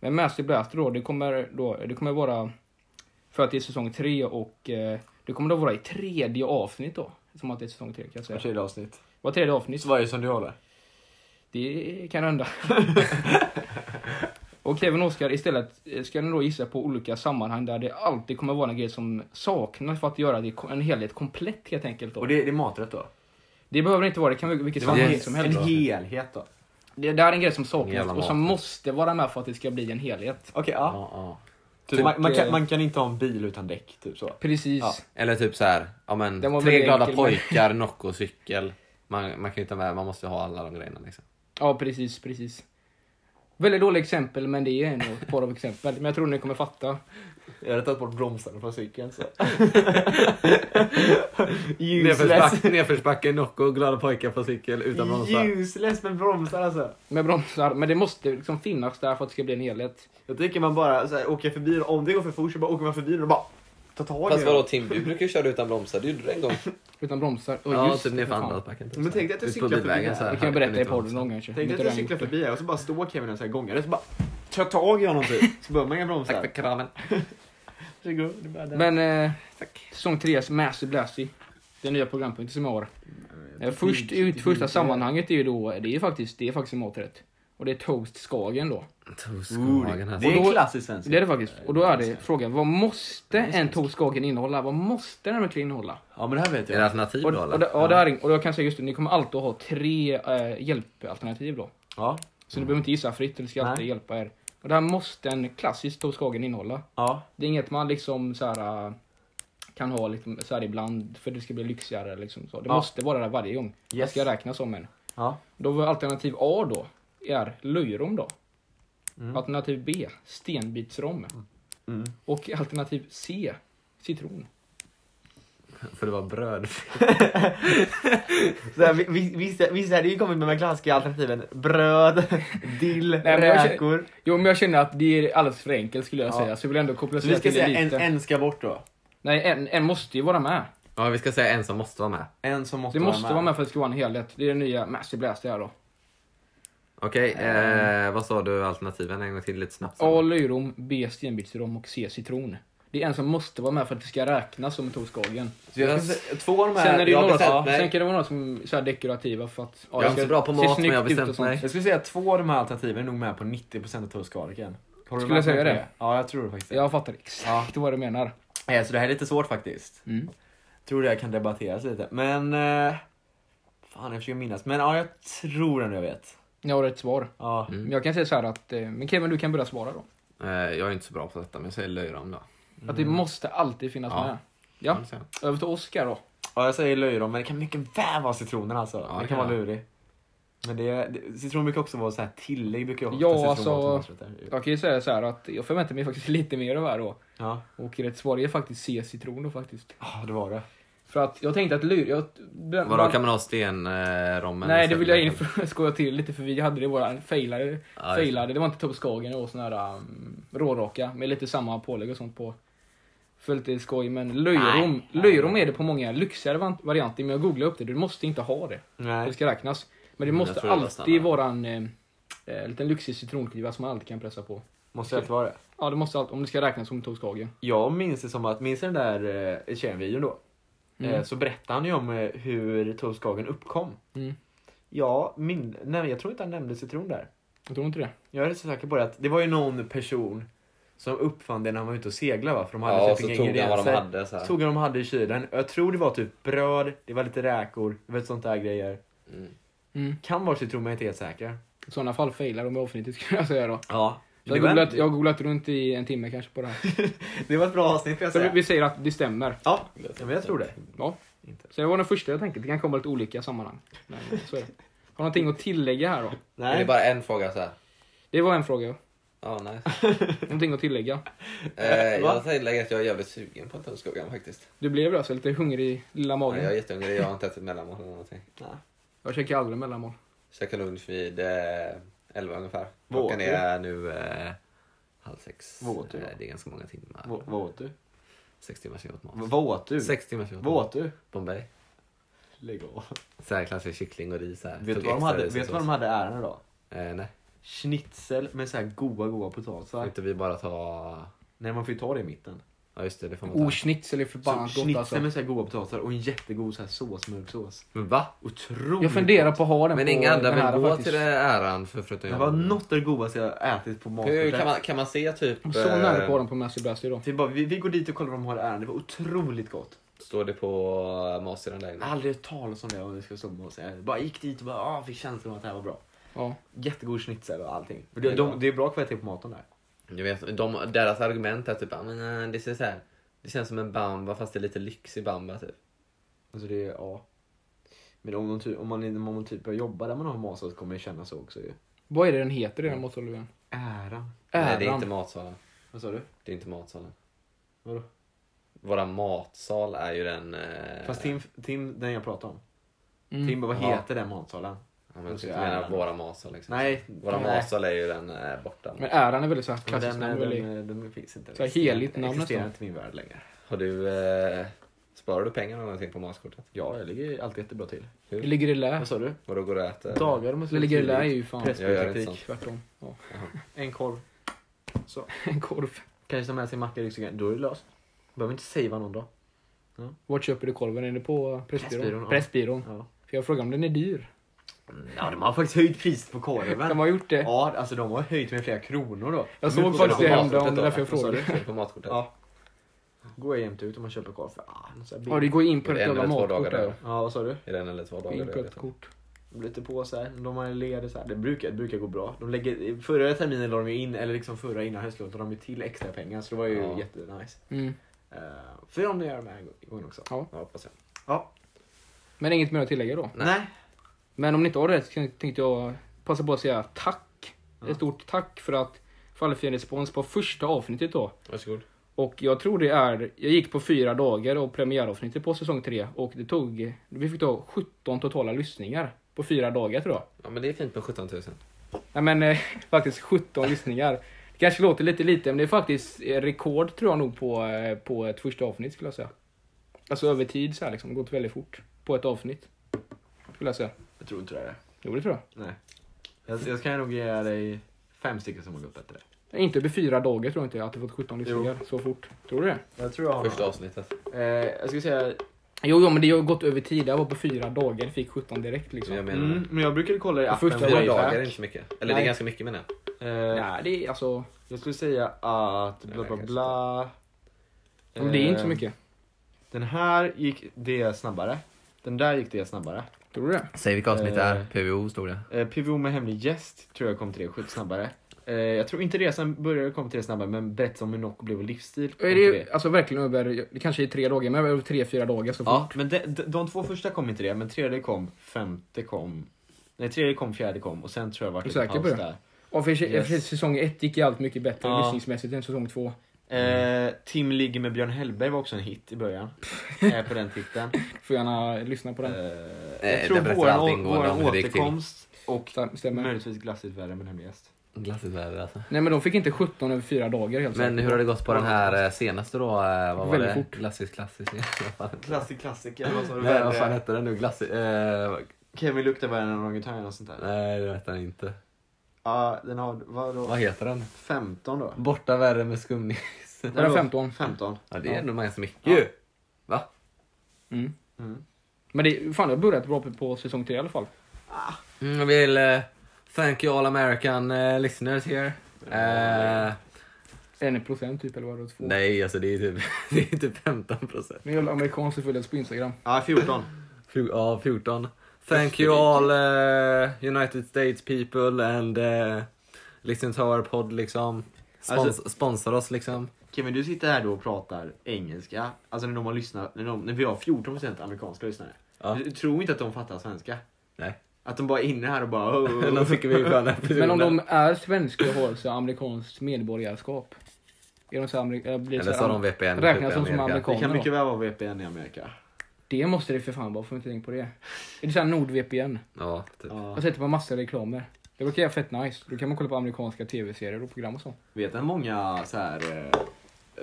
Speaker 3: Men Master Blaster då, det kommer, då, det kommer vara för att det är säsong tre och eh, det kommer då vara i tredje avsnitt då. Som att det är säsong tre kan jag
Speaker 2: Vart
Speaker 3: säga.
Speaker 2: tredje avsnitt.
Speaker 3: Var tredje avsnitt.
Speaker 2: Så varje som du håller.
Speaker 3: Det kan hända. och Kevin och Oskar, istället eh, ska ni då gissa på olika sammanhang där det alltid kommer vara en grej som saknas för att göra det en helhet komplett helt enkelt. Då.
Speaker 2: Och
Speaker 3: Det,
Speaker 2: det, det är maträtt då?
Speaker 3: behöver inte vara, det kan vara vilket
Speaker 2: Det var en,
Speaker 3: sammanhang
Speaker 1: Yes.
Speaker 3: som
Speaker 2: som
Speaker 3: helst.
Speaker 2: en helhet då? Okej,
Speaker 3: Det, det här är en grej som
Speaker 1: Jävla
Speaker 3: saknas och
Speaker 1: mat.
Speaker 3: som måste vara med för att det ska bli en helhet.
Speaker 2: ja.
Speaker 1: Ja, ja.
Speaker 2: Typ, man, man,
Speaker 3: eh,
Speaker 2: kan, man kan inte ha en bil utan däck, typ så.
Speaker 3: Precis.
Speaker 2: Ja.
Speaker 1: Eller typ så här, ja men
Speaker 3: Den var
Speaker 1: tre
Speaker 3: väl
Speaker 1: glada
Speaker 3: enkel, men-
Speaker 1: pojkar, Nocco, cykel. Man, man kan ju ta med, man måste ha alla de grejerna liksom.
Speaker 3: Ja, precis, precis. Väldigt dåliga exempel, men det är ändå ett par av exempel. Men jag tror ni kommer fatta.
Speaker 2: Jag hade tagit bort bromsarna från cykeln så. [LAUGHS] Useless.
Speaker 1: Nedförsbacke, nedförsbacke, Nocco, glada pojkar på cykel utan bromsar.
Speaker 2: Useless med bromsar alltså.
Speaker 3: Med bromsar, men det måste liksom finnas där för att det ska bli en helhet.
Speaker 2: Jag tycker man bara så här, åker förbi den. Om det går för fort så bara åker man förbi den och bara tar tag i
Speaker 5: Fast
Speaker 2: den.
Speaker 5: vadå Tim, du brukar ju köra utan bromsar. Det gjorde du en gång.
Speaker 3: Utan bromsar. Oh,
Speaker 1: Ja,
Speaker 3: just
Speaker 1: typ
Speaker 3: det,
Speaker 1: nerför
Speaker 3: för fan.
Speaker 1: andrasbacken.
Speaker 2: Men tänk dig att du
Speaker 1: Ut på
Speaker 2: cyklar förbi
Speaker 1: bilvägen så här.
Speaker 3: Det kan jag berätta i
Speaker 1: Härligt,
Speaker 3: podden
Speaker 1: liksom.
Speaker 3: någon gång kanske.
Speaker 2: Tänk dig
Speaker 3: Inte
Speaker 2: att du
Speaker 3: redan
Speaker 2: cyklar
Speaker 3: gjort det.
Speaker 2: förbi här och så bara står Kevin och så här gångar och så bara tar tag i honom typ. Så behöver man inga
Speaker 1: Tack för
Speaker 2: bromsar.
Speaker 1: kramen.
Speaker 3: Men eh, säsong 3, Master Blasty. Den nya programpunkten som jag har. Eh, Först ut, första sammanhanget är ju då, det är faktiskt, det är faktiskt en maträtt. Och det är Toast Skagen då.
Speaker 1: Toastkragen här.
Speaker 2: Det är
Speaker 3: Och då-
Speaker 2: klassiskt svenskt.
Speaker 3: Det är det faktiskt. Och då är det frågan, vad måste en Toast Skagen innehålla? Vad måste den verkligen innehålla?
Speaker 2: Ja men det här vet
Speaker 1: Är det
Speaker 2: jag.
Speaker 1: alternativ
Speaker 3: Och,
Speaker 1: då
Speaker 3: och,
Speaker 1: eller?
Speaker 3: det, ja, det här, är- och jag kan säga just det, ni kommer alltid ha tre eh, hjälpalternativ då.
Speaker 2: Ja.
Speaker 3: Så ni behöver inte gissa fritt, det ska alltid
Speaker 2: Nej.
Speaker 3: hjälpa er. Och det här måste en klassisk Toskagen innehålla.
Speaker 2: Ja.
Speaker 3: Det är inget man liksom så här eh, kan ha liksom så här ibland för det ska bli lyxigare liksom så. Det
Speaker 2: Ja.
Speaker 3: måste vara där varje gång. Det
Speaker 2: Yes.
Speaker 3: ska räknas som en.
Speaker 2: Ja.
Speaker 3: Då var alternativ A då, är löjrom då. Alternativ B, stenbitsrom.
Speaker 2: Mm.
Speaker 3: Och alternativ C, citron.
Speaker 1: För det var bröd.
Speaker 2: Så här, vi- vi- vissa, vissa hade ju kommit med de klassiska alternativen bröd, [LAUGHS] dill,
Speaker 3: men jag känner-
Speaker 2: räkor.
Speaker 3: Jo men jag känner att det är alldeles för enkelt skulle jag
Speaker 2: Ja.
Speaker 3: säga, så jag vill ändå koppla
Speaker 2: Så vi
Speaker 3: till
Speaker 2: ska
Speaker 3: det
Speaker 2: säga en,
Speaker 3: lite.
Speaker 2: en ska bort då.
Speaker 3: Nej, en, en måste ju vara med.
Speaker 1: Ja, vi ska säga en som måste vara med.
Speaker 2: En som måste,
Speaker 3: Det måste vara med för att det ska vara en helhet. Det är den nya Master Blaster här då.
Speaker 1: Okej, eh, vad sa du alternativen en gång till lite snabbt?
Speaker 3: A. Löjrom, B. Stenbitsrom och C. Citron. Det är en som måste vara med för att det ska räknas som en Toskagen.
Speaker 2: Så jag ska säga, två av de här,
Speaker 3: Sen, är det ju
Speaker 2: jag,
Speaker 3: några,
Speaker 2: bestämt
Speaker 3: som-
Speaker 2: mig.
Speaker 3: sen kan det vara några som är så här dekorativa för att... Ja,
Speaker 1: Jag
Speaker 3: det
Speaker 1: är inte
Speaker 3: ska
Speaker 1: bra på
Speaker 3: se
Speaker 1: mat, men
Speaker 3: snyggt
Speaker 1: jag har
Speaker 3: ut och
Speaker 1: bestämt
Speaker 3: sånt.
Speaker 1: mig.
Speaker 2: jag skulle säga att två av de här alternativen är nog med på 90% av tullskaliken.
Speaker 3: Skulle jag säga det?
Speaker 2: Ja, jag tror det faktiskt.
Speaker 3: Jag fattar exakt vad du menar.
Speaker 2: Eh, Så det här är lite svårt faktiskt.
Speaker 3: Mm.
Speaker 2: Tror det här kan debatteras lite. Men... Eh, fan, jag försöker minnas. Men ja, jag tror ändå jag vet.
Speaker 3: Jag har ett svar.
Speaker 2: Ja.
Speaker 7: Mm.
Speaker 3: Jag kan säga så här att, eh, men Kevin du kan börja svara då.
Speaker 7: Eh, jag är inte så bra på detta, men jag säger löjrom då.
Speaker 3: Att
Speaker 1: Mm.
Speaker 3: det måste alltid finnas
Speaker 7: Ja.
Speaker 3: med.
Speaker 7: Kan
Speaker 3: Ja,
Speaker 7: du säga?
Speaker 3: över till Oscar då.
Speaker 2: ja, jag säger löjrom, men det kan mycket väl vara citronen alltså.
Speaker 7: Ja,
Speaker 2: det
Speaker 7: det
Speaker 2: kan
Speaker 7: kan
Speaker 2: vara lurig. Men det, det, citron brukar också vara så här tillägg. Brukar jag ofta
Speaker 3: Ja,
Speaker 2: citron
Speaker 3: alltså-
Speaker 2: vara till maträtter.
Speaker 3: Jag kan ju säga så här att jag förväntar mig faktiskt [LAUGHS] lite mer av det här då.
Speaker 2: Ja,
Speaker 3: Och rätt svar är faktiskt C-citron då faktiskt.
Speaker 2: Ja, det var det.
Speaker 3: För att jag tänkte att lyr... Jag, den-
Speaker 7: Vadå, kan man ha
Speaker 1: eh,
Speaker 7: stenrommen?
Speaker 3: Nej, det vill jag in för att skoja till lite för vi hade det i våra failade.
Speaker 7: Ja, just det.
Speaker 3: failade. Det var inte Tobbe Skagen, det var sån här um, råraka med lite samma pålägg och sånt på. För lite skoj, men löjrom, löjrom är det på många lyxigare van- varianter. Men jag googlade upp det, du måste inte ha det. Det
Speaker 2: Nej.
Speaker 3: ska räknas. Men det
Speaker 7: Mm, jag
Speaker 3: måste
Speaker 7: tror det var
Speaker 3: alltid
Speaker 7: standard.
Speaker 3: vara en eh, eh, liten lyxig citronskiva som man alltid kan pressa på.
Speaker 2: Måste det alltid vara det?
Speaker 3: Ja, det måste alltid, om det ska räknas som Tobbe Skagen.
Speaker 2: Jag minns det som att, minns du den där eh, Tjejen-videon då?
Speaker 3: Mm.
Speaker 2: Eh, så berättade han ju om eh, hur Toastkagen uppkom.
Speaker 3: Mm.
Speaker 2: Ja, min, nej, jag tror inte han nämnde citron där.
Speaker 3: Jag tror inte det.
Speaker 2: Jag är rätt så säker på det att det var ju någon person som uppfann det när han var ute och seglade va? För de hade
Speaker 1: Ja,
Speaker 2: typ
Speaker 1: och så
Speaker 2: inga
Speaker 1: tog han vad de
Speaker 2: ingredienser.
Speaker 1: hade så
Speaker 2: Så
Speaker 1: här.
Speaker 2: Tog han vad de hade i kylen. Och Jag tror det var typ bröd, det var lite räkor, det var sånt där grejer.
Speaker 1: Mm.
Speaker 3: Mm.
Speaker 2: Kan vara citron men jag är inte helt säker.
Speaker 3: I sådana fall failar de i avsnittet skulle jag säga då.
Speaker 2: Ja.
Speaker 3: Jag
Speaker 2: Det var,
Speaker 3: har, googlat, jag har googlat runt i en timme kanske på det här.
Speaker 2: det var ett bra avsnitt får jag
Speaker 3: Så vi-
Speaker 2: säga.
Speaker 3: vi säger att det stämmer.
Speaker 2: Ja, ja, men jag tror det.
Speaker 3: Ja.
Speaker 2: Inte.
Speaker 3: Så det var den första jag tänkte. Det kan komma lite olika sammanhang. Men så är det. Har du någonting att tillägga här då?
Speaker 1: Men Det är
Speaker 2: Nej.
Speaker 1: bara en fråga så här.
Speaker 3: Det var en fråga.
Speaker 1: Ja, nice.
Speaker 3: Någonting att tillägga.
Speaker 2: [LAUGHS]
Speaker 1: Eh,
Speaker 2: Va?
Speaker 1: jag tillägger att jag är jävligt sugen på Tunnskogan faktiskt.
Speaker 3: Du blev alltså lite hungrig i lilla
Speaker 1: Ja,
Speaker 3: magen.
Speaker 1: jag är jättehungrig, jag har inte ätit mellanmål eller någonting.
Speaker 3: Jag käkar aldrig mellanmål.
Speaker 1: Käkar lunch vid eh, 11 ungefär. Klockan
Speaker 2: Våt,
Speaker 1: är nu eh, halv sex.
Speaker 2: Våt, ja.
Speaker 1: Eh, det är ganska många timmar.
Speaker 2: Vad vad åt du?
Speaker 1: Sex timmars jag åt mat.
Speaker 2: Vad åt du?
Speaker 1: Sex timmars jag åt
Speaker 2: Vad
Speaker 1: mat.
Speaker 2: åt du?
Speaker 1: Bombay.
Speaker 2: Lägg av.
Speaker 1: Så här klassisk kyckling och ris. så Här.
Speaker 2: Vet du
Speaker 1: Tog
Speaker 2: vad de
Speaker 1: extra
Speaker 2: hade,
Speaker 1: ris och
Speaker 2: vet du vad de
Speaker 1: sås.
Speaker 2: hade äran idag?
Speaker 1: Eh, nej,
Speaker 2: Schnitzel med så här goa, goa
Speaker 1: får
Speaker 2: potatisar.
Speaker 1: inte vi bara ta...
Speaker 2: Nej, man får ju ta det i mitten.
Speaker 1: Ja just det, det får man ta.
Speaker 3: Oh, schnitzel är
Speaker 2: Så
Speaker 3: förbannat gott
Speaker 2: schnitzel
Speaker 3: alltså.
Speaker 2: med så här goda potatisar och en jättegod så här sås, mörksås.
Speaker 1: Men va?
Speaker 2: Otroligt
Speaker 3: Jag funderar på att ha den
Speaker 1: Men
Speaker 3: på
Speaker 1: inga andra
Speaker 3: den här
Speaker 1: vill gå
Speaker 3: faktiskt.
Speaker 1: till det äran för förutom
Speaker 2: Det
Speaker 1: jag.
Speaker 2: var något av det godaste jag ätit på
Speaker 1: Hur kan
Speaker 2: matbordet.
Speaker 1: man, kan man se typ...
Speaker 3: Så
Speaker 1: eh,
Speaker 3: nära på den på Messi Brassy då.
Speaker 2: Det är bara, vi, vi går dit och kollar om de har äran. Det var otroligt gott.
Speaker 1: Står det på massidan där
Speaker 2: Jag
Speaker 1: inne?
Speaker 2: har aldrig hört talas om det om vi ska somna och säga. Jag bara gick dit och bara, ah, fick känslan av att det här var bra.
Speaker 3: Ja.
Speaker 2: Jättegod schnitzel och allting. Det,
Speaker 1: Det är
Speaker 2: de,
Speaker 1: bra.
Speaker 2: det är bra kvalitet på maten där.
Speaker 1: Jag vet, de, deras argument är typ "Ah, men, eh, det, ser så här, det känns som en bamba fast det är lite lyxig bamba typ.
Speaker 2: Alltså det är, ja. Men om, de, ty- om, man, om man typ börjar jobba där man har matsås kommer det kännas så också ju.
Speaker 3: Vad är det den heter i den matsalen?
Speaker 2: Äran.
Speaker 1: Nej det är inte
Speaker 3: Äran.
Speaker 1: matsalen.
Speaker 2: Vad sa du?
Speaker 1: Det är inte matsalen.
Speaker 2: Vadå?
Speaker 1: Våra matsal är ju den... Eh,
Speaker 2: Fast Tim, Tim, den jag pratade om. Tim
Speaker 3: Mm.
Speaker 2: bara, vad
Speaker 1: Ja.
Speaker 2: heter den matsalen?
Speaker 1: Ja, men jag
Speaker 2: Alltså,
Speaker 1: skulle mena
Speaker 2: äran.
Speaker 1: våra matsal liksom.
Speaker 2: Nej.
Speaker 1: Våra
Speaker 2: nej.
Speaker 1: matsal är ju den eh, borta.
Speaker 3: Men äh. äran är väldigt så här
Speaker 2: Men
Speaker 3: klassiskt
Speaker 2: Den,
Speaker 3: namn.
Speaker 2: den,
Speaker 3: väldigt-
Speaker 2: den, den finns inte.
Speaker 3: Så här heligt namn
Speaker 2: Existerar
Speaker 3: nästan.
Speaker 2: inte i min värld längre.
Speaker 1: Har du... Eh, sparar du pengar någonting på matkortet?
Speaker 2: Ja, jag ligger alltid jättebra till.
Speaker 3: Det ligger i lä.
Speaker 2: Vad sa du?
Speaker 1: Och då går eh, du och äter?
Speaker 2: Dagar måste
Speaker 3: Det ligger i
Speaker 2: tidigt.
Speaker 3: lä är ju fan
Speaker 1: Jag gör inte
Speaker 2: Pressbyråtaktik.
Speaker 3: tvärtom. Ja. [LAUGHS]
Speaker 2: En korv.
Speaker 3: En korv.
Speaker 2: Kanske ta med sig macka i ryggsäcken. Då är det löst. Behöver inte savea någon dag.
Speaker 3: Vart köper du korven? Är det på eh, Pressbyrån?
Speaker 2: Pressbyrån, ja.
Speaker 3: Pressbyrån.
Speaker 2: Ja.
Speaker 3: För jag frågade om den är dyr.
Speaker 2: ja, de har faktiskt höjt priset på korven.
Speaker 3: De har gjort det.
Speaker 2: Ja, alltså de har höjt med flera kronor då.
Speaker 3: Jag
Speaker 2: Men
Speaker 3: såg
Speaker 2: på-
Speaker 3: faktiskt
Speaker 1: på
Speaker 3: det
Speaker 1: maten,
Speaker 3: häromdagen, det
Speaker 1: då.
Speaker 3: är därför jag
Speaker 1: Vad sa
Speaker 3: frågade.
Speaker 1: du? Ser du På matkortet?
Speaker 2: Ja. Går jag jämt ut och man köper korv för ah, så här
Speaker 3: Ja,
Speaker 2: billigt.
Speaker 3: det går in på
Speaker 1: Är det
Speaker 3: ett
Speaker 1: en
Speaker 3: jävla
Speaker 1: eller två
Speaker 3: matkort
Speaker 1: dagar
Speaker 3: där.
Speaker 1: där?
Speaker 2: Ja, vad sa du?
Speaker 1: Är det en eller två dagar?
Speaker 3: In
Speaker 1: Jag
Speaker 3: på
Speaker 1: vet
Speaker 3: ett
Speaker 1: inte.
Speaker 3: kort.
Speaker 2: Lite påsar, de har leder så här. Det brukar, det brukar gå bra. De lägger, förra terminen la de ju in, eller liksom förra innan höstlovet, la de ju till extra pengar så det var ju
Speaker 1: Ja.
Speaker 2: jättenice.
Speaker 3: Mm.
Speaker 2: Uh, för om ni gör de här gången också.
Speaker 1: Ja, hoppas jag.
Speaker 2: Ja.
Speaker 3: Men inget mer att tillägga då.
Speaker 1: Nej.
Speaker 2: Nej.
Speaker 3: Men om ni inte har det så tänkte jag passa på att säga tack. Ett stort tack för att Fallfin Respons på första avsnittet då.
Speaker 1: Varsågod.
Speaker 3: Och jag tror det är, jag gick på fyra dagar och premiäravsnittet på säsong tre och det tog, vi fick ta 17 totala lyssningar på fyra dagar tror jag.
Speaker 1: Ja, men det är fint med 17 000.
Speaker 3: Nej men eh, [LAUGHS] faktiskt 17 lyssningar. Det kanske låter lite lite men det är faktiskt eh, rekord tror jag nog på, eh, på ett första avsnitt skulle jag säga. Alltså över tid så här liksom, gått väldigt fort på ett avsnitt. Skulle jag säga.
Speaker 2: Jag tror inte det är det.
Speaker 3: Jo det tror jag.
Speaker 2: Nej. Jag, jag ska nog ge dig fem stycken som har gått bättre.
Speaker 3: Inte över fyra dagar tror jag inte att det fått 17 lyssningar så fort. Tror du det?
Speaker 2: Jag tror jag har
Speaker 1: Första avsnittet.
Speaker 2: Eh, jag skulle säga,
Speaker 3: Jo, jo men det har gått över tid. Jag var på fyra dagar, fick 17 direkt liksom.
Speaker 1: Jag menar,
Speaker 2: mm, men jag brukade kolla i appen.
Speaker 3: första
Speaker 1: Fyra
Speaker 3: Wayback.
Speaker 1: dagar är inte så mycket. Eller det
Speaker 2: Nej.
Speaker 1: är ganska mycket menar jag.
Speaker 2: Eh,
Speaker 3: Nej, det är alltså...
Speaker 2: jag skulle säga att bla bla bla.
Speaker 3: Men det är inte så
Speaker 2: Eh,
Speaker 3: mycket.
Speaker 2: Den här gick det snabbare. Den där gick det snabbare.
Speaker 3: Tror du det?
Speaker 8: Säg vilka avsnitt det
Speaker 2: Eh.
Speaker 8: är. PVO stod det.
Speaker 2: Eh, PVO med hemlig gäst tror jag kom till det skjut snabbare. Eh, jag tror inte resan började kom till det snabbare men berättelsen om hur Nocco blev vår livsstil kom
Speaker 3: Är
Speaker 2: till
Speaker 3: det
Speaker 2: det.
Speaker 3: alltså verkligen över, det kanske är tre dagar, men över tre, fyra dagar så
Speaker 2: Ja,
Speaker 3: fort.
Speaker 2: men de, de, de två första kom inte det men tredje kom, femte kom. Nej tredje kom, fjärde kom och sen tror jag vart
Speaker 3: Du är
Speaker 2: det
Speaker 3: säker
Speaker 2: paus
Speaker 3: på det?
Speaker 2: där.
Speaker 3: Och för, sig-
Speaker 2: Yes.
Speaker 3: för sig- säsong ett gick ju allt mycket bättre
Speaker 2: Ja.
Speaker 3: lyssningsmässigt än säsong två.
Speaker 2: Eh, Tim ligger med Björn Hellberg var också en hit i
Speaker 3: [LAUGHS]
Speaker 2: början. Eh, på den titeln.
Speaker 3: Får gärna lyssna på
Speaker 2: Eh,
Speaker 3: den.
Speaker 2: jag
Speaker 1: Eh,
Speaker 2: tror
Speaker 1: där berättar
Speaker 2: våran,
Speaker 1: allt ingående
Speaker 2: våran
Speaker 1: om hur det gick till.
Speaker 2: återkomst och
Speaker 3: Sta- Stämmer.
Speaker 2: möjligtvis glassigt värre med hemlig gäst.
Speaker 1: Glassigt väder alltså.
Speaker 3: Nej men de fick inte 17 över fyra dagar helt
Speaker 1: Men
Speaker 3: säkert.
Speaker 1: hur har det gått på den här eh, senaste då? Eh, Vad var
Speaker 3: Väldigt
Speaker 1: det?
Speaker 3: fort.
Speaker 1: Klassisk, klassisk. Vad fan-
Speaker 2: Klassik klassiker. Vad sa du?
Speaker 1: Nej, vad fan
Speaker 2: Värre.
Speaker 1: hette den nu? Glassig... Eh, vad-
Speaker 2: Kevin luktar värre än en orangutang eller något sånt där.
Speaker 1: nej, det vet han inte.
Speaker 2: Ja, den har, vadå?
Speaker 1: Vad heter den?
Speaker 2: 15 då?
Speaker 1: Borta värre med skumnis.
Speaker 3: Var det 15?
Speaker 2: 15.
Speaker 1: Ja, det är
Speaker 3: Ja.
Speaker 1: ändå ganska mycket ju. Va?
Speaker 3: Mm.
Speaker 2: Mm.
Speaker 3: Men det, fan det har börjat bra på, på säsong tre i alla fall.
Speaker 1: Mm, jag vill eh, thank you all American eh, listeners here. Eh,
Speaker 3: En procent typ eller vad det var, två.
Speaker 1: nej, alltså det är typ, [LAUGHS] det är typ 15 procent.
Speaker 3: Men jag är amerikan så följer oss på Instagram.
Speaker 2: Ja, 14.
Speaker 1: Ja, 14. Thank you all eh, United States people and eh, listen to our pod liksom. Spons-
Speaker 2: Alltså-
Speaker 1: sponsor oss liksom.
Speaker 2: Kevin, du sitter här då och pratar engelska. Alltså när de har lyssnat, när, de, när vi har 14% amerikanska lyssnare.
Speaker 1: Ja.
Speaker 2: Du, du tror inte att de fattar svenska?
Speaker 1: Nej.
Speaker 2: Att de bara är inne här och bara... "Oh,
Speaker 1: [LAUGHS] Då fick vi sköna
Speaker 3: Men om de är svenska och har så amerikanskt medborgarskap. Är de så amerik- äh, blir
Speaker 1: Eller
Speaker 3: så
Speaker 1: så har
Speaker 3: här-
Speaker 1: de VPN.
Speaker 3: Räknas de som
Speaker 1: typ, Amerika.
Speaker 3: amerikaner?
Speaker 2: Det kan mycket väl vara VPN i Amerika.
Speaker 3: Det måste det för fan vara, får inte tänka på det. Är det såhär NordVPN?
Speaker 1: Ja, typ.
Speaker 2: Ja.
Speaker 3: Jag sätter på massa reklamer. Det brukar vara fett nice. Då kan man kolla på amerikanska tv-serier och program och sånt.
Speaker 2: Vet att många så här eh,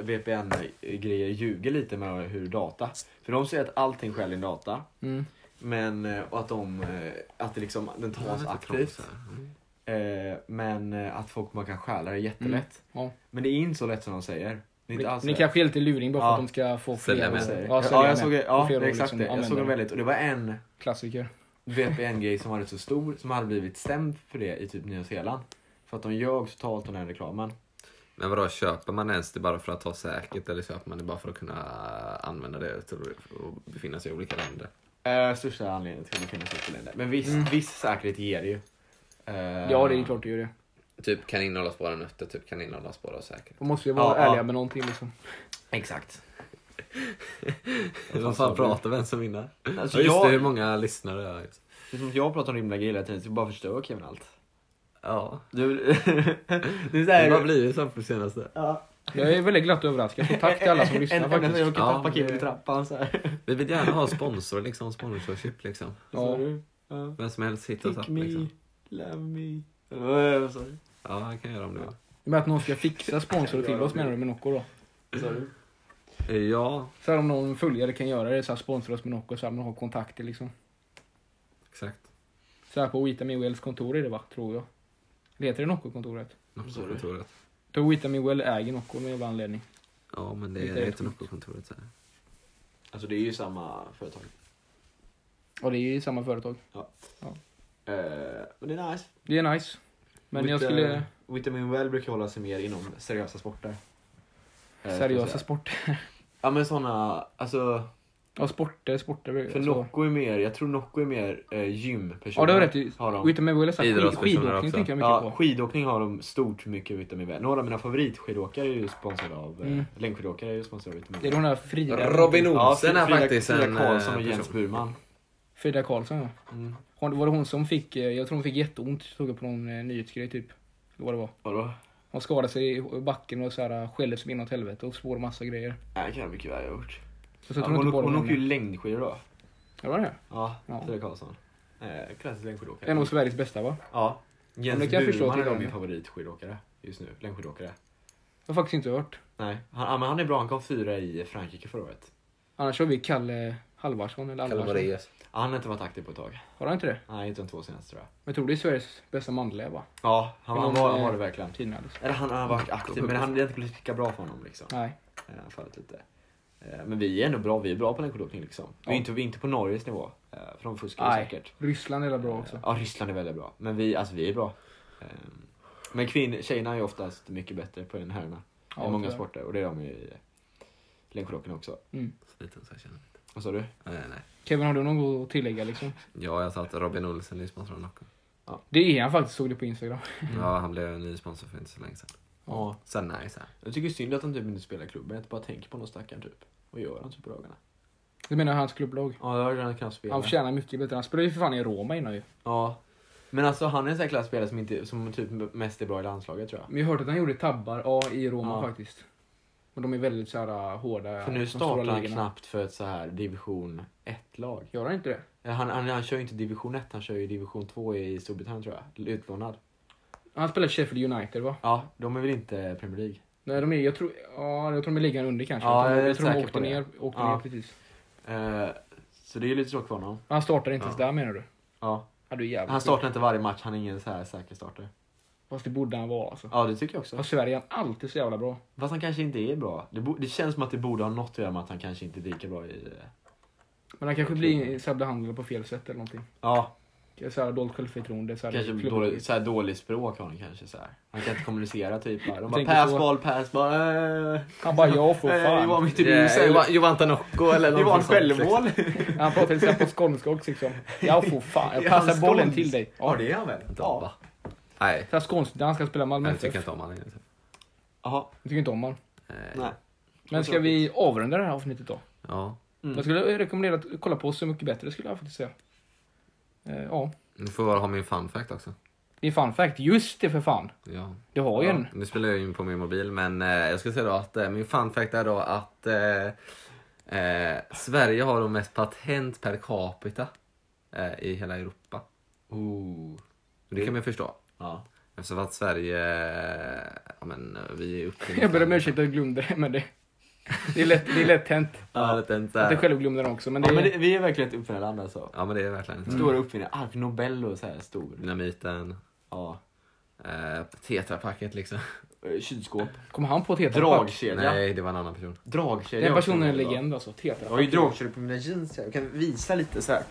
Speaker 2: VPN-grejer ljuger lite med hur data. För de säger att allting skäl i data.
Speaker 3: Mm.
Speaker 2: Men, eh, och att de, eh, att det liksom, den
Speaker 1: Ja,
Speaker 2: tas
Speaker 1: lite
Speaker 2: aktivt.
Speaker 1: krångligt så här. Mm.
Speaker 2: Eh, Men eh, att folk bara kan stjäla det jättelätt.
Speaker 3: Mm. Ja.
Speaker 2: Men det är inte så lätt som de säger. Det är inte alls
Speaker 3: Ni, ni
Speaker 2: lätt.
Speaker 3: kanske är lite luring bara för
Speaker 2: alltså- Ja.
Speaker 3: att de ska få fler.
Speaker 1: Sälja med.
Speaker 2: Ja,
Speaker 3: sälja
Speaker 2: ja,
Speaker 3: med.
Speaker 2: jag såg,
Speaker 3: Få
Speaker 2: ja
Speaker 3: fler att
Speaker 2: exakt det. Jag
Speaker 3: använda
Speaker 2: såg en
Speaker 3: det.
Speaker 2: väldigt, och det var en
Speaker 3: Klassiker.
Speaker 2: VPN-grej som var rätt så stor som hade blivit stämd för det i typ Nya Zeeland. För att de ljög totalt om den här reklamen.
Speaker 1: Men vadå, köper man ens det bara för att ha säkert eller köper man det bara för att kunna eh, använda det till att befinna sig i olika länder?
Speaker 2: Eh, största anledningen till att det finns ett länder. Men viss, viss säkerhet ger det ju. Eh,
Speaker 3: Mm. Ja, det är klart det gör det.
Speaker 1: Typ kan innehålla spår av nötter, typ kan innehålla spår av säkerhet.
Speaker 3: De måste ju vara
Speaker 2: Ja,
Speaker 3: ärliga
Speaker 2: ja.
Speaker 3: med någonting liksom.
Speaker 2: Exakt.
Speaker 1: Vad fan pratar vi ens om innan?
Speaker 2: Alltså,
Speaker 1: Ja, just det,
Speaker 2: jag-
Speaker 1: hur många lyssnare jag har. just.
Speaker 2: Det är som att jag pratar om rymliga grejer hela tiden, så jag bara förstör Kevin allt.
Speaker 1: Ja,
Speaker 2: [LAUGHS] Du, det är så
Speaker 1: det har
Speaker 2: här,
Speaker 1: blivit så på senaste.
Speaker 3: Jag är väldigt glatt överraskad. Så tack till alla som
Speaker 2: [LAUGHS]
Speaker 3: lyssnar
Speaker 2: en enda
Speaker 3: faktiskt.
Speaker 2: jag kan
Speaker 1: Ja,
Speaker 2: tappa Kevin
Speaker 3: det-
Speaker 2: i trappan så här.
Speaker 1: Vi vill gärna ha sponsor, liksom sponsorship liksom.
Speaker 2: Ja.
Speaker 3: Ja.
Speaker 2: Ja.
Speaker 1: Vem som helst hittar oss
Speaker 2: Pick
Speaker 1: app
Speaker 2: me,
Speaker 1: liksom.
Speaker 2: love me. Eller Vad sa du?
Speaker 1: Ja, jag kan göra om du
Speaker 3: Men att någon ska fixa sponsorer till oss menar du med Nocco då?
Speaker 2: Vad sa du?
Speaker 1: vill. Eh, Ja,
Speaker 3: Så här om någon följare kan göra det, så här sponsra oss med Nocco så här man har kontakter liksom.
Speaker 1: exakt.
Speaker 3: Så här på Vitamin Wells kontor är det va, tror jag. Eller heter det Nocco-kontoret?
Speaker 1: Nocco-kontoret.
Speaker 3: Då Vitamin Well äger Nocco med jävla anledning.
Speaker 1: Ja, men det
Speaker 3: Lite
Speaker 1: heter Nocco-kontoret. så här.
Speaker 2: Alltså det är ju samma företag.
Speaker 3: Och det är ju samma företag.
Speaker 2: Eh, men det är nice.
Speaker 3: Det är nice. Men jag
Speaker 2: Vita-
Speaker 3: skulle...
Speaker 2: Vitamin Well brukar hålla sig mer inom seriösa sporter. Eh, ska jag
Speaker 3: Seriösa
Speaker 2: säga.
Speaker 3: sporter. [LAUGHS]
Speaker 2: Ja men såna, alltså.
Speaker 3: Ja, sporter, sporter.
Speaker 2: För
Speaker 3: så.
Speaker 2: Nocco är mer, jag tror Nocco är mer eh, gympersoner.
Speaker 3: Ja, det har du rätt i.
Speaker 2: Har de.
Speaker 3: Vitamin Well är så här skid-
Speaker 1: Idrottspersoner
Speaker 3: skidåkning
Speaker 1: också.
Speaker 3: tänker jag mycket
Speaker 2: Ja,
Speaker 3: på.
Speaker 2: skidåkning har de stort mycket Vitamin Well. Några av mina favoritskidåkare är ju sponsrade av, eh,
Speaker 3: Mm.
Speaker 2: längdskidåkare är ju sponsrade av Vitamin
Speaker 3: Det är
Speaker 2: Well.
Speaker 3: de där Frida...
Speaker 1: Robin
Speaker 2: Ja,
Speaker 1: Olsen är
Speaker 2: Frida-
Speaker 1: faktiskt en
Speaker 2: Frida Karlsson och
Speaker 1: eh,
Speaker 2: Jens
Speaker 1: person.
Speaker 2: Burman.
Speaker 3: Frida Karlsson ja.
Speaker 2: Mm.
Speaker 3: Hon, var det hon som fick, eh, jag tror hon fick jätteont, såg jag på någon eh, nyhetsgrej typ. Eller vad det var.
Speaker 2: Vadå?
Speaker 3: Hon skadade sig i backen och så här eh, skällde sig inåt helvete och svor massa grejer.
Speaker 2: Nej, det kan jag mycket väl ha gjort.
Speaker 3: Och så
Speaker 2: Ja,
Speaker 3: tror
Speaker 2: hon
Speaker 3: jag inte
Speaker 2: åker-
Speaker 3: bollen
Speaker 2: hon åker ju
Speaker 3: henne.
Speaker 2: längdskidor då.
Speaker 3: Ja, var det?
Speaker 2: Ja,
Speaker 3: Ja.
Speaker 2: Frida Karlsson. Eh, klassisk
Speaker 3: Det är nog
Speaker 2: längdskidåkare.
Speaker 3: Sveriges bästa va?
Speaker 2: Ja.
Speaker 3: Ja,
Speaker 2: Jens
Speaker 3: men det kan jag förstå
Speaker 2: Burman är
Speaker 3: till
Speaker 2: nog
Speaker 3: den.
Speaker 2: min favoritskidåkare just nu. Längdskidåkare.
Speaker 3: Jag har faktiskt inte hört.
Speaker 2: Nej, han, ja, men han är bra. Han kom fyra i Frankrike förra året.
Speaker 3: Annars har vi Kalle Halvarsson eller
Speaker 1: Kalle
Speaker 3: Alvarsson.
Speaker 1: Moraeus.
Speaker 2: Ja, Han har inte varit aktiv på ett tag.
Speaker 3: Har han inte det?
Speaker 2: Nej, inte de två senaste tror jag.
Speaker 3: Men jag tror det är Sveriges bästa manliga va?
Speaker 2: Ja, han, han,
Speaker 3: Men
Speaker 2: var,
Speaker 3: de-
Speaker 2: han var det verkligen.
Speaker 3: Tina liksom.
Speaker 2: Eller han har varit aktiv, men han, det har inte blivit lika bra för honom liksom.
Speaker 3: Nej.
Speaker 2: Eh, Han fallit lite. Eh, Men vi är ändå bra. Vi är bra på längdskidåkning liksom. Vi är
Speaker 3: Ja.
Speaker 2: inte, vi är inte på Norges nivå. eh, För de fuskar ju
Speaker 3: Nej.
Speaker 2: säkert.
Speaker 3: Ryssland är väl bra också.
Speaker 2: Ja, Ryssland är väldigt bra. Men vi, alltså vi är bra. Eh, Men kvinn, tjejerna är ju oftast mycket bättre på än herrarna.
Speaker 3: Ja,
Speaker 2: I många
Speaker 3: tyvärr.
Speaker 2: sporter och det är de ju i längdskidåkning också.
Speaker 1: Sliten så jag känner.
Speaker 2: Vad sa du?
Speaker 1: Nej, nej.
Speaker 3: Kevin, har du något att tillägga liksom?
Speaker 1: Ja, jag sa att Robin Olsen är ny sponsor av Nocco.
Speaker 3: Det är han faktiskt, såg det på Instagram.
Speaker 1: Ja, han blev en ny sponsor för inte så länge sedan.
Speaker 2: Ja.
Speaker 1: Sen nej, så här.
Speaker 2: Jag tycker synd att han typ inte spelar i klubben. Jag bara tänker på någon stackaren typ. Vad gör han typ på dagarna?
Speaker 3: Det menar jag hans klubblag.
Speaker 2: Ja, jag har redan knappt
Speaker 3: Han
Speaker 2: spelat.
Speaker 3: tjänar mycket bättre. Han spelade ju för fan i Roma innan ju.
Speaker 2: Ja. Men alltså han är en sån här klasspelare som, inte, som typ mest är bra i landslaget tror jag.
Speaker 3: Men jag hörde att han gjorde tabbar, ja, i Roma
Speaker 2: Ja.
Speaker 3: faktiskt. Men de är väldigt så här äh, hårda.
Speaker 2: För
Speaker 3: de
Speaker 2: nu
Speaker 3: stora
Speaker 2: startar han
Speaker 3: ligorna.
Speaker 2: knappt för ett så här division 1-lag.
Speaker 3: Gör han inte det?
Speaker 2: Han, han, han kör ju inte division 1, han kör ju division 2 i Storbritannien tror jag. Utlånad.
Speaker 3: Han spelar i Sheffield United va?
Speaker 2: Ja, de är väl inte Premier League.
Speaker 3: Nej, de är, jag tror, ja, jag tror de är ligan under kanske.
Speaker 2: Ja,
Speaker 3: jag, tror-
Speaker 2: jag är
Speaker 3: jag tror de
Speaker 2: säker
Speaker 3: åkte
Speaker 2: på det.
Speaker 3: ner, åkte
Speaker 2: Ja.
Speaker 3: ner precis.
Speaker 2: Eh, så det är ju lite tråkigt för honom.
Speaker 3: Han startar inte ens där menar du?
Speaker 2: Ja.
Speaker 3: Ja, du är jävligt
Speaker 2: Han startar inte varje match, han är ingen så här säker startare.
Speaker 3: sjuk. Fast det borde han vara alltså.
Speaker 2: Ja, det tycker jag också.
Speaker 3: Ja. Sverige är han alltid så jävla bra.
Speaker 2: Fast han kanske inte är bra. Det, bo- det känns som att det borde ha något att göra med att han kanske inte är lika bra i...
Speaker 3: Men han kanske blir så här behandlad på fel sätt eller någonting.
Speaker 2: Ja,
Speaker 3: Så här, dolt självförtroende. Så här,
Speaker 2: kanske
Speaker 3: klubb-
Speaker 2: dålig, så här dålig språk har han kanske. Så här. Han kan inte kommunicera typ. Bara. De bara
Speaker 3: Tänker
Speaker 2: pass
Speaker 3: så.
Speaker 2: ball, pass ball. eh,
Speaker 3: Han bara
Speaker 2: [LAUGHS]
Speaker 3: ja för
Speaker 2: eh, You want
Speaker 3: fan.
Speaker 2: me to do
Speaker 1: Yeah,
Speaker 2: so?"
Speaker 1: Johan- Johan Tanocco eller
Speaker 2: Det var
Speaker 1: någonting
Speaker 2: ett
Speaker 1: sånt, liksom.
Speaker 2: självmål. [LAUGHS]
Speaker 3: Han pratar lite så här på skånska också liksom. Ja för fan,
Speaker 2: Är
Speaker 3: jag
Speaker 2: han
Speaker 3: passar bollen
Speaker 2: skånsk?
Speaker 3: till dig.
Speaker 2: Ja, det är han väl? Ja.
Speaker 1: Va? Nej,
Speaker 3: Så här skånskt, han ska spela Malmö
Speaker 1: jag tycker
Speaker 3: FF.
Speaker 1: inte om han längre. Typ.
Speaker 2: Jaha,
Speaker 3: Jag tycker inte om honom.
Speaker 1: Eh,
Speaker 2: nej.
Speaker 3: Men ska vi avrunda det här avsnittet då?
Speaker 1: Ja,
Speaker 2: Mm.
Speaker 3: Jag skulle rekommendera att kolla på Så Mycket Bättre skulle jag faktiskt säga. Eh, ja,
Speaker 1: nu får jag ha min fun fact också.
Speaker 3: det är fun fact. Just det för fan.
Speaker 1: Ja.
Speaker 3: Det har ju en.
Speaker 1: Nu spelar jag in på min mobil, men eh, jag ska säga då att eh, min fun fact är då att eh, eh, Sverige har de mest patent per capita eh, i hela Europa.
Speaker 2: Ooh.
Speaker 1: Det
Speaker 3: Mm.
Speaker 1: kan man ju förstå.
Speaker 2: Ja.
Speaker 1: Eftersom att Sverige, eh, ja men eh, vi är uppe
Speaker 3: [LAUGHS] Jag ber om ursäkt att jag glömde det, men det, det är lätt, det är lätt hänt.
Speaker 1: Ja, det är inte så
Speaker 3: Att jag
Speaker 1: här-
Speaker 3: själv glömde den också. Men det,
Speaker 2: Ja, men det, vi är verkligen ett uppfinnarland alltså.
Speaker 1: ja men det är verkligen
Speaker 3: Mm.
Speaker 1: inte så här.
Speaker 2: Stora uppfinnare. Alfred Nobel och så här stor.
Speaker 1: Dynamiten,
Speaker 2: Ja.
Speaker 1: eh, tetrapacket liksom.
Speaker 2: Eh, Kylskåp.
Speaker 3: Kom han på ett tetrapack?
Speaker 2: Dragkedja.
Speaker 1: Nej, det var en annan person.
Speaker 2: Dragkedja.
Speaker 3: Den personen är en
Speaker 2: också.
Speaker 3: legend alltså.
Speaker 2: Jag har ju
Speaker 3: Tetrapack.
Speaker 2: dragkedja på mina jeans här. Jag kan visa lite så här.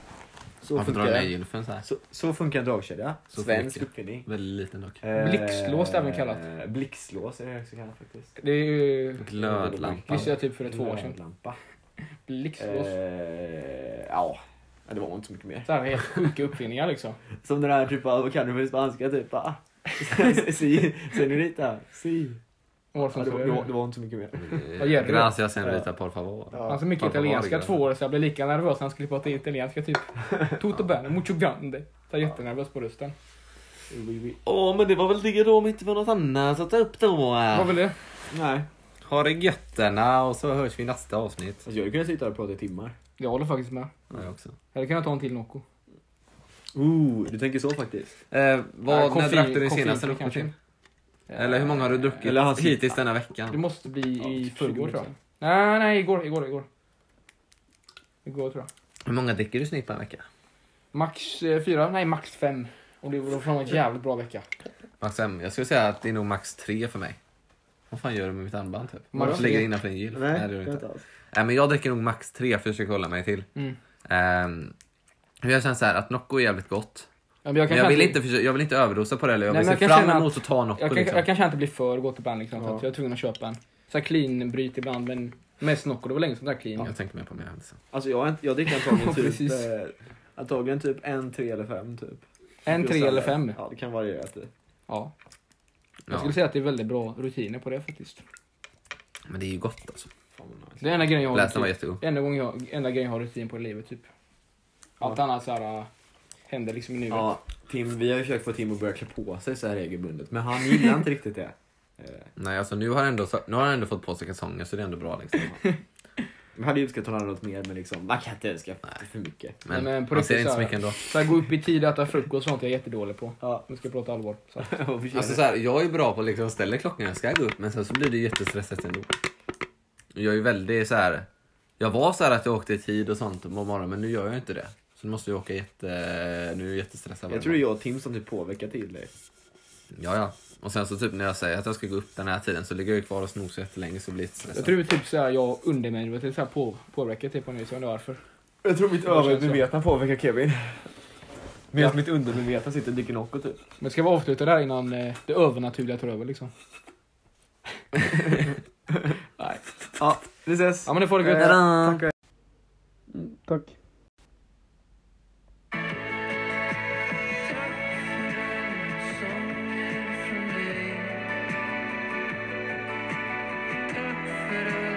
Speaker 2: Så
Speaker 1: Man får dra
Speaker 2: funkar
Speaker 1: ner
Speaker 2: den.
Speaker 1: gylfen så här.
Speaker 2: Så, så funkar en dragkedja.
Speaker 1: Så
Speaker 2: Svensk
Speaker 1: funkar.
Speaker 2: uppfinning.
Speaker 1: Väldigt liten dock.
Speaker 2: Eh,
Speaker 3: Blixtlås även kallat.
Speaker 2: eh, Blixtlås är det också kallat faktiskt.
Speaker 3: Det är ju...
Speaker 1: Glödlampa.
Speaker 3: Visste jag typ för två år sedan.
Speaker 2: Glödlampa.
Speaker 3: Blixtlås.
Speaker 2: Eh, ja. Ja, Det var inte så mycket mer.
Speaker 3: Så här helt sjuka uppfinningar liksom.
Speaker 2: Som den här typ av, vad kan du för spanska typ?
Speaker 3: [LAUGHS]
Speaker 2: Ah. si, senorita, si.
Speaker 3: Och vad
Speaker 2: Ja,
Speaker 3: som
Speaker 2: det, var,
Speaker 3: står
Speaker 2: det, var,
Speaker 3: där.
Speaker 2: det var inte så mycket mer.
Speaker 3: Vad gör du?
Speaker 1: Mm. Gracias senorita por favor.
Speaker 3: Han så Alltså, mycket
Speaker 1: Fan, vad var
Speaker 3: italienska
Speaker 1: det?
Speaker 3: två år så jag blev lika nervös när han skulle prata italienska typ. Tutto bene, mucho grande. Så jag är jättenervös på rösten.
Speaker 2: Oui, oui.
Speaker 1: Åh, men det var väl det då om inte var något annat att ta upp då. eh.
Speaker 3: Vad vill det?
Speaker 2: Nej.
Speaker 1: Ha det götterna och så hörs vi i nästa avsnitt.
Speaker 2: Alltså, jag hade kunnat sitta här och prata i timmar.
Speaker 3: Jag håller faktiskt med.
Speaker 1: Ja, jag också.
Speaker 3: Eller kan jag ta en till Nocco?
Speaker 2: Ooh, du tänker så faktiskt.
Speaker 1: Eh, vad,
Speaker 3: Koffein-
Speaker 1: när drack du din
Speaker 3: koffein
Speaker 1: senaste
Speaker 3: kanske.
Speaker 1: Noccotin? Eller hur många har du druckit
Speaker 2: Eller hans-
Speaker 1: hittills denna
Speaker 3: Det
Speaker 1: veckan?
Speaker 3: måste bli
Speaker 2: Ja,
Speaker 3: i
Speaker 2: typ 20
Speaker 3: förrgår tror jag.
Speaker 2: liksom.
Speaker 3: Nej, nej, igår, igår, igår. Igår tror jag.
Speaker 1: Hur många dricker du i snitt per vecka?
Speaker 3: Max eh, fyra, nej max fem. Och det var från en jävligt bra vecka.
Speaker 1: Max fem. Jag skulle säga att det är nog max tre för mig. Vad fan gör du med mitt armband typ?
Speaker 3: Max
Speaker 1: Max
Speaker 3: tre.
Speaker 1: ligger innanför en gylf? Nej, det gör du inte.
Speaker 2: alls.
Speaker 1: Nej, men jag dricker nog max tre för jag ska kolla mig till.
Speaker 3: Mm.
Speaker 1: Ehm, jag känner så här att Nocco är jävligt gott.
Speaker 3: Ja, men jag,
Speaker 1: Men
Speaker 3: kan
Speaker 1: jag
Speaker 3: känna
Speaker 1: vill,
Speaker 3: att-
Speaker 1: inte, försöka- jag vill inte överdosa på det eller jag
Speaker 3: Nej,
Speaker 1: vill
Speaker 3: men
Speaker 1: se
Speaker 3: jag kan
Speaker 1: fram
Speaker 3: känna
Speaker 1: emot att ta
Speaker 3: jag,
Speaker 1: Nocco
Speaker 3: kan,
Speaker 1: liksom.
Speaker 3: jag kanske inte blir för gott ibland liksom. Så
Speaker 2: Ja.
Speaker 3: att jag är tvungen att köpa en. Så här clean bryt ibland men mest Nocco. Det var länge sedan jag drack clean.
Speaker 1: Jag tänker mer på mig själv sen.
Speaker 2: Alltså jag, har inte- jag dricker antagligen
Speaker 3: Ja,
Speaker 2: typ,
Speaker 3: precis.
Speaker 2: eh, antagligen typ en, tre eller fem typ.
Speaker 3: En tre
Speaker 2: Just
Speaker 3: eller
Speaker 2: det.
Speaker 3: fem.
Speaker 2: Ja, det kan variera. Typ.
Speaker 3: Ja. Jag
Speaker 1: Ja.
Speaker 3: skulle säga att det är väldigt bra rutiner på det faktiskt.
Speaker 1: Men det är ju gott alltså.
Speaker 2: Fan, vad nice.
Speaker 3: Det är enda grejen jag har
Speaker 1: Läsaren var
Speaker 3: rutin,
Speaker 1: jättegod.
Speaker 3: enda gången jag, enda grejen jag har rutin på i livet typ. Allt annat så här äh, händer liksom i nuet.
Speaker 2: Ja, Tim, vi har ju försökt få Tim att börja klä på sig så här regelbundet, men han gillar inte riktigt det. Eh,
Speaker 1: Nej alltså nu har, han ändå, nu har han ändå fått på sig kalsonger så det är ändå bra
Speaker 3: [LAUGHS]
Speaker 1: liksom.
Speaker 2: Vi hade ju önskat att han hade något mer, men liksom, man kan inte önska för mycket.
Speaker 1: Men,
Speaker 3: Nej, men på
Speaker 1: man
Speaker 3: riktigt
Speaker 1: ser inte
Speaker 3: så
Speaker 1: så
Speaker 3: här-
Speaker 1: mycket ändå.
Speaker 3: Så här, gå upp i tid, äta frukost och sånt är jag jättedålig på.
Speaker 2: [LAUGHS] Ja,
Speaker 3: Om vi ska prata allvar. Så. här.
Speaker 2: och förtjänar.
Speaker 1: Alltså så här, jag är bra på att liksom ställa klockan när jag ska gå upp men sen så blir det jättestressigt ändå. Jag är väldigt så här. Jag var så här att jag åkte i tid och sånt på morgonen men nu gör jag inte det. Så nu måste jag åka jätte... Nu är jag jättestressad.
Speaker 2: jag tror det är jag och Tim som typ påverkar till dig.
Speaker 1: Ja, ja. Och sen så typ när jag säger att jag ska gå upp den här tiden så ligger jag ju kvar och snosar jättelänge så blir jag jättestressad.
Speaker 3: Jag tror typ så här, jag undermedvetet så här på, påverkar typ på nu, så jag undrar varför.
Speaker 2: Jag tror mitt
Speaker 3: övermedvetna
Speaker 2: påverkar Kevin. Medan mitt undermedvetna sitter och dricker Nocco typ.
Speaker 3: Men ska vi avsluta där innan eh, det övernaturliga tar över liksom? Nej.
Speaker 2: Ja, Vi ses!
Speaker 3: Ja men det får det gött.
Speaker 2: Eh, tack.
Speaker 3: Tack.
Speaker 9: Tack för alla